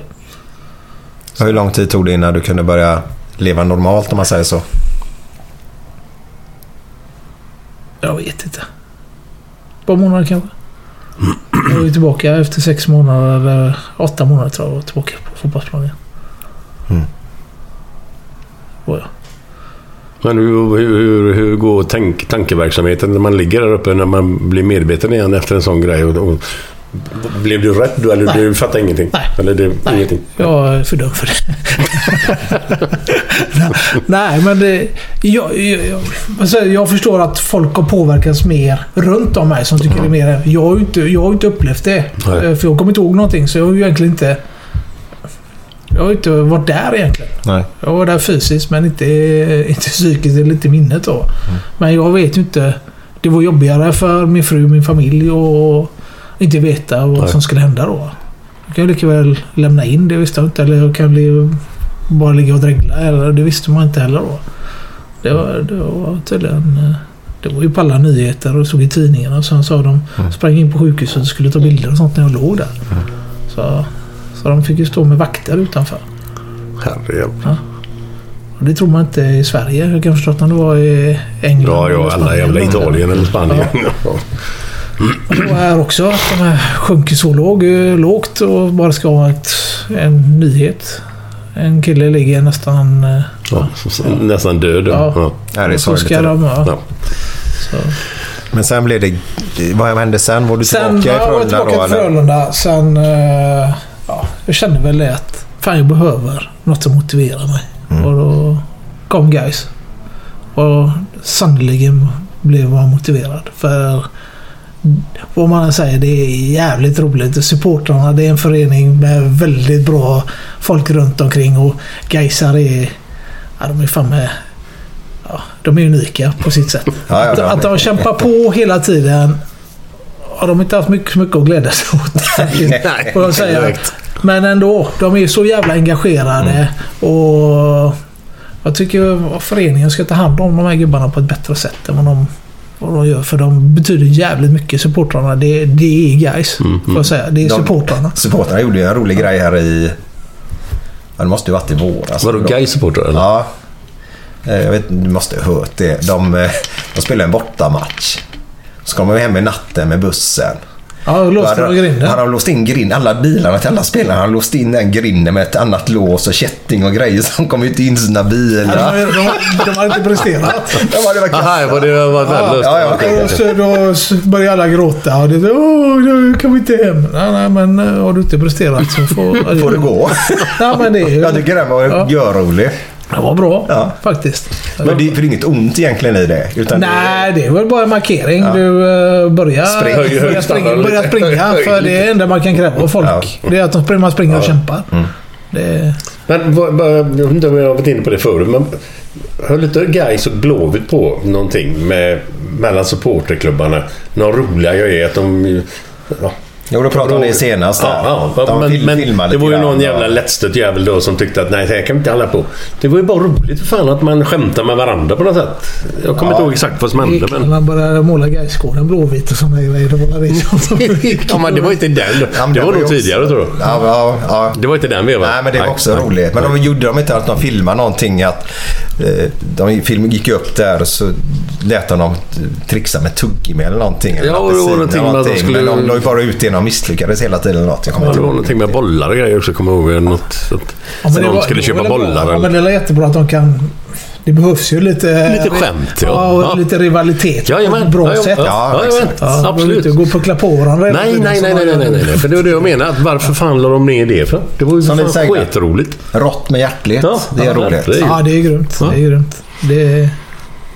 C: det.
B: Hur lång tid tog det innan du kunde börja leva normalt om man säger så?
C: Jag vet inte. Ett par månader kanske. Jag var ju tillbaka efter sex månader, eller åtta månader tror jag, var tillbaka på fotbollsplanen.
B: Mm.
C: Var jag.
D: Men hur, hur, hur, hur går tank, tankeverksamheten när man ligger där uppe, när man blir medveten igen efter en sån grej? Och, och, blev du rädd då? Eller
C: Nej.
D: du fattade ingenting?
C: Nej.
D: Eller det, ingenting?
C: Jag är för dum för det. Nej, men det, jag, jag, jag, alltså, jag förstår att folk har påverkats mer runt om mig som tycker det är mer... Jag har ju inte, jag har ju inte upplevt det.
B: Nej.
C: Eh, För jag kommer inte ihåg någonting, så jag har ju egentligen inte... Jag har ju inte varit där egentligen.
B: Nej.
C: Jag var där fysiskt men inte, inte psykiskt eller inte minnet då. Men jag vet ju inte. Det var jobbigare för min fru min familj och inte veta vad
D: Nej.
C: som skulle hända då. Jag kan ju lika väl lämna in, det visste jag inte. Eller jag kan bli, bara ligga och dregla. Eller, det visste man inte heller då. Det var, det var tydligen... eh, Det var ju på alla nyheter och såg i tidningarna. Och sen sa de... Sprang in på sjukhuset och skulle ta bilder och sånt när jag låg där. Så, så de fick ju stå med vakter utanför.
D: Herrejävlar.
C: Och Det tror man inte i Sverige. Jag kan förstå att om det var i England.
D: Ja, ja,
C: eller
D: alla
C: Spanien
D: jävla
C: eller-
D: Italien eller Spanien. Ja.
C: Och här också. att De här sjunker så låg, eh, lågt och bara ska ha ett, en nyhet. En kille ligger nästan... eh,
D: Nästan död.
C: Ja.
B: Nej, det är
C: Så
B: sorgligt.
C: ska de, ja.
D: Ja.
C: Så.
B: Men sen blev det... Vad hände sen? Var du
C: Sen
B: tillbaka i
C: ja, var jag tillbaka
B: Frölunda då?
C: till
B: Eller?
C: Frölunda. Sen... eh, Ja, jag kände väl det att fan jag behöver något som motiverar mig.
B: Mm.
C: Och då kom guys. Och sannerligen blev man motiverad. För vad man än säger, det är jävligt roligt. Supportrarna, det är en förening med väldigt bra folk runt omkring och Gaisar är... Ja, de är fan med... Ja, de är unika på sitt sätt.
B: Ja, ja,
C: att,
B: ja.
C: att de kämpar på hela tiden. Har de inte haft mycket, mycket att glädja sig åt.
B: Nej,
C: Får jag säga.
B: direkt.
C: Men ändå, de är så jävla engagerade.
B: Mm.
C: Och jag tycker att föreningen ska ta hand om de här gubbarna på ett bättre sätt än vad de, vad de gör. För de betyder jävligt mycket, supportrarna. Det, det är guys, får jag säga. Det är
B: Mm, De-
C: supportrarna.
B: Supportrarna gjorde ju en rolig grej här i... Ja, det måste ju varit i våras.
D: Vadå, Gais-supportrar eller?
B: Ja. Eh, Jag vet du måste ha hört det. De, eh, de spelade en bortamatch. Så kom de hem i natten med bussen.
C: Ja, och låste
B: Då hade-
C: de grinden?
B: Han har låst in grinden. Alla bilarna till alla spelarna. Han har låst in den grinden med ett annat lås och kätting och grejer. Så de kommer ju inte in i sina bilar.
C: De, de, de har inte presterat.
D: Aha, var det var väl löst.
B: Ja, ja,
D: Okej,
C: Och
D: kanske.
C: så då börjar alla gråta. Och det, Åh, nu kan vi inte hem. Nej, nej, men eh, har du inte presterat så får...
B: Får det gå.
C: nej, men det är ju...
B: Jag tycker den var
C: Ja.
B: görrolig.
C: Den var bra, faktiskt.
B: Men det, för det är inget ont egentligen i det. Utan
C: Nej, det är väl bara en markering. Du eh, börjar
B: Spring. Höj- höj
C: börjar springa,
B: standarden
C: börjar
B: lite.
C: springa
B: Höj
C: för
B: lite.
C: det är det enda man kan kräva av folk. Det är att de springer, man springer och kämpar. Det...
D: Men vad- vad- jag vet inte om jag har varit inne på det förut, men höll inte Gais och Blåvitt på någonting med, mellan supporterklubbarna? Några roliga grejer att de... ju- Ja.
B: Jo, då pratade ni senast där.
D: Ja, ja.
B: Att de
D: men,
B: fil- filmar
D: men det
B: lite
D: var ju
B: grann
D: någon
B: och-
D: jävla lättstött jävel då som tyckte att nej, det här kan vi inte hålla på. Det var ju bara roligt för fan att man skämtar med varandra på något sätt. Jag kommer inte ihåg exakt vad som hände,
C: Gick,
D: men...
C: Man började måla Gaisgården blåvit och sådana grejer. Då målade vi sånt som
D: Ja, men det var inte den. Det var nog tidigare, tror jag.
B: Ja, ja, ja.
D: Det var inte den vevan.
B: Nej, men det var också roligt. Men de gjorde de inte att de filmade någonting. Att, eh, de film gick ju upp där och så lät de dem trixa med tuggummi eller någonting. eller
D: Ja, och det var
B: apelsin eller
D: någonting med att de skulle-
B: Men de la ju bara ut det. De misslyckades hela tiden. eller Något. Jag kommer
D: Ja,
B: inte
D: det var
B: ihåg.
D: någonting med bollar och grejer också, kommer jag ihåg. Något, så att
C: Ja, men det
D: någon
C: var-
D: skulle
C: det
D: köpa
C: var väl bra.
D: bollar.
C: Ja, men det är jättebra att de kan... Det behövs ju lite...
D: Lite skämt, ja.
C: Ja, och
D: Ja.
C: lite rivalitet på
D: Jajamän.
C: ett bra
D: Ja, ja,
C: sätt.
D: ja, ja,
C: man
D: jajamän.
C: behöver
D: Absolut.
C: inte gå och puckla på varandra. hela
D: Nej,
C: tiden
D: nej,
C: som
D: nej,
C: man
D: nej, nej,
C: gör
D: nej,
C: nu.
D: nej. För det var det jag menade. Att varför fan la de ner det för? Det var ju
B: Som
D: fan
B: ni säger.
D: skitroligt.
B: Rått med hjärtlek.
D: Ja,
B: det är
D: ja,
B: roligt.
D: det är ju-
C: Ja, det är grymt.
D: Ja.
C: Det är grymt. Det är...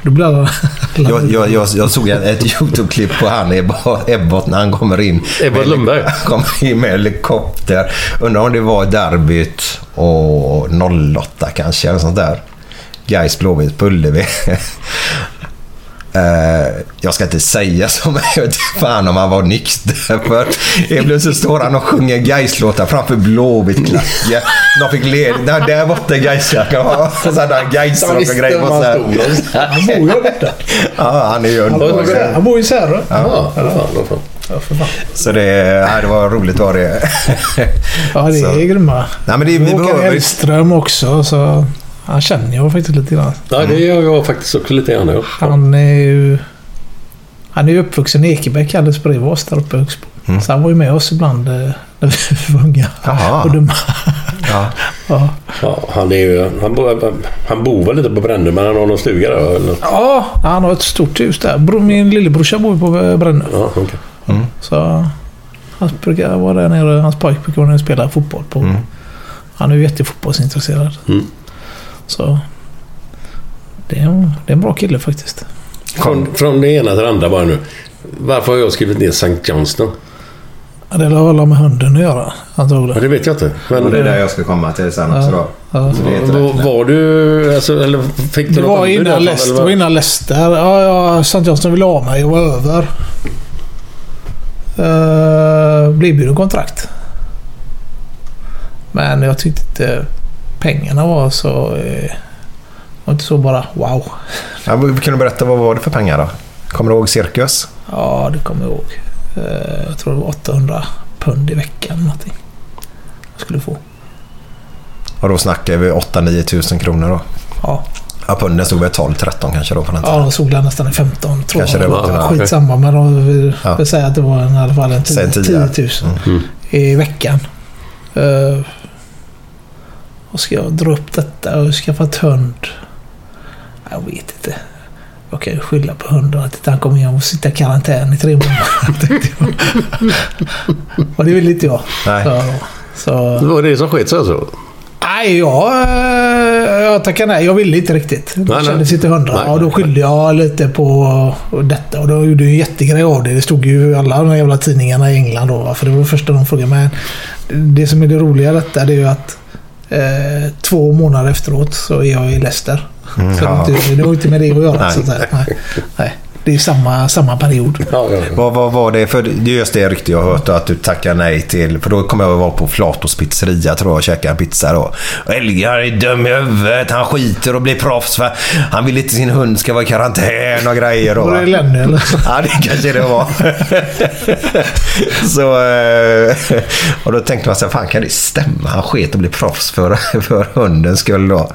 C: Då blir alla...
B: Jag, jag, jag, jag såg ett- ett YouTube-klipp på han Ebba- Ebbot när han kommer in.
D: Ebbot
B: med-
D: Lundberg.
B: Han kommer in med helikopter. Undrar om det var derbyt och 08 kanske, eller sånt där. Gais Blåvitt på Ullevi. Eh, jag ska inte säga som jag vet fan om han var nykter. För helt plötsligt står han och sjunger Gais-låtar framför Blåvittklacken. De fick led... Där, där borta är Gais-klacken. Och så hade han Gais-rock och grejer på sig.
C: Han bor ju borta.
B: Ja, han är ju
C: Han bor ju-
B: underbar.
C: Han bor ju i Särö.
D: Ja, vad fan, vad fan.
C: Ja, för fan.
B: Så det, ja, det var roligt var det.
C: Ja, det
B: Så.
C: är grymma.
B: Nej, men det, vi
C: Håkan
B: behöver,
C: Hellström också, så... Han känner jag faktiskt lite grann.
D: Ja, det gör jag faktiskt också lite grann. ja.
C: Han är ju... Han är ju uppvuxen i Ekeberg alldeles bredvid oss där uppe i Högsbo.
B: Mm.
C: Så han var ju med oss ibland eh, när vi var unga.
B: Jaha.
C: Och dumma.
B: ja.
C: Ja.
D: Ja, han, är ju, han, bo, han bor väl lite på Brännö, men han har någon stuga där? Eller?
C: ja, han har ett stort hus där. Bro- Min lillebrorsa bor ju på eh, Brännö.
D: Ja, okej.
C: Så han brukar vara där nere. Hans pojk brukar vara nere och spela fotboll på. Han är ju jättefotbollsintresserad.
D: Mm.
C: Så... Det är, en, det är en bra kille faktiskt.
D: Från, från det ena till det andra bara nu. Varför har jag skrivit ner Sankt Johnston?
C: Ja, Det lär väl ha med hunden att göra,
D: Ja,
C: antagligen.
D: det vet jag inte. Men,
B: Och det är där jag ska komma till sen också då.
C: Mm. Ja. Alltså,
B: Så det är inte
D: var,
B: rätt.
D: var du... Alltså, eller fick du
C: Det var
D: anbud
C: innan
D: därifrån,
C: Leicester.
D: eller
C: Det
D: vad?
C: var innan Leicester. Ja, ja, St. Johnston ville ha mig och var över. Uh, blev erbjuden kontrakt. Men jag tyckte inte pengarna var så... eh, var inte så bara wow.
B: Ja, men kan du berätta vad var det för pengar då? Kommer du ihåg cirkus?
C: Ja, det kommer jag ihåg. Eh, jag tror det var 800 pund i veckan eller någonting. Jag skulle få.
B: Och då snackar vi 8-9 tusen kronor då.
C: Ja,
B: Ja, punden stod väl 12-13 kanske då på den
C: ja
B: tiden.
C: de såg väl nästan en 15 tror
B: Kanske
C: jag.
B: det var.
C: Ja,
B: Ja, okej.
C: Skitsamma, men de vill
B: Ja.
C: vill säga att det var en, i alla fall en 10,
B: Säg Mm.
C: 10
B: 10.
C: 000 i veckan. Uh, och ska jag dra upp detta och skaffa ett hund? Jag vet inte. Jag kan ju skylla på hunden att inte han kommer hem och sitta i karantän i tre månader. tänkte jag. och det vill inte jag.
B: Nej.
C: Så, så,
D: Det var det som sket sig alltså?
C: Nej, jag, eh, jag tackar nej. Jag ville inte riktigt. Det
D: nej.
C: kändes inte hundra.
D: Nej,
C: och då
D: nej.
C: skyllde jag lite på detta. Och då gjorde jag en jättegrej av det. Det stod ju i alla de här jävla tidningarna i England då. va, För det var det första de frågade. Men det som är det roliga i detta det är ju att eh, två månader efteråt så är jag i Leicester.
D: Mm,
C: så
B: ja.
C: det, är inte- det har inte med det att göra.
B: Nej.
C: Så att säga. Nej. Nej. Det är samma, samma period.
D: Ja, ja.
B: Vad, vad var det för... Det är just det rykte jag har hört att du tackar nej till. För då kommer jag att vara på Flatos pizzeria tror jag och käka en pizza då. Och Elgar är dum i huvudet. Han skiter och blir proffs för han vill inte sin hund ska vara i karantän och grejer då.
C: Var det
B: va?
C: Lenny eller?
B: Ja, det kanske det var. så, eh, och då tänkte man så här, fan kan det stämma? Han sket och blev proffs för, för hundens skull då.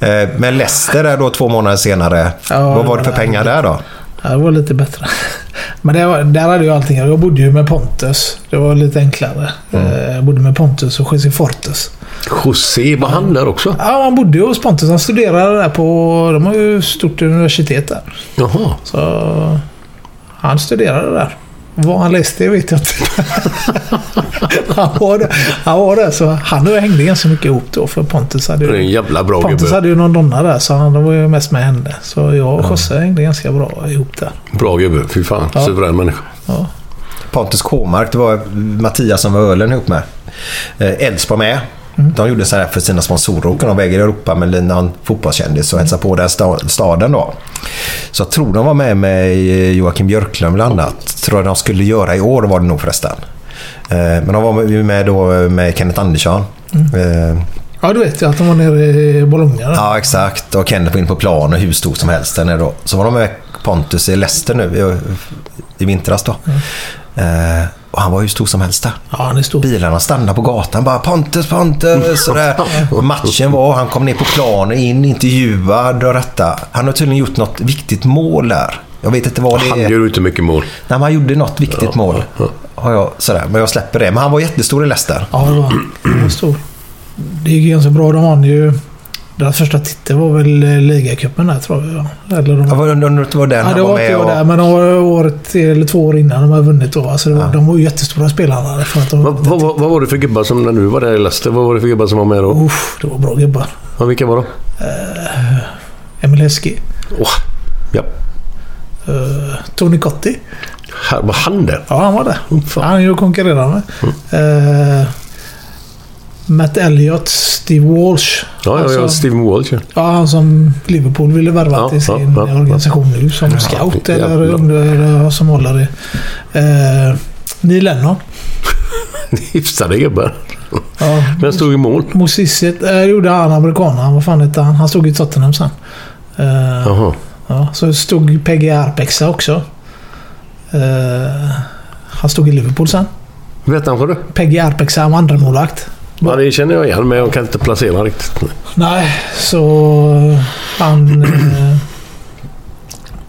B: Eh, Men Leicester där då två månader senare.
C: Ja,
B: vad var det för pengar där då?
C: Ja, det var lite bättre. Men det var, där hade jag allting. Jag bodde ju med Pontus. Det var lite enklare.
D: Mm.
C: Eh, Jag bodde med Pontus och José Fortes.
D: José, var han där också?
C: Ja, han bodde ju hos Pontus. Han studerade där på... De har ju stort universitet där.
D: Jaha.
C: Så han studerade där. Vad han läste vet jag inte. han, var där, han var där, så han och jag hängde ganska mycket ihop då. För Pontus hade
D: Det är en
C: ju,
D: jävla bra
C: Pontus
D: gubbe.
C: hade ju någon donna där, så han var ju mest med henne. Så jag
D: Mm.
C: och Josse hängde ganska bra ihop där.
D: Bra gubbe. Fy fan.
C: Ja.
D: Suverän människa.
B: Pontus Kåmark, det var Mattias som var ölen ihop med. Eh, Elfsborg med. De gjorde så här för sina sponsorer. Åker de iväg i Europa med någon fotbollskändis och hälsar på den sta- staden då. Så jag tror de var med med Joakim Björklund bland annat. Tror jag de skulle göra i år var det nog förresten. Eh, Men de var med- med då eh, med Kenneth Andersson. Eh,
C: Ja, du vet ju att de var nere i Bologna. där.
B: Ja, exakt. Och Kenneth var inne på plan och hur stor som helst den är då. Så var de med Pontus i Leicester nu i, i vintras då. Eh, och han var hur stor som helst där.
C: Ja, han är stor.
B: Bilarna stannade på gatan bara Pontus, Pontus. Sådär. Och matchen var, han kom ner på planen, in, intervjuad och detta. Han har tydligen gjort något viktigt mål där. Jag vet inte vad det
D: Han
B: är.
D: gjorde inte mycket mål.
B: Nej, men han gjorde något viktigt mål. Har jag, sådär. Men jag släpper det. Men han var jättestor i Leicester.
C: Ja, det var han. Han var stor. Det gick ju ganska bra. De vann ju... Deras första titel var väl eh, ligacupen där, tror jag. ja. Eller de
B: Jag var undrar om det var den
C: Ja,
B: han
C: det
B: var
C: var inte
B: med
C: jag
B: och...
C: där, men de var året eller två år innan de hade vunnit då. Alltså det var, De var ju jättestora spelarna. För att de,
D: Vad, vad, vad, vad var det för gubbar som, när du var där i Leicester, vad var det för gubbar som var med då?
C: Uff, det var bra gubbar.
D: Ja, vilka var de?
C: Emil Heskey.
D: Åh, ja.
C: eh, Tony Cotti.
D: Här, var han där?
C: Ja, han var där. Han ju konkurrerade med. Eh, Matt Elliott, Steve Walsh.
D: Ja, ja, ja.
C: Alltså-
D: Steven Walsh. ja.
C: Ja, han som Liverpool ville värva
D: Ja,
C: till
D: ja,
C: sin
D: ja, ja.
C: organisation nu som scout
D: jävlar.
C: eller under, eller vad som håller det. Eh, Neil Lennon.
D: Hyfsade gubbar.
C: Ja,
D: Men stod i mål.
C: Mosisiet eh, gjorde han, amerikanen. Vad fan hette han? Han stod i Tottenham sen. Eh,
D: Jaha.
C: ja, så stod Peggy Arpexa också. Eh, han stod i Liverpool sen.
D: Vet han vad du?
C: Peggy Arpexa var andra målvakt.
D: Ja, det känner jag igen, men jag kan inte placera honom riktigt.
C: Nej, så han... Eh,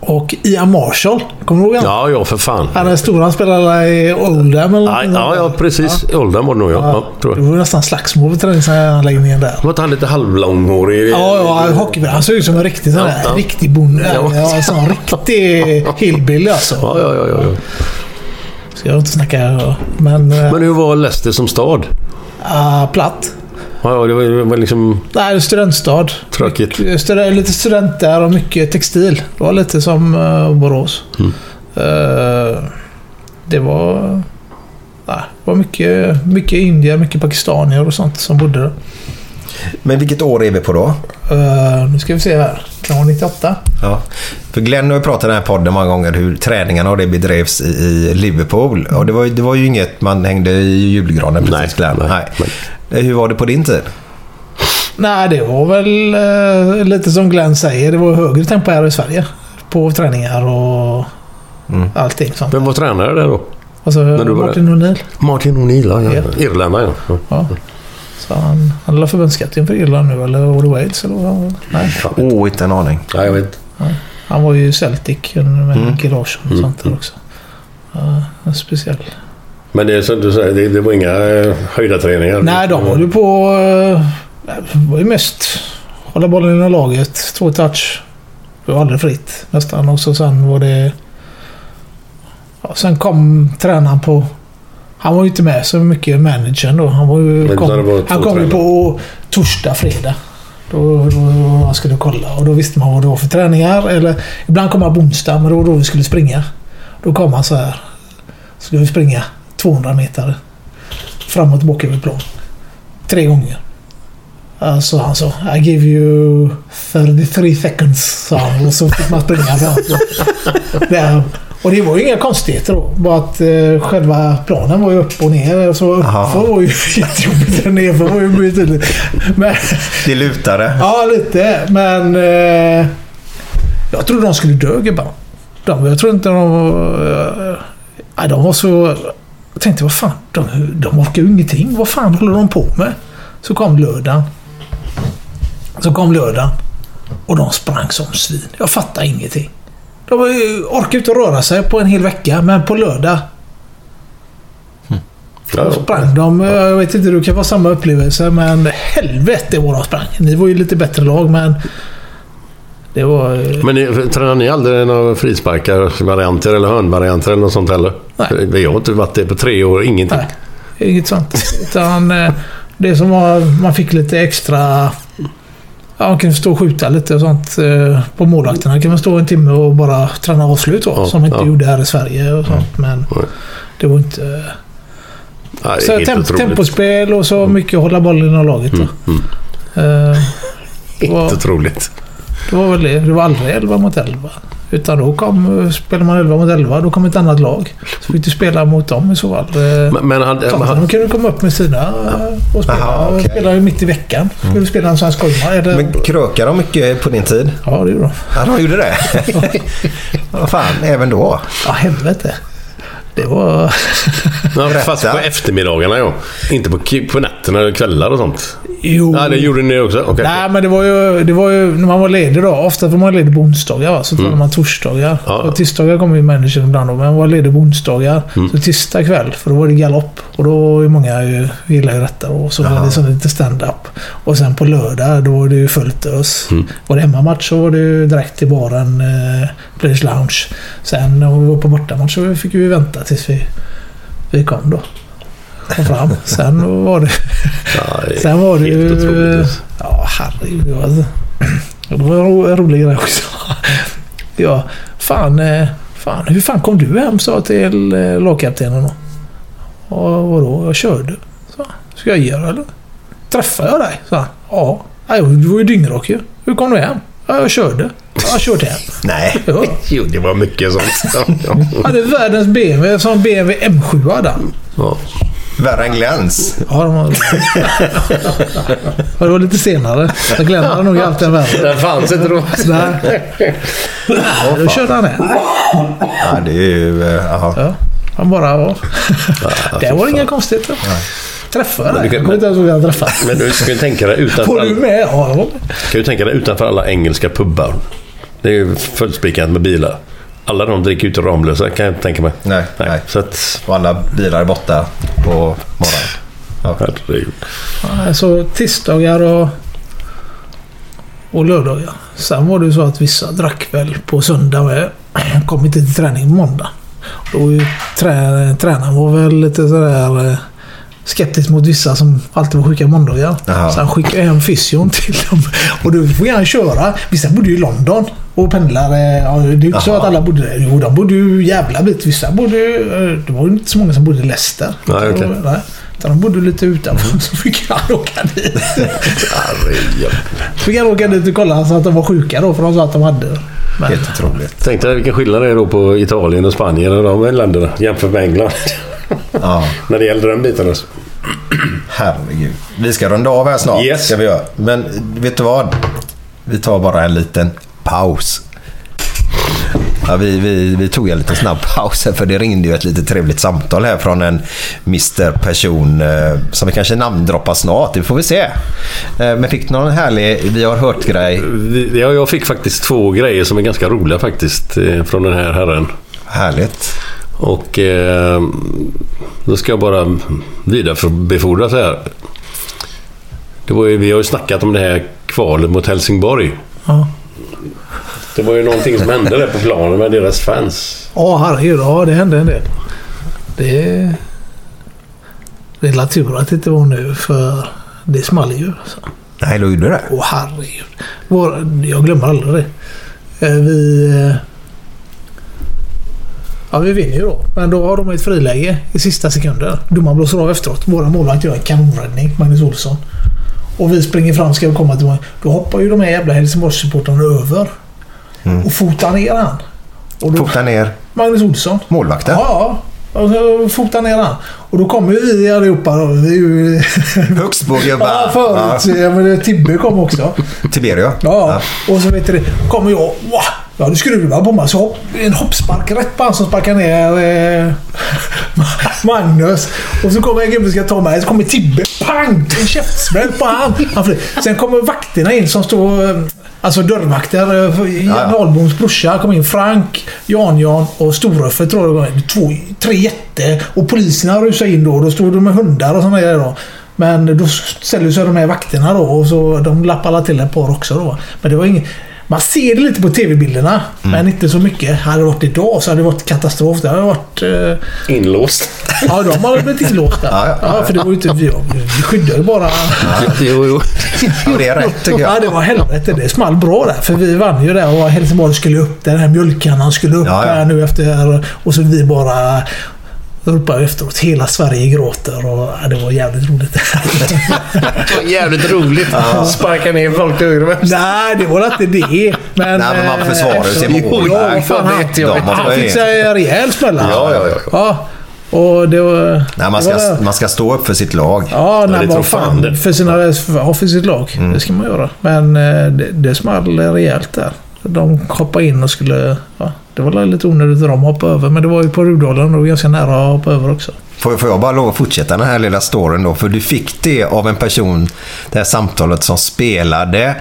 C: och Ian Marshall. Kommer du ihåg honom?
D: Ja, ja, för fan.
C: Han är stor. Han spelade i Oldham eller
D: Nej,
C: något
D: ja, ja,
C: sånt där.
D: precis. I Åldern var det nog, ja. ja tror
C: Det
D: jag.
C: var nästan slagsmål vid träningsanläggningen där.
D: Var inte han lite halvlånghårig?
C: Ja, ja, hockeybrand. Han såg ut som en riktig sån
D: Ja,
C: där.
D: ja.
C: Riktig bonde.
D: Ja.
C: Ja, alltså, en sån riktig hillbilly alltså.
D: Ja, ja, ja, ja, ja.
C: Ska jag inte snacka... Men... eh,
D: Men hur var Leicester som stad?
C: ah, platt.
D: Ja, ja, det var, det var liksom
C: Nej, studentstad.
D: tråkigt.
C: Stud- eh, Lite student där och mycket textil. Det var lite som eh, Borås.
D: Mm.
C: Eh, det var... Nej, det var mycket, mycket indier, mycket pakistanier och sånt som bodde där.
B: Men vilket år är vi på då?
C: Eh, nu ska vi se här. Kan vara 98?
B: Ja. För Glenn har ju pratat i den här podden många gånger hur träningarna och det bedrevs i, i Liverpool. Och det var, ju- det var ju inget man hängde i julgranen precis
D: Nej,
B: Glenn.
D: nej,
B: Nej. Hur var det på din tid?
C: Nej, det var väl eh, lite som Glenn säger. Det var högre tempo här i Sverige. På träningar och allting sånt.
D: Vem var tränare där då?
C: Och så
D: Mm. du var
C: Martin O'Neill.
D: Martin O'Neill, ja. ja.
C: Ja.
D: Irländare, ja. ja.
C: Ja. Så han, han la förbundskapten för Irland nu, eller var det Wales? Eller vad? han var? Nej.
D: Mm.
B: Åh, oh, inte en aning.
D: Ja, jag vet.
C: Han var ju i Celtic med
D: Mm.
C: Micke Larsson och sånt där också. Ja, en speciell.
D: Men det är som du säger, det, det var inga eh, höjdarträningar?
C: Nej, de höll ju på... eh, Det var ju mest hålla bollen inom laget. Två touch. Det var aldrig fritt nästan. Och så sen var det... Ja, sen kom tränaren på... Han var ju inte med så mycket, managern då. Han, var ju,
D: Men då hade det
C: kom,
D: varit
C: han
D: två
C: kom ju
D: tränare.
C: på torsdag, fredag. Då, då, då han skulle kolla och då visste man vad det var för träningar. Eller, ibland kom han på onsdag, men då var då vi skulle springa. Då kom han så här. Skulle vi springa 200 meter fram och tillbaka över plan. Tre gånger. Alltså han sa I give you 33 seconds sa han och så fick man springa så. Där. Och det var ju inga konstigheter då. Bara att eh, själva planen var ju upp och ner. Så uppför var ju jättejobbigt. Nerför var ju mycket tydligt. Men,
B: Det lutade.
C: ja, lite. Men eh, jag trodde de skulle dö gubbarna. De, jag tror inte de... Eh, nej, de var så... Jag tänkte vad fan, de, de orkar ju ingenting. Vad fan håller de på med? Så kom lördagen. Så kom lördagen. Och de sprang som svin. Jag fattar ingenting. De eh, orkar inte röra sig på en hel vecka, men på lördag
D: Ja,
C: då sprang de. Eh, Jag vet inte, det kan vara samma upplevelse, men helvete vad de sprang. Ni var ju lite bättre lag, men... Det var... eh,
D: Men ni, tränar ni aldrig några frisparkar-varianter eller hörnvarianter eller något sånt heller? Nej. Vi har inte varit det på tre år, ingenting.
C: Inget sånt. Utan eh, det som var... Man fick lite extra... Ja, man kunde stå och skjuta lite och sånt eh, på målvakterna. Kan man stå en timme och bara träna avslut då,
D: Ja,
C: som man inte
D: ja.
C: gjorde här i Sverige och sånt. Men det var inte...
D: Nej,
C: så
D: helt
C: temp-
D: otroligt.
C: tempospel och så mycket hålla bollen inom laget. Mm,
D: mm.
C: då. Eh, det, var,
D: Helt otroligt.
C: det var väl det. Det var aldrig 11 mot 11. Utan då kom... eh, Spelade man 11 mot 11, då kom ett annat lag. Så fick du spela mot dem i så fall. Eh,
D: Men, men hade,
C: Tottenham kunde komma upp med sina eh, och spela. spelade ju mitt i veckan.
D: Mm.
C: Skulle spela en svensk golfare. Eller...
B: Men krökade de mycket på din tid?
C: Ja, det gjorde de.
B: Ja, de gjorde det? Vad fan, även då?
C: Ja, helvete. Det var...
D: Ja, fast på eftermiddagarna ja. Inte på, ki- på nätterna eller kvällar och sånt.
C: Jo.
D: Nej, det gjorde ni också? Okej.
C: Oh. Nej, men det var, ju, det var ju när man var ledig då. Ofta var man ledig på onsdagar. va? Så
D: Mm.
C: tränade man torsdagar.
D: Ja.
C: Och tisdagar kom ju managern ibland då. Men man var ledig på onsdagar.
D: Mm.
C: Så tisdag kväll, för då var det galopp. Och då är många ju, gillar ju detta. Och så var det som lite stand-up. Och sen på lördag, då var det ju fullt ös.
D: Mm.
C: Var det hemmamatch så var det ju direkt till baren. Eh, Players Lounge. Sen när vi var på bortamatch så fick vi vänta tills vi, vi kom då. Kom fram. Sen var det... sen var det ju... Ja, herregud. Alltså. Det var en ro- en rolig grej också. Ja, fan, eh, fan. Hur fan kom du hem? Sa jag till eh, lagkaptenen då. Ja, vadå? Jag körde. Så, ska jag göra eller? Träffade jag dig? Så, ja. Nej, Du var ju dyngrak ju. Hur kom du hem? Ja, jag körde. Ja, jag har kört hem.
B: Nej.
D: Jo, det var mycket sånt. Ja.
C: Han hade världens BMW. Som BMW M7 hade han.
D: Ja.
B: Värre än gläns.
C: Ja, de var... Ja, det var lite senare. Jag glömde nog alltid en värld.
D: Den fanns inte då.
C: Nej. Då körde han hem.
B: Ja, det är ju... eh, Aha.
C: Ja, han bara... Ja. det var inga konstigheter. Träffade dig. Jag kommer inte ens ihåg att jag träffade
D: Men du ska ju tänka dig utanför,
C: Var du
D: alla,
C: med? Ja, jag var med.
D: kan ju tänka dig utanför alla engelska pubbar. Det är ju fullspikat med bilar. Alla de dricker ju inte Ramlösa, kan jag inte tänka mig.
B: Nej, nej.
D: Så att...
B: Och alla bilar är borta på morgonen.
D: Ja. Herregud.
C: Ja, Så Alltså, tisdagar och, och lördagar. Sen var det ju så att vissa drack väl på söndag med. Kom inte till träning på måndag. Då var ju trä, tränaren var väl lite sådär eh, skeptisk mot vissa som alltid var sjuka måndagar.
B: Jaha.
C: Så han skickade hem fysion till dem. Och då får han köra. Vissa bodde ju i London och pendlade. Ja, det är ju inte så
B: Jaha.
C: att alla bodde där. Jo, de bodde ju jävla bit. Vissa bodde ju... eh, Det var ju inte så många som bodde i Leicester.
D: Nej, okej.
C: Nej. Utan de bodde lite utanför så fick han åka dit. fick han åka dit och kolla så att de var sjuka då för de sa att de hade. Men,
B: Helt otroligt.
D: Tänk dig vilken skillnad det är då på Italien och Spanien och de länderna jämfört med England.
B: Ja,
D: När det gäller den biten. alltså.
B: herregud. Vi ska runda av här snart.
D: Yes.
B: Ska vi göra. Men vet du vad? Vi tar bara en liten paus. Ja, vi, vi, vi tog en liten snabb paus här för det ringde ju ett lite trevligt samtal här från en Mr Person eh, som vi kanske namndroppar snart. Det får vi se. Eh, men fick du någon härlig Vi har hört-grej?
D: Vi- Ja, jag fick faktiskt två grejer som är ganska roliga faktiskt eh, från den här herren.
B: Härligt.
D: Och eh, då ska jag bara vidarebefordra så här. Det var ju, vi har ju snackat om det här kvalet mot Helsingborg.
C: ja.
D: Det var ju någonting som hände där på planen med deras fans.
C: Ja, herregud. Ja, det hände en del. Det... Det är la tur att det inte var nu för det small ju. Så.
B: Nej, då gjorde det.
C: Åh herregud. Vår, jag glömmer aldrig det. Eh, Vi... eh, Ja, vi vinner ju då. Men då har de ett friläge i sista sekunden. Domaren blåser av efteråt. Våra målvakt gör en kanonräddning, Magnus Olsson. Och vi springer fram, ska vi komma till mål. Då hoppar ju de här jävla Helsingborgssupportrarna över. Och fotar ner han. Och då,
B: Fota Mm. ner
C: Magnus Olsson.
B: målvakten.
C: Ja, ja. Och så fotar ner han. Och då kommer ju vi allihopa då. Vi är ju...
B: Högst på gubbar.
C: ja, förut. Ja. men Tibbe kom också.
B: Ja, Tiberio.
C: Ja, och så vet du det. Kommer jag. Wow, jag hade skruvar på mig. Så hopp, en hoppspark rätt på han som sparkar ner eh, Magnus. Och så kommer en gubbe som ska ta mig. Så kommer Tibbe. Pang! En käftsmäll på han. han flyr. Sen kommer vakterna in som står... eh, Alltså dörrvakter. eh, Janne Ahlboms brorsa kom in. Frank, Jan-Jan och Storöffe tror jag det var. Två, tre jätte. Och poliserna rusade in då. Då stod de med hundar och sådana grejer då. Men då ställer sig de här vakterna då och så de lappar alla till ett par också då. Men det var inget... Man ser det lite på tv-bilderna,
B: Mm.
C: men inte så mycket. Hade det varit idag så hade det varit katastrof. Det hade varit... Eh,
D: Inlåst.
C: Ja, de har blivit inlåsta. ja, för det var ju inte... Vi, vi skyddade ju bara...
D: Jo, jo.
B: Ja, det är rätt tycker jag.
C: Ja, det var helvete. Det small bra där. För vi vann ju där och Helsingborg skulle upp. Den här mjölkkannan skulle upp
B: Ja, ja.
C: här nu efter... Och så vi bara ropade efteråt. Hela Sverige gråter. Och, ja, det var jävligt roligt.
D: Jävligt roligt. Sparka ner folk till höger och vänster.
C: Nej, det var inte det. Men,
B: Nej, men man
C: eh,
B: försvarar ju sin
C: efteråt-
B: mål.
C: Ja,
B: Nej,
C: fan, han,
D: vet jag.
B: De har
C: han fick
B: varit-
C: sig en rejäl smälla.
B: Ja, ja, ja, ja.
C: Ja, och det var...
B: Nej, man,
C: det var
B: ska, man ska stå upp för sitt lag.
C: Ja,
D: det
C: när
D: tror
C: man
D: fan det.
C: fan för, sina, ja, för sitt lag.
B: Mm.
C: Det ska man göra. Men eh, det, det small rejält där. De hoppade in och skulle... Ja, det var lite onödigt att de hoppade över, men det var ju på Rudalen och det var ganska nära att hoppa över också.
B: Får, får jag bara lov att fortsätta den här lilla storyn då? För du fick det av en person, det här samtalet som spelade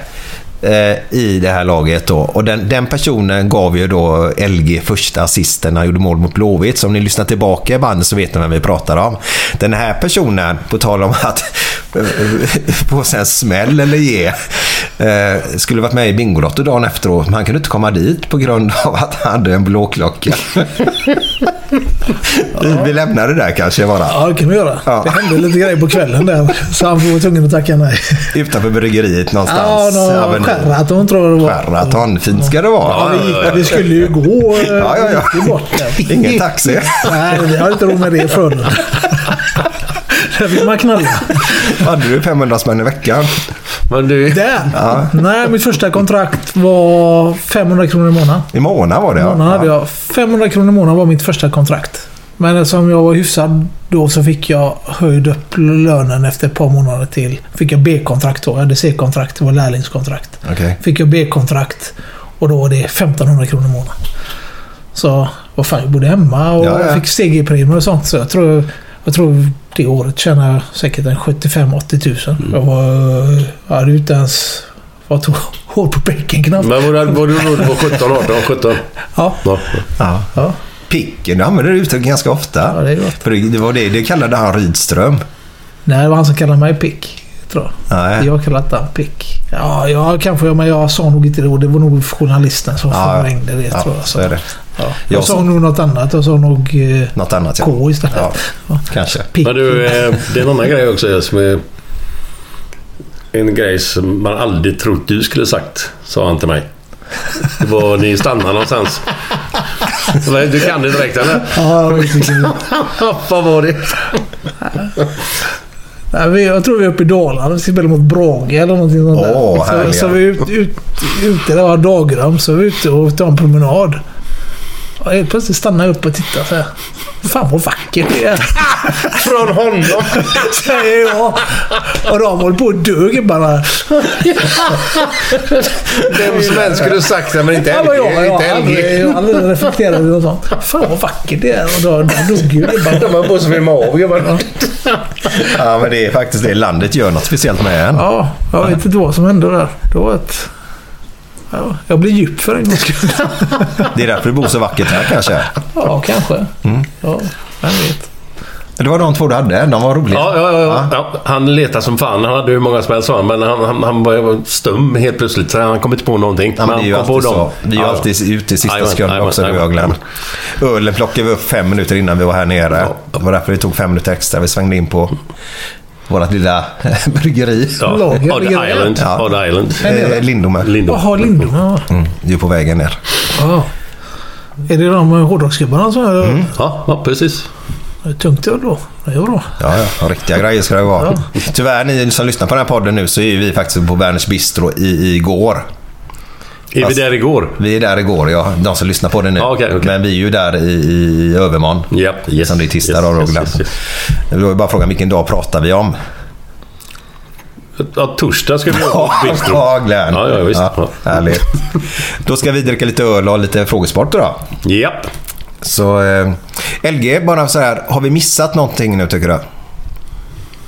B: eh, i det här laget då. Och den, den personen gav ju då LG första assisten när han gjorde mål mot Blåvitt. Så om ni lyssnar tillbaka i bandet så vet ni vem vi pratar om. Den här personen, på tal om att på sig en smäll eller ge, eh, skulle varit med i Bingolotto dagen efteråt. Men han kunde inte komma dit på grund av att han hade en blåklocka. Vi- Vi lämnar det där kanske bara.
C: Ja, det kan vi göra.
B: Ja.
C: Det hände lite grejer på kvällen där, så han var tvungen att tacka nej.
B: Utanför bryggeriet
C: Ja,
B: någonstans.
C: någon
B: Avenyn.
C: Sheraton tror jag det var.
B: Sheraton. Fint ska det
C: Ja,
B: vara.
C: vi, gick, vi skulle ju gå. eh,
B: Ja, ja, ja.
C: vi gick ju bort där.
B: Ingen taxi.
C: Nej, vi har inte råd med det i Frölunda. Där vill man knalla.
B: Hade du 500 spänn i veckan?
D: Men du...
C: Där! Nej, mitt första kontrakt var 500 kronor i månaden.
B: I månaden var det
C: månaden hade
B: ja.
C: jag 500 kronor i månaden var mitt första kontrakt. Men eftersom jag var hyfsad då så fick jag höjd upp lönen efter ett par månader till. Fick jag B-kontrakt då. Jag hade C-kontrakt. Det var lärlingskontrakt.
B: Okej.
C: Fick jag B-kontrakt och då var det 1500 kronor i månaden. Så vad fan, jag bodde hemma och
B: Ja, ja.
C: fick CG-premier och sånt. Så jag tror, jag tror det året tjänade jag säkert en 75-80 tusen.
B: Mm.
C: Jag var... Jag hade ju inte ens... Jag tog hår på bänken knappt.
D: Men var du- var du rolig på 17, 18, 17?
C: Ja.
D: Ja.
B: Ja.
C: ja.
B: Picken, du använder det uttrycket ganska ofta.
C: Ja, det är gott.
B: För det, det var det, det kallade han Rydström.
C: Nej, det var han som kallade mig Pick. Tror jag.
B: Nej.
C: Jag kallade inte han Pick. Ja, jag kanske, men jag sa nog inte det. och Det var nog journalisten som
B: Ja,
C: förvrängde det
B: Ja,
C: tror jag.
B: så är det.
C: Ja. Jag,
B: Jag
C: sa
B: som-
C: nog något annat. Jag sa nog eh,
B: Något annat ja.
C: K istället.
B: Ja,
C: Ja.
B: kanske.
C: Pick.
D: Men du, eh, det är en annan grej också som är... En grej som man aldrig trott du skulle sagt, sa han till mig. Det var ni stannar någonstans. Nej, Du kan det direkt eller?
C: Ja, jag vet inte.
D: Vad var det?
C: Nej, vi- jag tror vi är uppe i Dalarna. Vi ska spela mot Brage eller någonting sånt där.
B: Åh, härliga.
C: så, så vi är ut, ut, ute, det var dagröm, så vi är ute och tar en promenad. Och helt plötsligt stannar jag upp och tittar så här. Fan vad vackert det är.
D: Från honom?
C: Säger jag. Och de håller på och dö gubbarna.
D: Vem som helst skulle sagt det, men inte
C: Ja, men jag,
D: LG.
C: jag,
D: Inte
C: har aldrig-
D: LG.
C: jag har aldrig reflekterat över något sånt. Fan vad vackert det är. Och då, då dog ju
D: De
C: gubbarna.
D: höll på att filma av gubbarna.
B: Ja, men det är faktiskt det. Landet gör något speciellt med en.
C: Ja, jag vet inte vad som hände där. Det var ett... Ja, jag blev djup för en gångs skull.
B: Det är därför det bor så vackert här kanske.
C: Ja, kanske. Ja, Mm. vem vet.
B: Det var de två du hade. De var roliga.
D: Ja, ja, ja, ja. Han letade som fan. Han hade hur många som helst sa han, men han, han, han var stum helt plötsligt. Så han kom inte på någonting.
B: Ja, men det är ju
D: han kom
B: alltid så. Vi är ju
D: Ja, ja.
B: alltid ute i sista
D: Jajamän,
B: sekunden
D: jajamän,
B: också, du och jag, Glenn.
D: jajamän.
B: Ölen plockade vi upp fem minuter innan vi var här nere. Det var därför det tog fem minuter extra. Vi svängde in på vårt lilla bryggeri.
D: Ja.
C: Lager,
D: Odd
C: ligger det?
D: Island.
B: Ja.
D: Odd Island.
B: Eh, Lindome.
D: Lindom.
C: Jaha, Lindom. Ja.
B: Mm, du är på vägen ner.
C: Ja. Mm. Är det de hårdrocksgubbarna som är
D: Ja, ja, precis.
C: tungt öl då? Det är bra.
B: Ja, ja. Och Riktiga grejer ska det vara. Tyvärr, ni som lyssnar på den här podden nu, så är vi faktiskt på Werners Bistro i, igår.
D: Är vi
B: Fast-
D: där igår?
B: Vi är där igår, ja. De som lyssnar på det nu.
D: Ja, okej, okej.
B: Men vi är ju där i, i övermorgon.
D: Ja, yes,
B: som det är tisdag
D: yes,
B: då,
D: yes,
B: Glenn.
D: yes, yes.
B: Då är bara frågan, vilken dag pratar vi om?
D: Ja, torsdag ska vi ha på Bistro.
B: Ja, Glenn.
D: Ja, ja, visst. Ja.
B: härligt. Då ska vi dricka lite öl och ha lite frågesport idag.
D: Japp.
B: Så eh, LG, bara så här. Har vi missat någonting nu tycker du?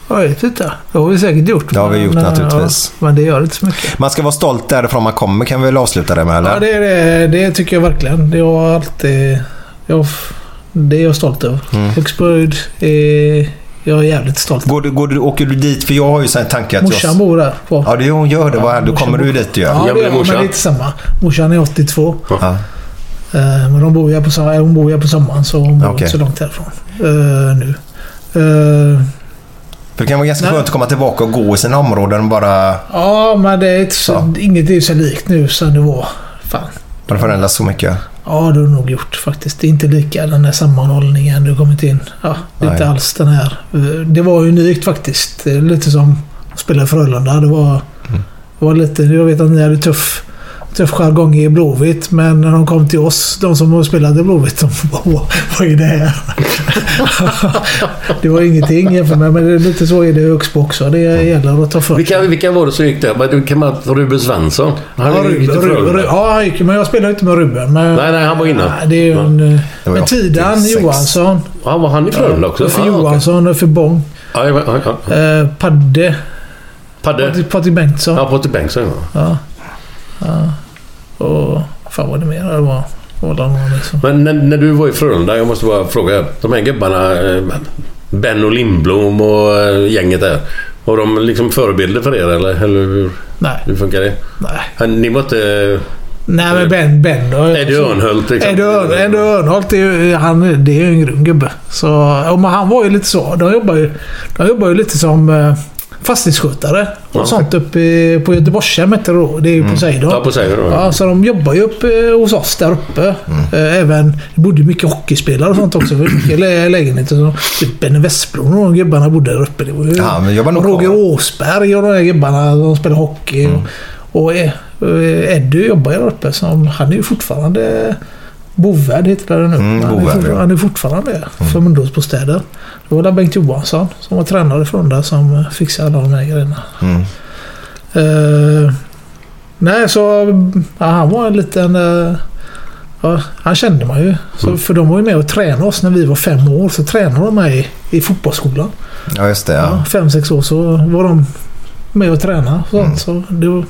C: Oj, titta. Det har vi säkert gjort.
B: Det har vi gjort
C: men,
B: naturligtvis.
C: ja, men det gör inte så mycket.
B: Man ska vara stolt därifrån man kommer kan vi väl avsluta det med eller?
C: Ja, det, är det, det tycker jag verkligen. Det har alltid... Jag, det är jag stolt över.
B: Mm.
C: Högsbörd är... Jag är jävligt stolt.
B: Går du, går du, åker du dit? För jag har ju sån här tanke att...
C: Morsan
B: jag...
C: bor där. På.
B: Ja, det hon gör det. Ja, då
C: morsan
B: kommer du ju
C: bor-
B: dit ju.
C: Ja, det gör jag, men det är inte samma. Morsan är 82.
B: Ja.
C: Eh, Men de bor ju här på, som- hon bor ju här på sommaren så hon bor
B: Okej.
C: inte så långt härifrån. eh, nu. Eh,
B: För det kan vara ganska skönt att komma tillbaka och gå i sina områden och bara...
C: ja, men det är inte så, inget är ju så likt nu som det var. Fan.
B: Har det förändrats så mycket?
C: Ja, det har nog gjort faktiskt. Det är inte lika den här sammanhållningen du kommit in. Ja, det är inte
B: Nej.
C: alls den här. Det var unikt faktiskt. Det är Lite som att spela i Frölunda. Det var, det var lite... Jag vet att ni hade tuff, tuff jargong i Blåvitt, men när de kom till oss, de som har spelat i Blåvitt, de bara "Vad- Vad är det här? det var ingenting jämfört med, men det är lite så är det i Högsbo också. Det gäller att ta för
D: Vilka, vilka var det som gick där? Var det- Kan man, Ruben Svensson? Han
C: Ja,
D: är ju
C: Ruben,
D: lite
C: Ruben,
D: Frölunda.
C: ja, han gick ju, men jag spelade inte med Ruben. Men,
D: Nej, nej, han var innan.
C: det är ju en, eh,
D: Det var
C: men
D: jag.
C: Tidan
D: 86.
C: Johansson.
D: Ja, var han i Frölunda också?
C: Och för
D: Ah, okej.
C: Johansson och för Bång.
D: Ja, ja, ja, ja.
C: Eh, Padde.
D: Padde?
C: Patrik- Patrik Bengtsson.
D: Ja, Potter Bengtsson ja.
C: Ja. ja. Och fan vad det mer det var. Det var någon liksom.
D: Men när, när du var i Frölunda, jag måste bara fråga. De här gubbarna, eh, Ben och Lindblom och eh, gänget där. Var de liksom förebilder för er eller, eller hur,
C: Nej.
D: hur funkar det? Nej. Ni eh, var inte...
C: Nej men Ben, ben då,
D: Eddie liksom. Örnhult till exempel.
C: Eddie Örn- Eddie Örnhult är ju, han, det är ju en grym gubbe. Så, ja, men han var ju lite så. De jobbar ju, de jobbar ju lite som eh, fastighetsskötare och
D: Ja. Mm.
C: sånt uppe i- på Göteborgshem heter det då. Det är ju Poseidon.
D: Ja, Poseidon, ja. Mm.
C: Ja, så de jobbar ju uppe hos oss där uppe. Eh, Även, det bodde ju mycket hockeyspelare och sånt också. Det var Mycket lä- lägenheter. Så, typ Benny Westblom och de gubbarna bodde där uppe. Det var ju,
B: Ja, men jobbar nog
C: Roger Åsberg och de där gubbarna. De spelade hockey.
B: Mm.
C: Och, och eh, eh, Eddie jobbar ju där uppe. Så han- han är ju fortfarande... Bovärd heter det nu.
B: Mm,
C: han, är
B: Bovärd,
C: fortfar-
B: ja.
C: han är fortfarande mm. för ungdomsbostäder. Det var där Bengt Johansson som var tränare från där som eh, fixade alla de här grejerna.
B: Mm.
C: Eh, nej, så ja, han var en liten... eh, ja, han kände man ju. Så,
B: Mm.
C: För de var ju med och tränade oss när vi var fem år. Så tränade de mig i fotbollsskolan.
B: Ja, just det. Ja.
C: Ja, fem, sex år så var de med och tränade. och sånt. Så det var,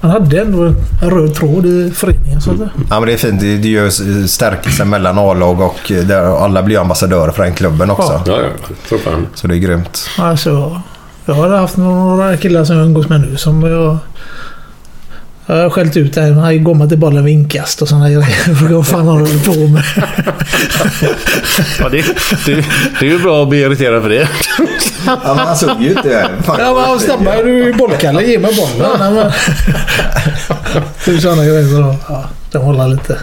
C: man hade ändå en röd tråd i föreningen. Så att, säga.
B: Ja, men det är fint. Det det gör s- stärkelsen mellan A-lag och eh, där alla blir ambassadörer för den klubben också.
D: Ja, ja. Tror fan.
B: Så det är grymt.
C: Alltså, jag har haft några killar som jag umgås med nu som jag... Jag har skällt ut det här. Han går man till bollen vid inkast och sådana grejer. Frågar vad fan han håller på med.
D: Ja, det, det, det är ju bra att bli irriterad för det.
B: Ja, men han såg ju inte... Fan,
C: Ja, men han snabbare. Du är ju bollkalle. Ge mig bollen. Nej, men- Typ sådana grejer. Så, ja, de håller lite.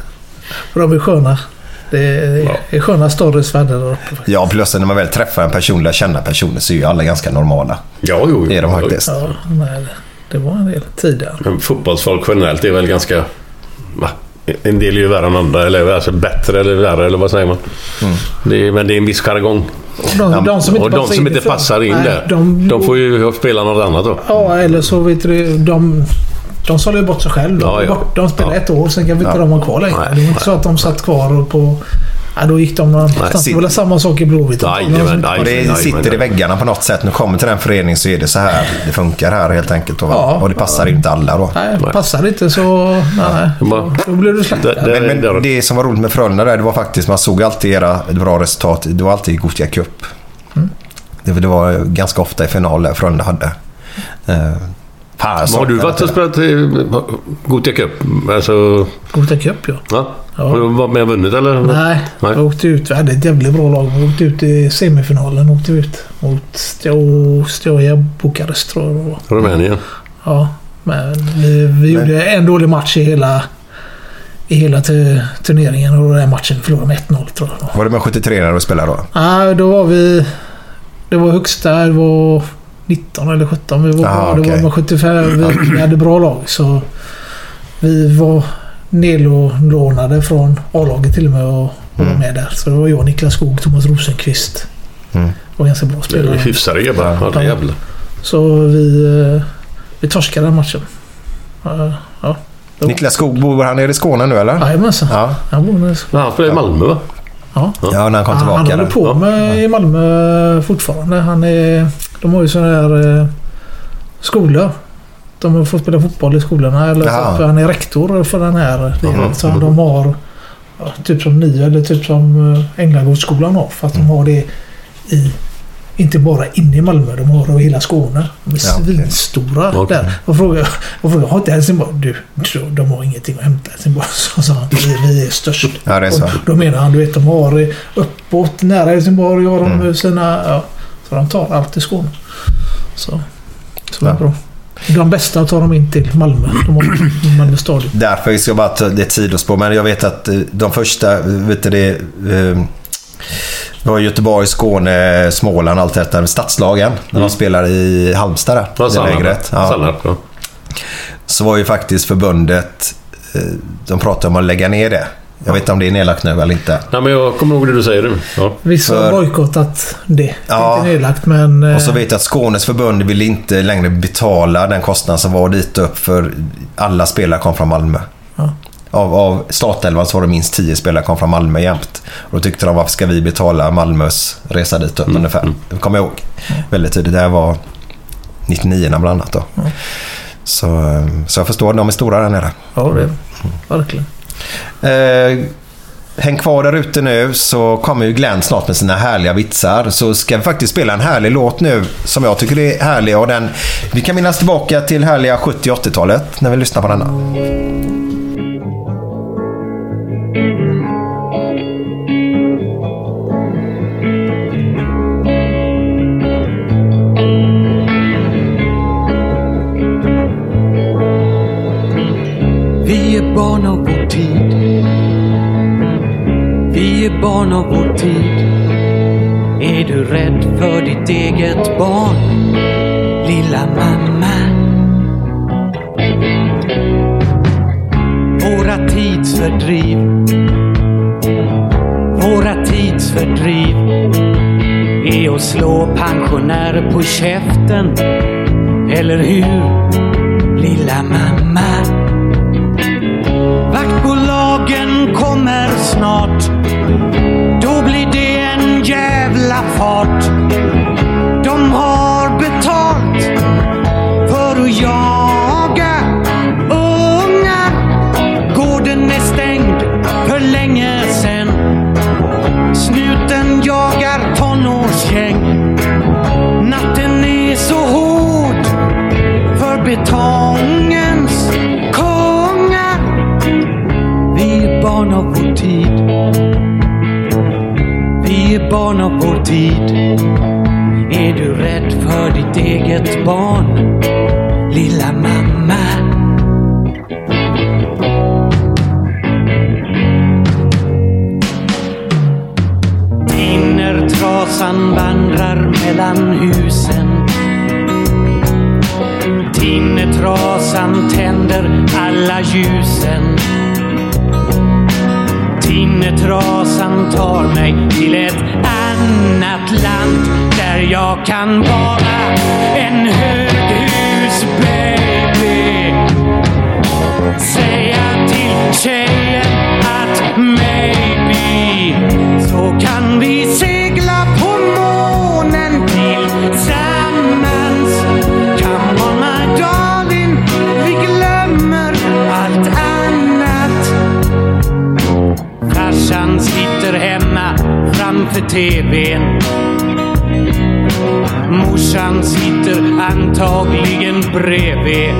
C: För de är sköna. Det är, det är sköna stories världen där uppe.
B: Ja, plus när man väl träffar en person, lär känna personer, så är ju alla ganska normala.
D: Ja, jo,
B: Det är de faktiskt.
C: Ja, nej, det var en del tidigare.
D: Men fotbollsfolk generellt är väl ganska... va? En del är ju värre än andra, eller alltså bättre eller värre, eller vad säger man?
B: Mm.
D: Det är, men det är en viss jargong.
C: De- de som inte
D: och de
C: passar
D: som
C: in i
D: inte
C: Frölunda.
D: passar in
C: Nej,
D: där,
C: de-
D: de... får ju spela något annat då.
C: Ja, eller så vet du, de, de sålde ju bort sig själv. De,
D: Ja, ja.
C: bort, de spelade
D: Ja.
C: ett år, sen kan vi inte
D: Ja.
C: de ha kvar längre.
D: Nej,
C: det var inte så att de satt kvar och på... Ja, då gick de någon annanstans. Det var väl samma sak i Blåvitt. De som inte-
B: och det sitter i väggarna på något sätt. Nu kommer till den föreningen så är det så här. Det funkar här helt enkelt. Och,
C: Ja.
B: och det passar inte alla då.
C: Nej, passar inte så... Nej, nej. Då blev du slaktad.
B: men, men det som var roligt med Frölunda där, det var faktiskt man såg alltid era bra resultat. Det var alltid i Gothia Cup.
C: Mm.
B: Det, det var ganska ofta i finaler Frölunda hade. Eh, fan, jag
D: har du
B: saknar
D: varit
B: det.
D: och spelat i Gothia Cup? Alltså,
C: Gothia Cup, ja.
D: ja. Har du varit med och vunnit eller?
C: Nej,
D: Nej.
C: jag åkte ut. Vi hade ett jävligt bra lag. Vi åkte ut i semifinalen. Åkte ut mot Stjo- Stjoja Bukarest, tror jag det var.
D: Rumänien.
C: Ja, men vi, vi
D: Men-
C: gjorde en dålig match i hela, i hela tu- turneringen och den matchen förlorade med 1-0 tror jag.
B: Var det med 73 när du spelade då?
C: Ja, då var vi... Det var högsta, det var 19 eller 17. Vi var,
B: Ah,
C: bra. det var
B: okej.
C: bara 75. Vi, vi hade bra lag så vi var nedlånade från A-laget till och med och, och var med där. Så det var jag, Niklas Skog, Thomas Rosenqvist.
B: Mm.
C: var ganska bra
D: Det är
C: spelare.
D: Hyfsade gubbar. Ja,
C: Ja.
D: det jävlar.
C: Så vi, eh, vi torskade den matchen. Ja, ja. Jo.
B: Niklas Skog, bor han nere i Skåne nu eller?
C: Jajamensan.
B: Ja.
C: Han bor med
D: Men han spelade i Malmö va?
C: Ja.
B: Ja, när han kom
C: han
B: tillbaka.
C: håller
B: där.
C: på med i Malmö fortfarande. Han är De har ju sådana här eh, skolor. De får spela fotboll i skolorna. Eller
B: Ja.
C: så, för han är rektor för den här delen.
B: Mhm.
C: Så de har ja, typ som ni eller typ som eh, Änglagårdsskolan har. Fast
B: Mm.
C: de har det i... Inte bara inne i Malmö. De har det i hela Skåne. De är
B: Ja, okej.
C: svinstora
B: Okej.
C: där. Jag frågade, jag frågade, har inte Helsingborg... Du, du, de har ingenting att hämta i Helsingborg. Så sa han, vi, vi är störst.
B: Ja, det är så.
C: Och då menar han, du vet, de har eh, uppåt nära Helsingborg har de
B: Mm.
C: eh, sina... Ja, så de tar allt i Skåne. Så, så är det bra. De bästa tar de in till Malmö. De har Malmö stadion.
B: Därför ska jag bara ta det sidospår. Men jag vet att eh, de första, eh, vet du det, eh, det var Göteborg, Skåne, Småland, allt detta. Stadslagen, när de spelade i Halmstad där. i
D: Sannarp.
B: lägret.
D: Sannarp, ja.
B: Så var ju faktiskt förbundet, eh, de pratade om att lägga ner det. Jag vet inte om det är nedlagt nu eller inte.
D: Nej, men jag kommer ihåg det du säger nu. Ja.
C: Vissa har
B: För-
C: bojkottat det.
B: Ja.
C: Inte nedlagt men... eh,
B: Och så vet jag att Skånes förbund vill inte längre betala den kostnad som var dit upp för alla spelare kom från Malmö.
C: Ja.
B: Av, av startelvan så var det minst 10 spelare kom från Malmö jämt. Och då tyckte de varför ska vi betala Malmös resa dit upp ungefär. Det kommer jag ihåg väldigt tydligt. Det här var 99 bland annat då. Så, eh, så jag förstår, de är stora där nere.
C: Ja, det är de.
B: Mm.
C: Verkligen.
B: Eh, häng kvar där ute nu så kommer ju Glenn snart med sina härliga vitsar. Så ska vi faktiskt spela en härlig låt nu som jag tycker är härlig. Och den, vi kan minnas tillbaka till härliga 70 och 80-talet när vi lyssnar på denna.
F: Vi är barn av vår tid. Vi är barn av vår tid. Är du rädd för ditt eget barn, lilla mamma? Våra tidsfördriv. Våra tidsfördriv är att slå pensionärer på käften. Eller hur, lilla mamma? Vaktbolagen kommer snart. Då blir det en jävla fart. De har betalt för att jaga ungar. Gården är stängd för länge sen. Snuten jagar tonårsgäng. Natten är så hård för betongens kungar. Vi är barn av vår tid. Vi är barn av vår tid. Är du rädd för ditt eget barn, lilla mamma? Tinnertrasan vandrar mellan husen. Tinnertrasan tänder alla ljusen. Tinnetrasan tar mig till ett annat land där jag kan vara en höghusbaby. Säga till tjejen att maybe så kan vi segla på månen tillsammans. Come on my darling, vi glömmer allt annat. Farsan sitter hemma framför TVn. Morsan sitter antagligen bredvid.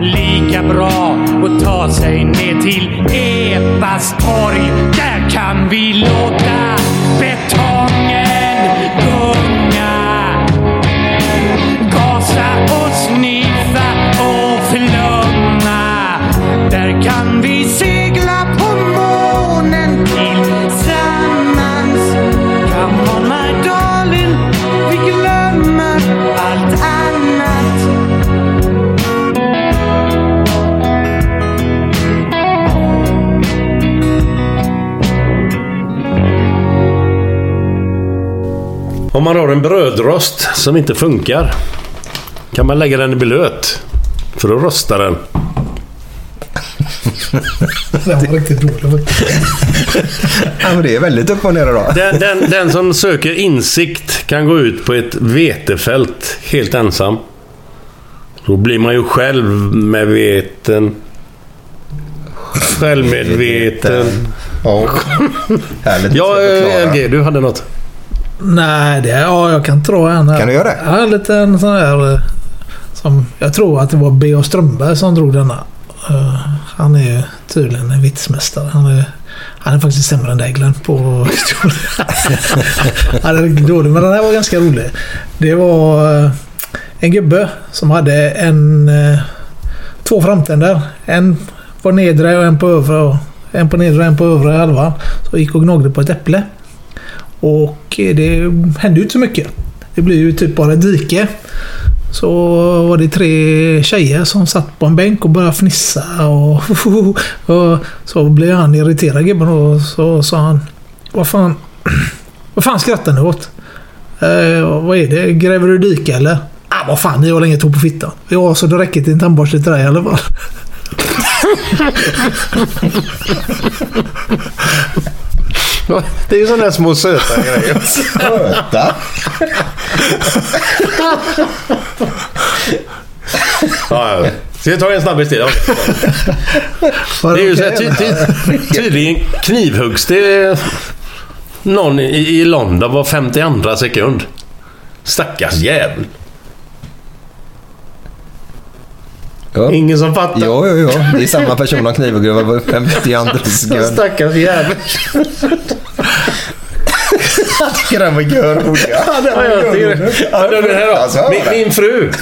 F: Lika bra att ta sig ner till Ebastorg. Där kan vi låta betongen gunga. Gasa och sniffa och flumma. Där kan vi segla på månen tillsammans. Come on my darling, vi glömmer allt annat.
D: Om man har en brödrost som inte funkar kan man lägga den i blöt för att rosta den.
C: Den var riktigt dålig
B: ja, men det är väldigt upp och ner idag.
D: Den, den, den som söker insikt kan gå ut på ett vetefält helt ensam. Då blir man ju självmedveten. Självmedveten.
B: Ja,
D: ja eh, LG, du hade något.
C: Nej, det, ja, jag kan dra en här.
D: Kan du göra det?
C: Ja, en liten sån här... eh, Som, jag tror att det var B.A. Strömberg som drog denna. Eh, han är ju tydligen en vitsmästare. Han är, han är faktiskt sämre än dig Glenn på historia. han är riktigt dålig, men den här var ganska rolig. Det var eh, en gubbe som hade en... eh, Två framtänder. En på nedre och en på övre. och En på nedre och en på övre halvan. Så gick och gnagde på ett äpple. Och eh, det hände ju inte så mycket. Det blev ju typ bara ett dike. Så var det tre tjejer som satt på en bänk och började fnissa och, och så blev han irriterad gubben och så sa han Vad fan, vad fan skrattar ni åt? Eh, vad är det? Gräver du dike eller? Ah, vad fan, ni har inget hår på fittan. Ja, så det räcker till en tandborste till dig i alla fall.
D: Det är ju sådana där små söta grejer.
B: Söta?
D: Ja, ja. Ska vi ta en snabbis till? Okej. Det är ju så här, ty, ty, tydligen knivhuggs det någon i, i London var 52 sekund. Stackars jävel. Ingen som fattar.
B: Jo, jo, jo. Det är samma person som knivhugger var 52 sekund.
D: Stackars jävel.
B: Jag tycker den var görrolig.
D: Ja, jag tycker det. Ja, det är det här
B: Alltså,
D: då. Min, min fru.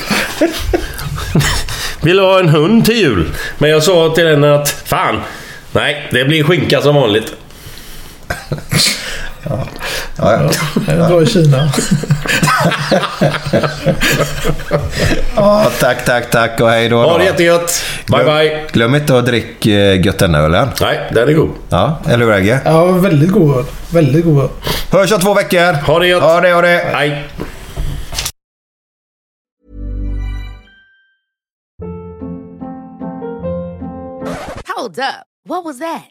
D: Ville ha en hund till jul. Men jag sa till henne att fan, nej, det blir skinka som vanligt.
B: Ja,
C: Jag drar i Kina.
B: ja. Tack, tack, tack och hej då.
D: Ha det jättegött. Bye, bye.
B: Glöm inte att dricka eh, Göttenölen.
D: Nej, den är god.
B: Ja, eller hur Agge?
C: Ja, väldigt god öl. Väldigt god öl.
B: Hörs om två veckor.
D: Ha det gött.
B: Ha det, ha det.
D: Hej.
I: Hold up. What was that?